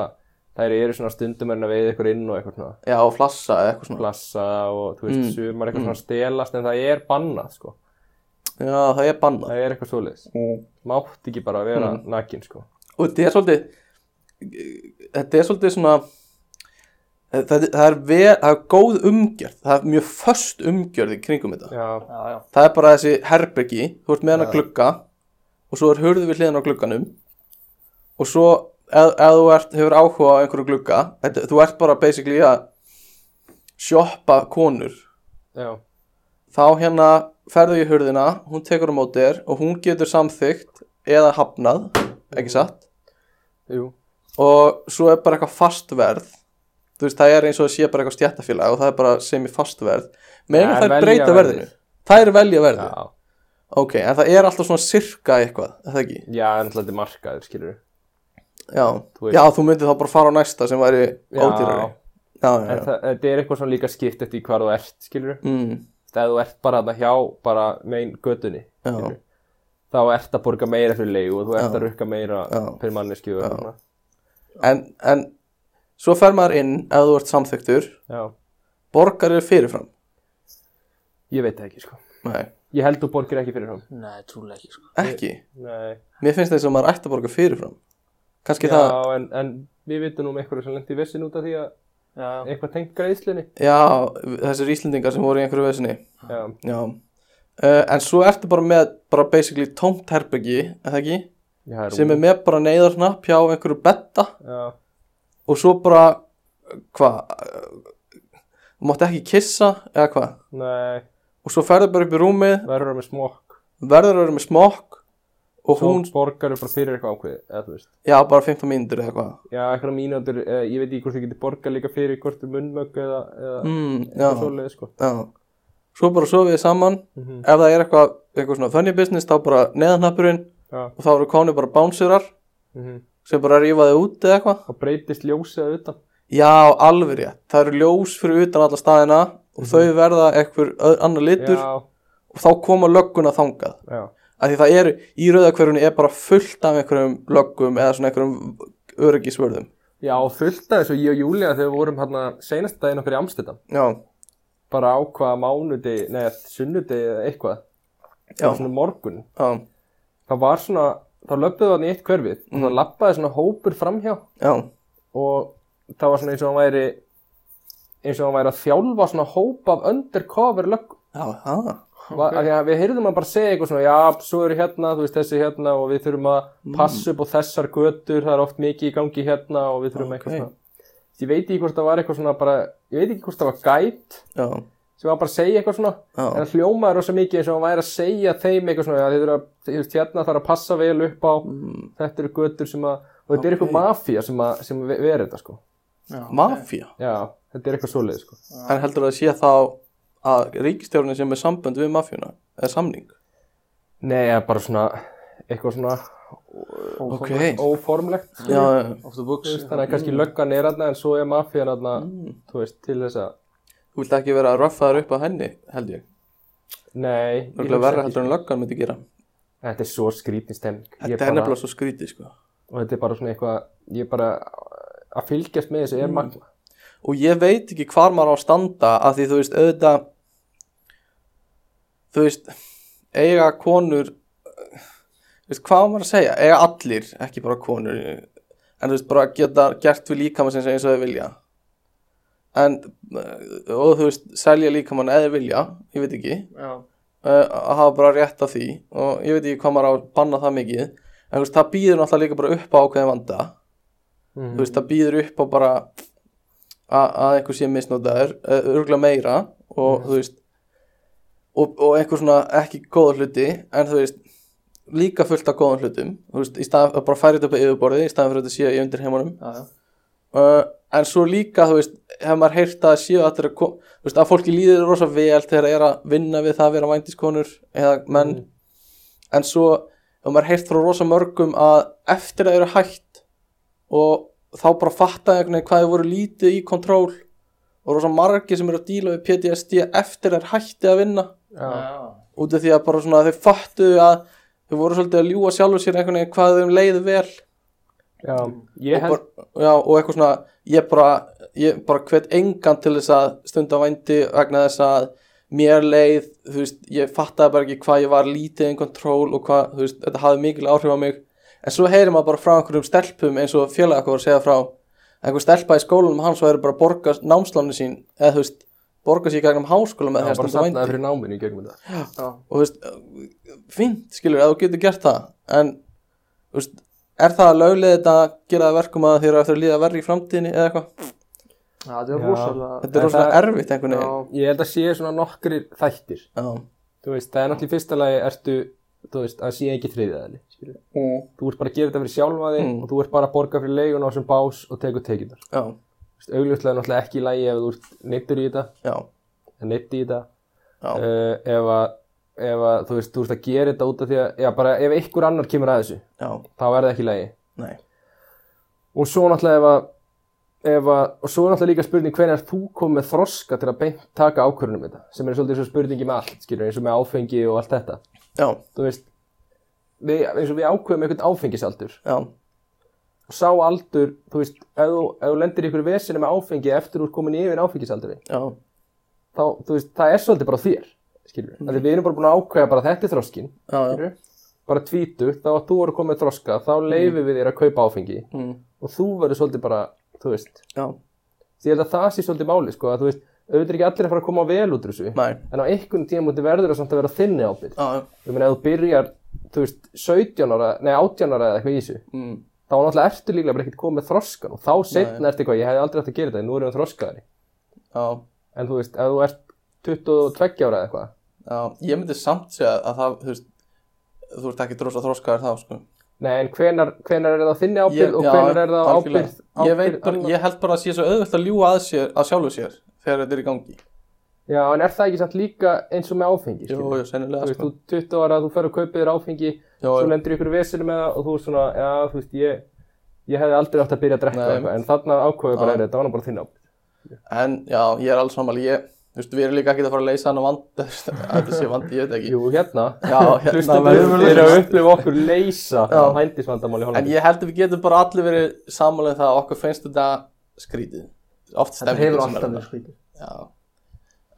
Speaker 3: þær eru svona stundum erinn að veið eitthvað inn og eitthvað svona,
Speaker 1: já flassa eða eitthvað svona
Speaker 3: glassa og, þú
Speaker 1: Mm.
Speaker 3: veist, sumar eitthvað svona stelast, en það er bannað, sko,
Speaker 1: já það er bannað
Speaker 3: það er eitthvað svoleiðis,
Speaker 1: Mm.
Speaker 3: mátt ekki bara vera mm. nakin, sko,
Speaker 1: og þetta er svolítið þetta er svolítið svona það, það, er, ver, það er góð umgjörð það er mjög föst umgjörð í kringum þetta
Speaker 3: já,
Speaker 1: það er bara þessi herbergi þú ert með hann að glugga og svo er hurðu við hliðin á glugganum og svo ef, ef þú ert, hefur áhuga á einhverju glugga þetta, þú ert bara basically að sjoppa konur
Speaker 3: já,
Speaker 1: þá hérna ferðu í hurðina, hún tekur á móti þér og hún getur samþygt eða hafnað, ekki satt
Speaker 3: jú,
Speaker 1: og svo er bara eitthvað fastverð þú veist, það er eins og það sé bara eitthvað stjættafélag og það er bara sem í fastverð meðan
Speaker 3: Já,
Speaker 1: það
Speaker 3: velja
Speaker 1: er breyta
Speaker 3: verðið.
Speaker 1: verðinu það er velja verði,
Speaker 3: já,
Speaker 1: ok, en það er alltaf svona sirka eitthvað, er það ekki
Speaker 3: já, en alltaf þetta er markaður, skilur,
Speaker 1: já,
Speaker 3: Þú
Speaker 1: þú,
Speaker 3: veist.
Speaker 1: já, þú myndir þá bara fara á næsta sem væri ódýrari já, já,
Speaker 3: en
Speaker 1: já,
Speaker 3: það, þetta er eitthvað svona líka skipt eftir hvar þú ert, skilur,
Speaker 1: mm,
Speaker 3: ef þú ert bara þarna hjá bara megin gödunni
Speaker 1: já,
Speaker 3: skilur. þá ert að borga meira fyrir leigu og þú ert að rukka meira
Speaker 1: Já.
Speaker 3: fyrir manneski og svona.
Speaker 1: en, en svo fer maður inn ef þú ert samþyktur
Speaker 3: já,
Speaker 1: borgar er fyrirfram
Speaker 3: ég veit það ekki sko
Speaker 1: Nei,
Speaker 3: ég held þú borgir ekki fyrir hann
Speaker 8: Nei, trúlega ekki, sko.
Speaker 1: ekki,
Speaker 3: Nei.
Speaker 1: mér finnst það eins og maður ætti að borga fyrirfram kannski
Speaker 3: já,
Speaker 1: það,
Speaker 3: en, en við vitum nú um einhverju sem lendi í vissin út af því að
Speaker 8: Já,
Speaker 3: eitthvað tengt greiðslunni
Speaker 1: já, þessir Íslendingar sem voru í einhverju vesinni
Speaker 3: já,
Speaker 1: Já, uh, en svo ertu bara með bara basically tómt herbyggi, eða ekki,
Speaker 3: já, það er
Speaker 1: sem er með bara neyðarnapp hjá einhverju betta
Speaker 3: já,
Speaker 1: og svo bara, eh, hvað, eh, þú mátt ekki kissa, eða hvað,
Speaker 3: nei,
Speaker 1: og svo ferðu bara upp í rúmið,
Speaker 3: verður það með smokk
Speaker 1: verður að vera með smokk og
Speaker 3: Svo
Speaker 1: hún,
Speaker 3: borgar bara fyrir eitthvað ákveðið, eða þú veist.
Speaker 1: já bara 15 myndir eða eitthvað
Speaker 3: Já, eitthvað mínútur, eh, ég veit ekki hvort þið getur borgað líka fyrir hvort er munnmögg eða, eða
Speaker 1: mm,
Speaker 3: eitthvað
Speaker 1: já,
Speaker 3: svoleiðið, sko.
Speaker 1: já svo bara sofið þið saman
Speaker 3: Mhm.
Speaker 1: ef það er eitthvað, eitthvað svona funny business þá bara neðanhappurinn
Speaker 3: Já.
Speaker 1: og þá eru konur bara bánsurar
Speaker 3: Mm
Speaker 1: sem bara rífaði út eða eitthvað
Speaker 3: Og breytist ljósið að utan.
Speaker 1: já, alveg rétt, það eru ljós fyrir utan alla staðina og þau verða eitthvað öð- annar litur
Speaker 3: Já,
Speaker 1: og þá koma lögguna þangað
Speaker 3: já,
Speaker 1: af því það eru, í rauðakverjunni er bara fullt af einhverjum löggum eða svona einhverjum öryggisvörðum
Speaker 3: já, og fullt af þessu, ég og Júlia þegar við vorum hérna senast daginn okkar í Amstedam,
Speaker 1: já,
Speaker 3: bara ákvaða mánudegi, neða sunnudegi eða eitthvað,
Speaker 1: já,
Speaker 3: og svona morgun,
Speaker 1: já,
Speaker 3: það var svona, þá löppuðu hann í eitt hverfið og það lappaði svona hópur framhjá
Speaker 1: já,
Speaker 3: og það var svona eins og hann væri, eins og hann væri að þjálfa svona hóp af undercover löggum.
Speaker 1: já, já.
Speaker 3: Okay. Að, að við heyrðum hann bara segja eitthvað svona, já, svo eru hérna, þú veist, þessi hérna og við þurfum að passa upp á þessar götur, það er oft mikið í gangi hérna og við þurfum
Speaker 1: Ok.
Speaker 3: eitthvað svona. Ég veit ekki hvort það var eitthvað svona bara, ég veit ekki hvort það var gæt
Speaker 1: já,
Speaker 3: sem var bara að segja eitthvað svona,
Speaker 1: já,
Speaker 3: en það hljómaði rosa mikið eins og hann væri að segja þeim eitthvað svona, að þið þurfum að, þú veist, hérna þarf að passa vel upp á,
Speaker 1: Mm.
Speaker 3: þetta eru götur sem að, og þetta er eitthvað mafía sem að, sem að vera þetta sko.
Speaker 1: mafía
Speaker 3: Já, þetta er eitthvað svoleið sko.
Speaker 1: en heldur það að sé þá að ríkistjórnin sem er sambönd við mafjuna eða samning
Speaker 3: Nei, ja, bara svona, eitthvað svona
Speaker 1: ok,
Speaker 3: óformlegt. sko.
Speaker 1: já, já.
Speaker 9: Off the books.
Speaker 3: Þú veist, þannig að
Speaker 1: Mm.
Speaker 3: kannski löggan er aðna en svo er mafían aðna, þú veist, til þess að
Speaker 1: þú vilt ekki vera að röffa þær upp á henni held ég,
Speaker 3: nei, ég
Speaker 1: nörgulega
Speaker 3: hugsa
Speaker 1: verra
Speaker 3: ekki.
Speaker 1: heldur en löggan myndi gera
Speaker 3: þetta er svo skrítið stemning
Speaker 1: þetta
Speaker 3: Ég
Speaker 1: er
Speaker 3: bara-
Speaker 1: nefnilega svo skrítið sko
Speaker 3: og þetta er bara svona eitthvað, ég er bara að fylgjast með þessu er
Speaker 1: Mm.
Speaker 3: magna
Speaker 1: og ég veit ekki hvar maður á að standa af því þú veist auðvitað þú veist eiga konur þú veist hvað á maður að segja eiga allir, ekki bara konur en þú veist bara geta gert við líkamann sem eins og þau vilja en eh, og þú veist selja líkamann eða þeir vilja, ég veit ekki
Speaker 9: Já.
Speaker 1: uh, að hafa bara rétt af því og ég veit ekki hvað maður á að banna það mikið en þú veist, það býður náttúrulega líka bara upp á ákveðin vanda þú veist, það býður upp á bara a- að einhver sé misnótaður uh, örgulega meira og þú veist og, og einhver svona ekki góða hluti en þú veist, líka fullt af góðan hlutum þú veist, í staðan að bara færi þetta upp á yfirborðið í staðan fyrir þetta sé í undir heimunum
Speaker 9: Já, já.
Speaker 1: uh, en svo líka, þú veist, hefur maður heyrt að séu allir að, ko- þú veist, að fólki líður rosa vel þegar það er að vinna við það að vera vændiskonur eða menn en svo hefur maður heyrt frá rosa mörgum að eftir að það eru hætt og þá bara fatta einhvern veginn hvað þau voru lítið í kontról og rosa margir sem eru að díla við PTSD eftir að það er hættið að vinna
Speaker 9: Já.
Speaker 1: út af því að bara svona þau fattu að þau voru svolítið að ljúga sjálfur sér einhvern veginn hvað þeim leiði vel
Speaker 3: já, ég
Speaker 1: og,
Speaker 3: held,
Speaker 1: bara, já, og eitthvað svona ég bara, ég bara hvet engan til þess að stunda vændi vegna þess að mér leið, þú veist, ég fattaði bara ekki hvað ég var lítið in control og hvað, þú veist, þetta hafði mikil áhrif á mig en svo heyrir maður bara frá einhverjum stelpum eins og félaga okkar var að segja frá einhver stelpa í skólanum hans og eru bara að borga námsláni sín, eða þú veist borga sér í gegnum háskóla með
Speaker 3: já,
Speaker 1: því að
Speaker 3: bara
Speaker 1: stunda
Speaker 3: safnaði
Speaker 1: vændi
Speaker 3: fyrir náminu í gegnum þetta
Speaker 1: og þú veist, fínt, skilur, að þú getur gert það en, þú veist, er það að löglega þetta að gera það verkum að þér eru eftir að líða verri í framtíðinni eða eitthvað
Speaker 2: Já, þetta er
Speaker 3: Já.
Speaker 2: rosalega
Speaker 1: þetta er
Speaker 3: En
Speaker 1: rosalega
Speaker 3: Mm. það-
Speaker 1: erfitt einhvern veginn
Speaker 2: Já,
Speaker 3: ég held að sé svona nokkrir þættir
Speaker 1: já,
Speaker 3: þú veist, það er náttúrulega í fyrsta lagi ertu, þú veist, að sé ekki þriðaðali þú ert bara að gera þetta fyrir sjálfa þig
Speaker 1: Mm.
Speaker 3: og þú ert bara að borga fyrir leigun á þessum bás og tekur tekinar
Speaker 1: já,
Speaker 3: augljóslega náttúrulega ekki í lagi ef þú ert neittur í þetta
Speaker 1: já,
Speaker 3: eða neitt í þetta
Speaker 1: já,
Speaker 3: uh, ef, að, ef að þú veist, þú ert að gera þetta út af því að já, bara, ef einhver annar kemur að þessu
Speaker 1: já,
Speaker 3: þá er það ekki í lagi
Speaker 1: nei
Speaker 3: og svo náttúrulega ef að, ef að og svo er náttúrulega líka spurning hvernig þú kom með þroska til að beint taka ákvörunum þetta sem er svolítið svo spurningi með um allt skilur, eins og með áfengi og allt þetta
Speaker 1: já,
Speaker 3: þú veist við, eins og við ákveðum einhvern áfengisaldur
Speaker 1: já,
Speaker 3: og sá aldur, þú veist, ef þú, ef þú lendir í ykkur vesinu með áfengi eftir þú ert komin yfir áfengisaldurinn
Speaker 1: já,
Speaker 3: þá, þú veist, það er svolítið bara á þér skilur, mm. við erum bara búin að ákveða bara þetta er þroskin,
Speaker 1: já, já,
Speaker 3: skilurðu? bara tvítu, þá að þú voru komið þroska þá leifum við þér að kaupa áfengi
Speaker 1: mm,
Speaker 3: og þú verður svolítið bara, þú veist
Speaker 1: já,
Speaker 3: því ég held að það sé svolítið máli, sko, að þú veist auðvitað er ekki allir að fara að koma vel út úr þessu
Speaker 1: nei,
Speaker 3: en á einhvern tímúti verður það samt að vera þinni ábyrg
Speaker 1: já, já,
Speaker 3: ég meina, ef þú byrjar, þú veist, 17 ára nei, 18 ára eða eitthvað í þessu
Speaker 1: mm,
Speaker 3: þá náttúrulega ertu líklega bara ekkert komið með þroskan og þá setna ertu eitthvað, ég hefði aldrei hægt að gera þetta en nú erum við þroskaðari
Speaker 1: já,
Speaker 3: en þú veist, ef þú ert 22 ára eða eitthvað
Speaker 1: já, ég myndi samt segja að það, þú veist þú ert ekki drosa þroskaður þá sko.
Speaker 3: Nei, en hvenar, hvenar er það á þinni ábyrð og
Speaker 1: já,
Speaker 3: hvenar er það á
Speaker 1: algjörlega.
Speaker 3: ábyrð,
Speaker 1: ég, veit,
Speaker 3: ábyrð
Speaker 1: bara, ég held bara að sé svo auðvelt að ljúga að, sér, að sjálfu sér þegar þetta er í gangi
Speaker 3: Já, en er það ekki samt líka eins og með áfengi?
Speaker 1: Jú,
Speaker 3: skilur?
Speaker 1: jú, sennilega
Speaker 3: Þú veist,
Speaker 1: sko.
Speaker 3: þú 20 ára, þú fer og kaupir þér áfengi,
Speaker 1: Jú,
Speaker 3: svo
Speaker 1: jú.
Speaker 3: lendur ykkur vesinu með það og þú er svona, já, þú veist, ég, ég hefði aldrei átt að byrja að drekka
Speaker 1: Nei,
Speaker 3: eitthvað,
Speaker 1: einmitt.
Speaker 3: en þarna ákveðu bara,
Speaker 1: Já.
Speaker 3: er þetta var nú bara þinn ábyrð.
Speaker 1: En já, ég er alls saman Ég, þú veist, við erum líka ekki að fara að leysa hann á vand Þetta sé vandi, ég veit ekki
Speaker 3: Jú, hérna,
Speaker 1: Já, hérna
Speaker 3: hlustendur
Speaker 1: verður
Speaker 3: eru að upplifa okkur leysa
Speaker 1: Já.
Speaker 3: hændisvandamál í
Speaker 1: En
Speaker 3: Hollandi.
Speaker 1: ég held að við getum bara allir verið samanlega það að okkur finnst þetta skrítið. Oft
Speaker 10: Þetta
Speaker 1: stemningin
Speaker 10: hefur
Speaker 1: sem
Speaker 10: alltaf
Speaker 1: er
Speaker 10: verið
Speaker 1: þarna.
Speaker 10: skrítið.
Speaker 1: Já.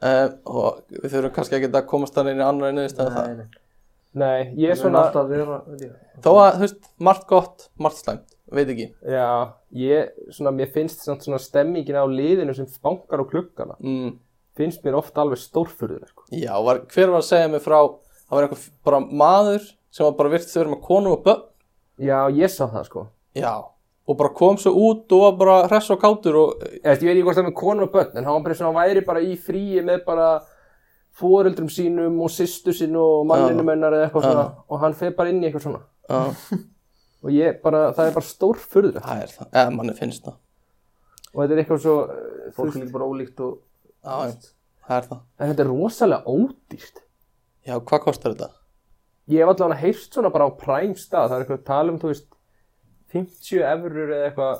Speaker 1: Uh, og við þurfum kannski ekki að komast þannig inn í annar einu stæði það.
Speaker 10: Nei, nei.
Speaker 3: Nei, ég er
Speaker 10: Þetta mun
Speaker 3: svona,
Speaker 10: alltaf vera, já.
Speaker 1: Þó að, þú veist, margt gott, margt slæmt, veit ekki.
Speaker 3: já, ég, svona, mér finnst samt svona stemmingin á liðinu sem bankar á klukkana,
Speaker 1: Mm,
Speaker 3: finnst mér ofta alveg stórfurður, sko.
Speaker 1: já, var, hver var að segja mig frá, það var einhver bara maður sem var bara virtist að vera með konu og börn.
Speaker 3: Já, ég sá það, sko.
Speaker 1: Já, og bara kom svo út og var bara hress og kátur og,
Speaker 3: Ég veist, ég veit ekki hvort það er með konu og börn, en hann var bara svona, hann væri bara í fríi með bara fóreldrum sínum og sýstu sínu og
Speaker 1: Já.
Speaker 3: manninu mennar eða eitthvað svona
Speaker 1: Já.
Speaker 3: og hann fer bara inn í eitthvað svona.
Speaker 1: uh,
Speaker 3: Og ég bara, það er bara stór furður.
Speaker 1: það er það, eða manni finnst það.
Speaker 3: Og þetta er eitthvað svo, eh, þú
Speaker 10: Fólk er
Speaker 3: veist,
Speaker 10: líka bara ólíkt og
Speaker 1: Já, já, það er það.
Speaker 3: en þetta er rosalega ódýrt.
Speaker 1: Já, hvað kostar þetta?
Speaker 3: Ég hef allavega heyrst svona bara á prime stað, það er eitthvað að tala um, þú veist, 50 eurur eða eitthvað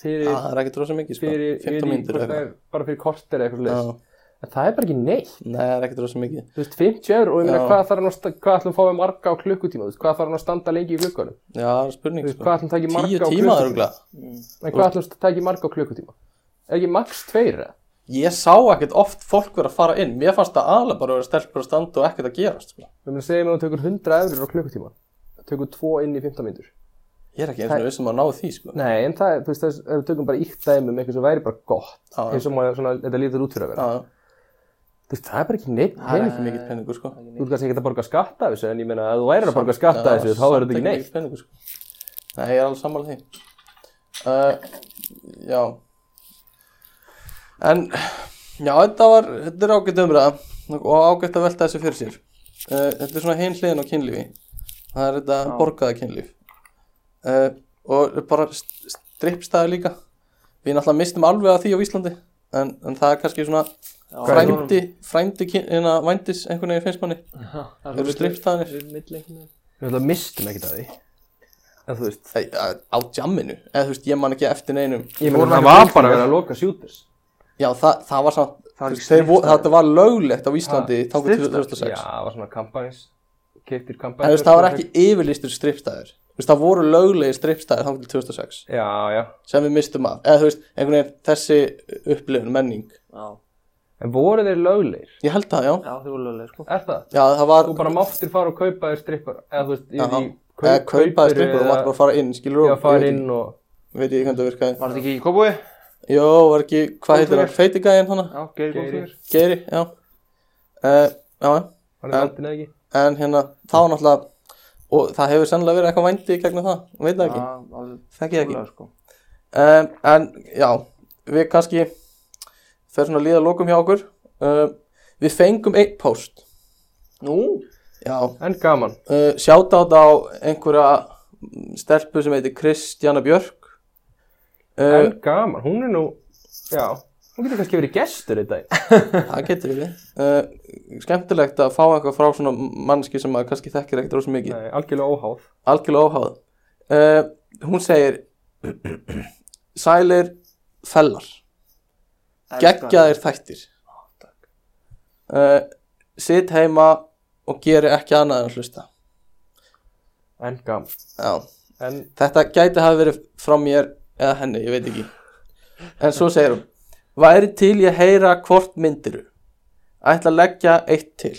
Speaker 3: fyrir,
Speaker 1: Já, það er ekki dróð mikið, sko.
Speaker 3: fyrir,
Speaker 1: 15
Speaker 3: yfir í-
Speaker 1: mínútur
Speaker 3: hvort það
Speaker 1: eitthvað.
Speaker 3: er bara fyrir korter eða eitthvað
Speaker 1: Já,
Speaker 3: slags. En það er bara ekki neitt.
Speaker 1: Nei, það er ekkert rosa mikið.
Speaker 3: Þú veist, 50 eur og ég meina
Speaker 1: Já.
Speaker 3: hvað þarf hann að, sta- hvað ætlum að fá við marga á klukkutíma, þú veist, hvað þarf hann að standa lengi í glukkanum,
Speaker 1: Já, það er
Speaker 3: þú
Speaker 1: spurning,
Speaker 3: veist,
Speaker 1: sko.
Speaker 3: hvað ætlum að taka í
Speaker 1: Tíu
Speaker 3: marga á
Speaker 1: tíma
Speaker 3: klukkutíma,
Speaker 1: öruglega.
Speaker 3: en hvað ætlum að taka í marga á klukkutíma, er ekki max tveir, eða?
Speaker 1: Ég sá ekkert oft fólk vera að fara inn. Mér fannst það aðlega bara að vera stelpur að standa og ekkert að gerast, sko.
Speaker 3: við meina segjum að þú tekur 100 eurur á klukkutíma, það tekur 2 inn í 15 minnur,
Speaker 1: Ég er ekki eins og vissum að ná því, sko.
Speaker 3: nei, en það, er, þú veist, þess, ef við tökum bara ítt dæmi með eitthvað sem væri bara gott,
Speaker 1: Já, já.
Speaker 3: eins og maður, svona, þetta lítur út fyrir að
Speaker 1: Já,
Speaker 3: vera,
Speaker 1: já.
Speaker 3: þú veist, það er bara ekki neitt
Speaker 1: það er
Speaker 3: pening,
Speaker 1: ekki mikill peningur, sko.
Speaker 3: þú veist kannski ekki að borga skatta af þessu, en ég meina, ef þú værir að borga skatta af þessu, þá er
Speaker 1: samt
Speaker 3: þetta ekki neitt,
Speaker 1: mikill peningur, sko. Nei, ég er alveg sammála því. Uh, já. En, já, þetta var, þetta er ágætt umræða og ágætt að velta þessu fyrir sér. Uh, þetta er svona hin hliðin á kynlífi. Það er þetta borgaða kynlíf. uh, og bara st- strippstæði líka við náttúrulega mistum alveg að því á Íslandi en, en það er kannski svona frændi, frændi kyn- hérna vændis einhvern veginn finnst manni
Speaker 10: það
Speaker 1: eru strippstæðinir
Speaker 3: við ætlum að mistum ekkert að því, en þú veist,
Speaker 1: Ei, að- eh, á jamminu, eða þú veist, ég man ekki eftir neinum
Speaker 3: ég
Speaker 10: Vorum
Speaker 3: meina, það
Speaker 10: ekki
Speaker 3: var
Speaker 10: flestir
Speaker 3: bara
Speaker 10: að-
Speaker 3: verið að loka sjúters.
Speaker 1: já, það, það var samt,
Speaker 10: var
Speaker 1: þú
Speaker 10: ekki
Speaker 1: veist, þeir vo-
Speaker 10: strippstaðir.
Speaker 1: þetta var löglegt á Íslandi þá til
Speaker 10: strippstaðir?
Speaker 1: 2006
Speaker 3: Já, það var svona kampæns Keiptir kampæns
Speaker 1: en þú veist, það var ekki yfirlýstur strippstæðir þú veist, það voru löglegi strippstæðir þá til 2006
Speaker 3: Já, já
Speaker 1: sem við mistum af, eða þú veist, einhvern veginn þessi upplifun, menning
Speaker 2: Já,
Speaker 3: En voru þeir löglegir?
Speaker 1: ég held það, já,
Speaker 2: já þið voru löglega sko
Speaker 3: Er það?
Speaker 1: já það var
Speaker 3: Þú bara máttir fara og kaupa þér strippar Eða þú veist,
Speaker 1: Já,
Speaker 3: yfir í
Speaker 1: eða kaupaði strippur, þú mátti bara fara inn, skilur
Speaker 3: Já, fara inn og
Speaker 1: Veit ég hvernig það virkaði.
Speaker 2: Var þetta ekki í kópúi?
Speaker 1: Jó, var ekki, hvað heitir hann, feitigæðin hana?
Speaker 2: Já, geir
Speaker 3: Geiri.
Speaker 2: góðflugur
Speaker 1: Geiri, já. Uh, já,
Speaker 3: Hann er landin eða ekki
Speaker 1: en hérna, þá náttúrulega, og það hefur sennilega verið eitthvað vændi í gegnum það, veit það
Speaker 2: Já,
Speaker 1: ekki,
Speaker 2: alveg
Speaker 1: þekki það ekki.
Speaker 2: sko
Speaker 1: Um, en já, við kannski, fer svona að líða að lokum hjá okkur. Um, við fengum einn post,
Speaker 2: Nú?
Speaker 1: já,
Speaker 3: En gaman
Speaker 1: uh, sjátátt á einhverja mm, stelpu sem heitir Kristjana Björk. Uh,
Speaker 3: En gaman, hún er nú Já, hún getur kannski verið gestur í dag
Speaker 1: Það getur við uh, Skemmtilegt að fá eitthvað frá svona mannski sem maður kannski þekkir ekkert rosa mikið
Speaker 3: Nei, algjörlega óháð
Speaker 1: Algjörlega óháð uh, Hún segir Sælir fellar Geggjaðir þættir uh, Sitt heima og geri ekki annað en hlusta
Speaker 3: En gaman
Speaker 1: Já,
Speaker 3: En
Speaker 1: þetta gæti hafa verið frá mér eða henni, ég veit ekki En svo segir hún Væri til ég heyra hvort myndiru Ætla að leggja eitt til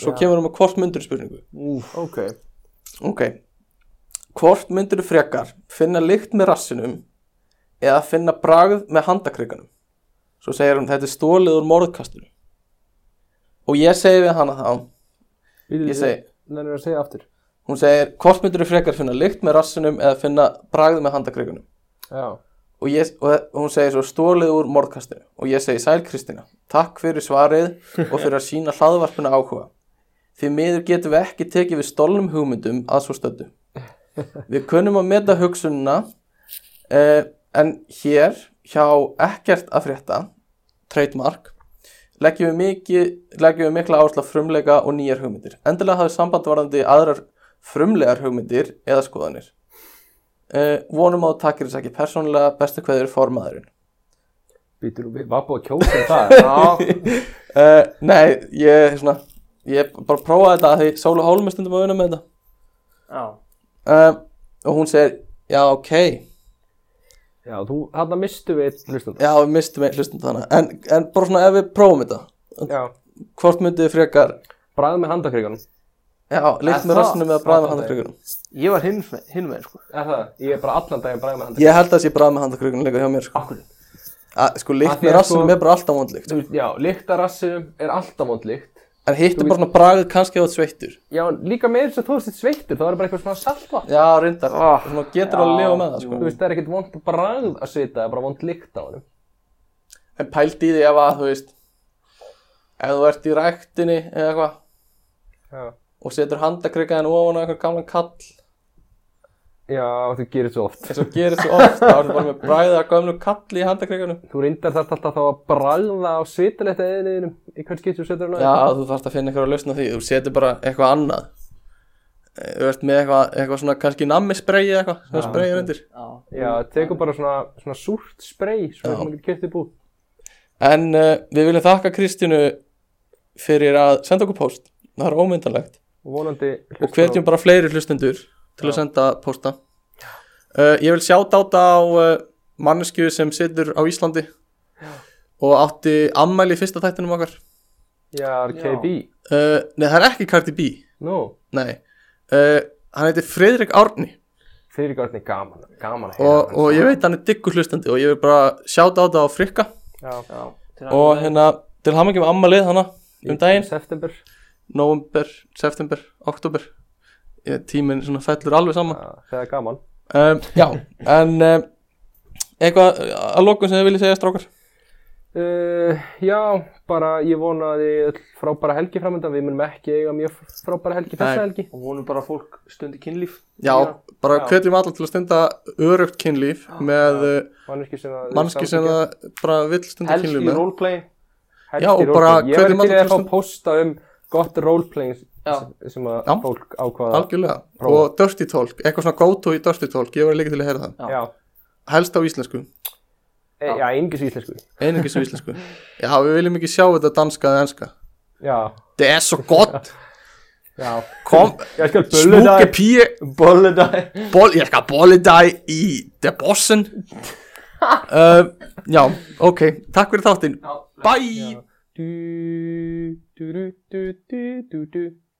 Speaker 1: Svo kemur hún með hvort myndiru spurningu
Speaker 10: Úf, ok.
Speaker 1: Ok Hvort myndir þú frekar finna lykt með rassinum eða finna bragð með handakrikanum Svo segir hún þetta er stólið úr morðkastinu Og ég segi við hana þá Ég segi
Speaker 3: Nei, að segja aftur
Speaker 1: Hún segir hvort myndir þú frekar finna lykt með rassinum eða finna bragð með handakrikanum
Speaker 3: Já
Speaker 1: og, ég, og hún segir svo stólið úr morðkastinu og ég segi sæl Kristina takk fyrir svarið og fyrir að sína hlaðvarpinu áhuga Því miður getum við ekki tekið við stolnum hugmyndum að svo stöddu. Við kunnum að meta hugsunina eh, en hér hjá ekkert að frétta, trademark, leggjum við, mikið, leggjum við mikla áherslu á frumleika og nýjar hugmyndir. Endilega hafið samband varðandi aðrar frumlegar hugmyndir eða skoðanir. Eh, vonum að þú takir þess ekki persónulega bestu hverður formaðurinn.
Speaker 3: Býtur nú við, var búið að kjósa um það?
Speaker 2: Já,
Speaker 1: Uh, nei, ég, svona, ég bara prófaði þetta að því Sóla Hólm er stundum að vinna með
Speaker 2: já.
Speaker 1: þetta uh, og hún segir, já, ok, já,
Speaker 3: Já, þú, hann að mistu við einn hlustandi.
Speaker 1: við mistum einn hlustum þannig, en, en bara svona ef við prófum þetta,
Speaker 3: Já.
Speaker 1: hvort myndið þið frekar,
Speaker 3: Bræð með handakriganum.
Speaker 1: já, líkt með
Speaker 2: það-
Speaker 1: rassinu með að bræða með handakrugunum.
Speaker 2: Ég var hinn með, hinn með, sko.
Speaker 3: Er það? Ég er bara allan daginn bræð með handakriganum.
Speaker 1: Ég held að sé bræða með handakrugunum líka hjá mér, sko.
Speaker 3: Akkur.
Speaker 1: Að, sko,
Speaker 3: Ah. Af
Speaker 1: líkt
Speaker 3: því
Speaker 1: með
Speaker 3: að
Speaker 1: rassinu
Speaker 3: sko-
Speaker 1: með bara alltaf vondlíkt,
Speaker 3: Þú veist, já, lyktarassinum er alltaf vond lykt.
Speaker 1: en hitt er bara svona bragð kannski á þetta sveittur.
Speaker 3: Já, en líka með þess að þú ert sveittur, þá er það bara eitthvað svona saltvatn.
Speaker 1: Já, reyndar, svona getur að lifa með það,
Speaker 3: Þú
Speaker 1: sko.
Speaker 3: veist, það er ekkert vond bragð að svita, það er bara vond lykt á honum.
Speaker 1: En pælt í því ef að, þú veist, ef þú ert í ræktinni eða eitthvað
Speaker 3: Já.
Speaker 1: og setur handakrikaðin ofan á eitthvað gamlan kall
Speaker 3: Já, þú gerir svo oft.
Speaker 1: eins og gerir svo oft, þá ertu bara með bræða að gömlu kalli í handakrikaðinu.
Speaker 3: Þú reyndar þarft alltaf þá að bragða á svitaletta eðinniðinum í hvert skipt sem þú setur hann
Speaker 1: Já, þú þarfst að finna eitthvað að lausna því, þú setur bara eitthvað annað. Eh, Þú ert með eitthvað, eitthvað svona kannski nammisbrei eða eitthvað, svona spreyir undir.
Speaker 3: Já, tekur bara svona, svona súrt sprey,
Speaker 1: Já.
Speaker 3: svona sem maður getur kert í búð.
Speaker 1: En uh, við viljum þakka Kristínu fyrir að senda okkur póst, það er ómyndanlegt.
Speaker 3: Og vonandi...
Speaker 1: og hvetjum bara fleiri hlustendur til að senda posta uh, ég vil sjáta á þetta á uh, mannesku sem situr á Íslandi og átti ammæli í fyrsta þættinum okkar
Speaker 3: Já, KB.
Speaker 1: uh, nei það er ekki Cardi B
Speaker 3: Nú,
Speaker 1: nei uh, hann heitir Friðrik Árni
Speaker 3: fyrirgáttin er gaman, gaman að heyra
Speaker 1: og,
Speaker 3: hann.
Speaker 1: og ég veit hann er diggur hlustandi og ég vil bara sjáta á þetta á frikka
Speaker 2: Já.
Speaker 1: og hérna til hann ekki með ammælið hana um daginn
Speaker 3: September.
Speaker 1: november, september, oktober tíminn svona fellur alveg saman
Speaker 3: Já, það er gaman.
Speaker 1: um, Já, en um, eitthvað að lokum sem þið viljið segja strákar
Speaker 3: Uh, já, bara ég vona að þið öll frábæra helgi framöndan, við munum ekki eiga mjög frábæra helgi þessa
Speaker 1: Nei.
Speaker 3: helgi.
Speaker 2: Og vonum bara að fólk stundi kynlíf.
Speaker 1: Já, bara hvetjum alla til að stunda örugt kynlíf með uh,
Speaker 3: Mannski sem að...
Speaker 1: mannski sem það bara vill stunda
Speaker 2: Helst
Speaker 1: kynlíf
Speaker 2: í
Speaker 1: með
Speaker 2: roleplay.
Speaker 3: Helgi
Speaker 1: Já, og bara
Speaker 3: roleplay. Ég
Speaker 1: hvetjum
Speaker 3: verði til
Speaker 1: alla
Speaker 3: að fá
Speaker 1: til að-
Speaker 3: posta um gott roleplaying
Speaker 2: Já.
Speaker 3: sem að
Speaker 1: Já.
Speaker 3: fólk ákvaða.
Speaker 1: Algjörlega, og Dirty Talk, eitthvað svona go-to í Dirty Talk, ég var líka til að heyra það
Speaker 3: Já,
Speaker 1: Helst á íslensku,
Speaker 3: e, já, engis íslensku.
Speaker 1: einingis á íslensku Já, við viljum ekki sjá þetta danska eða enska
Speaker 3: Já,
Speaker 1: Það er svo gott,
Speaker 3: já.
Speaker 1: kom,
Speaker 3: Ég skal bölu
Speaker 1: smúke
Speaker 3: það.
Speaker 1: píi,
Speaker 2: Bolle dag.
Speaker 1: ból, ég skal bóli dæ í The Bossen uh, Já, ok, takk fyrir þáttin, bye
Speaker 3: Du, du, du, du, du, du, du.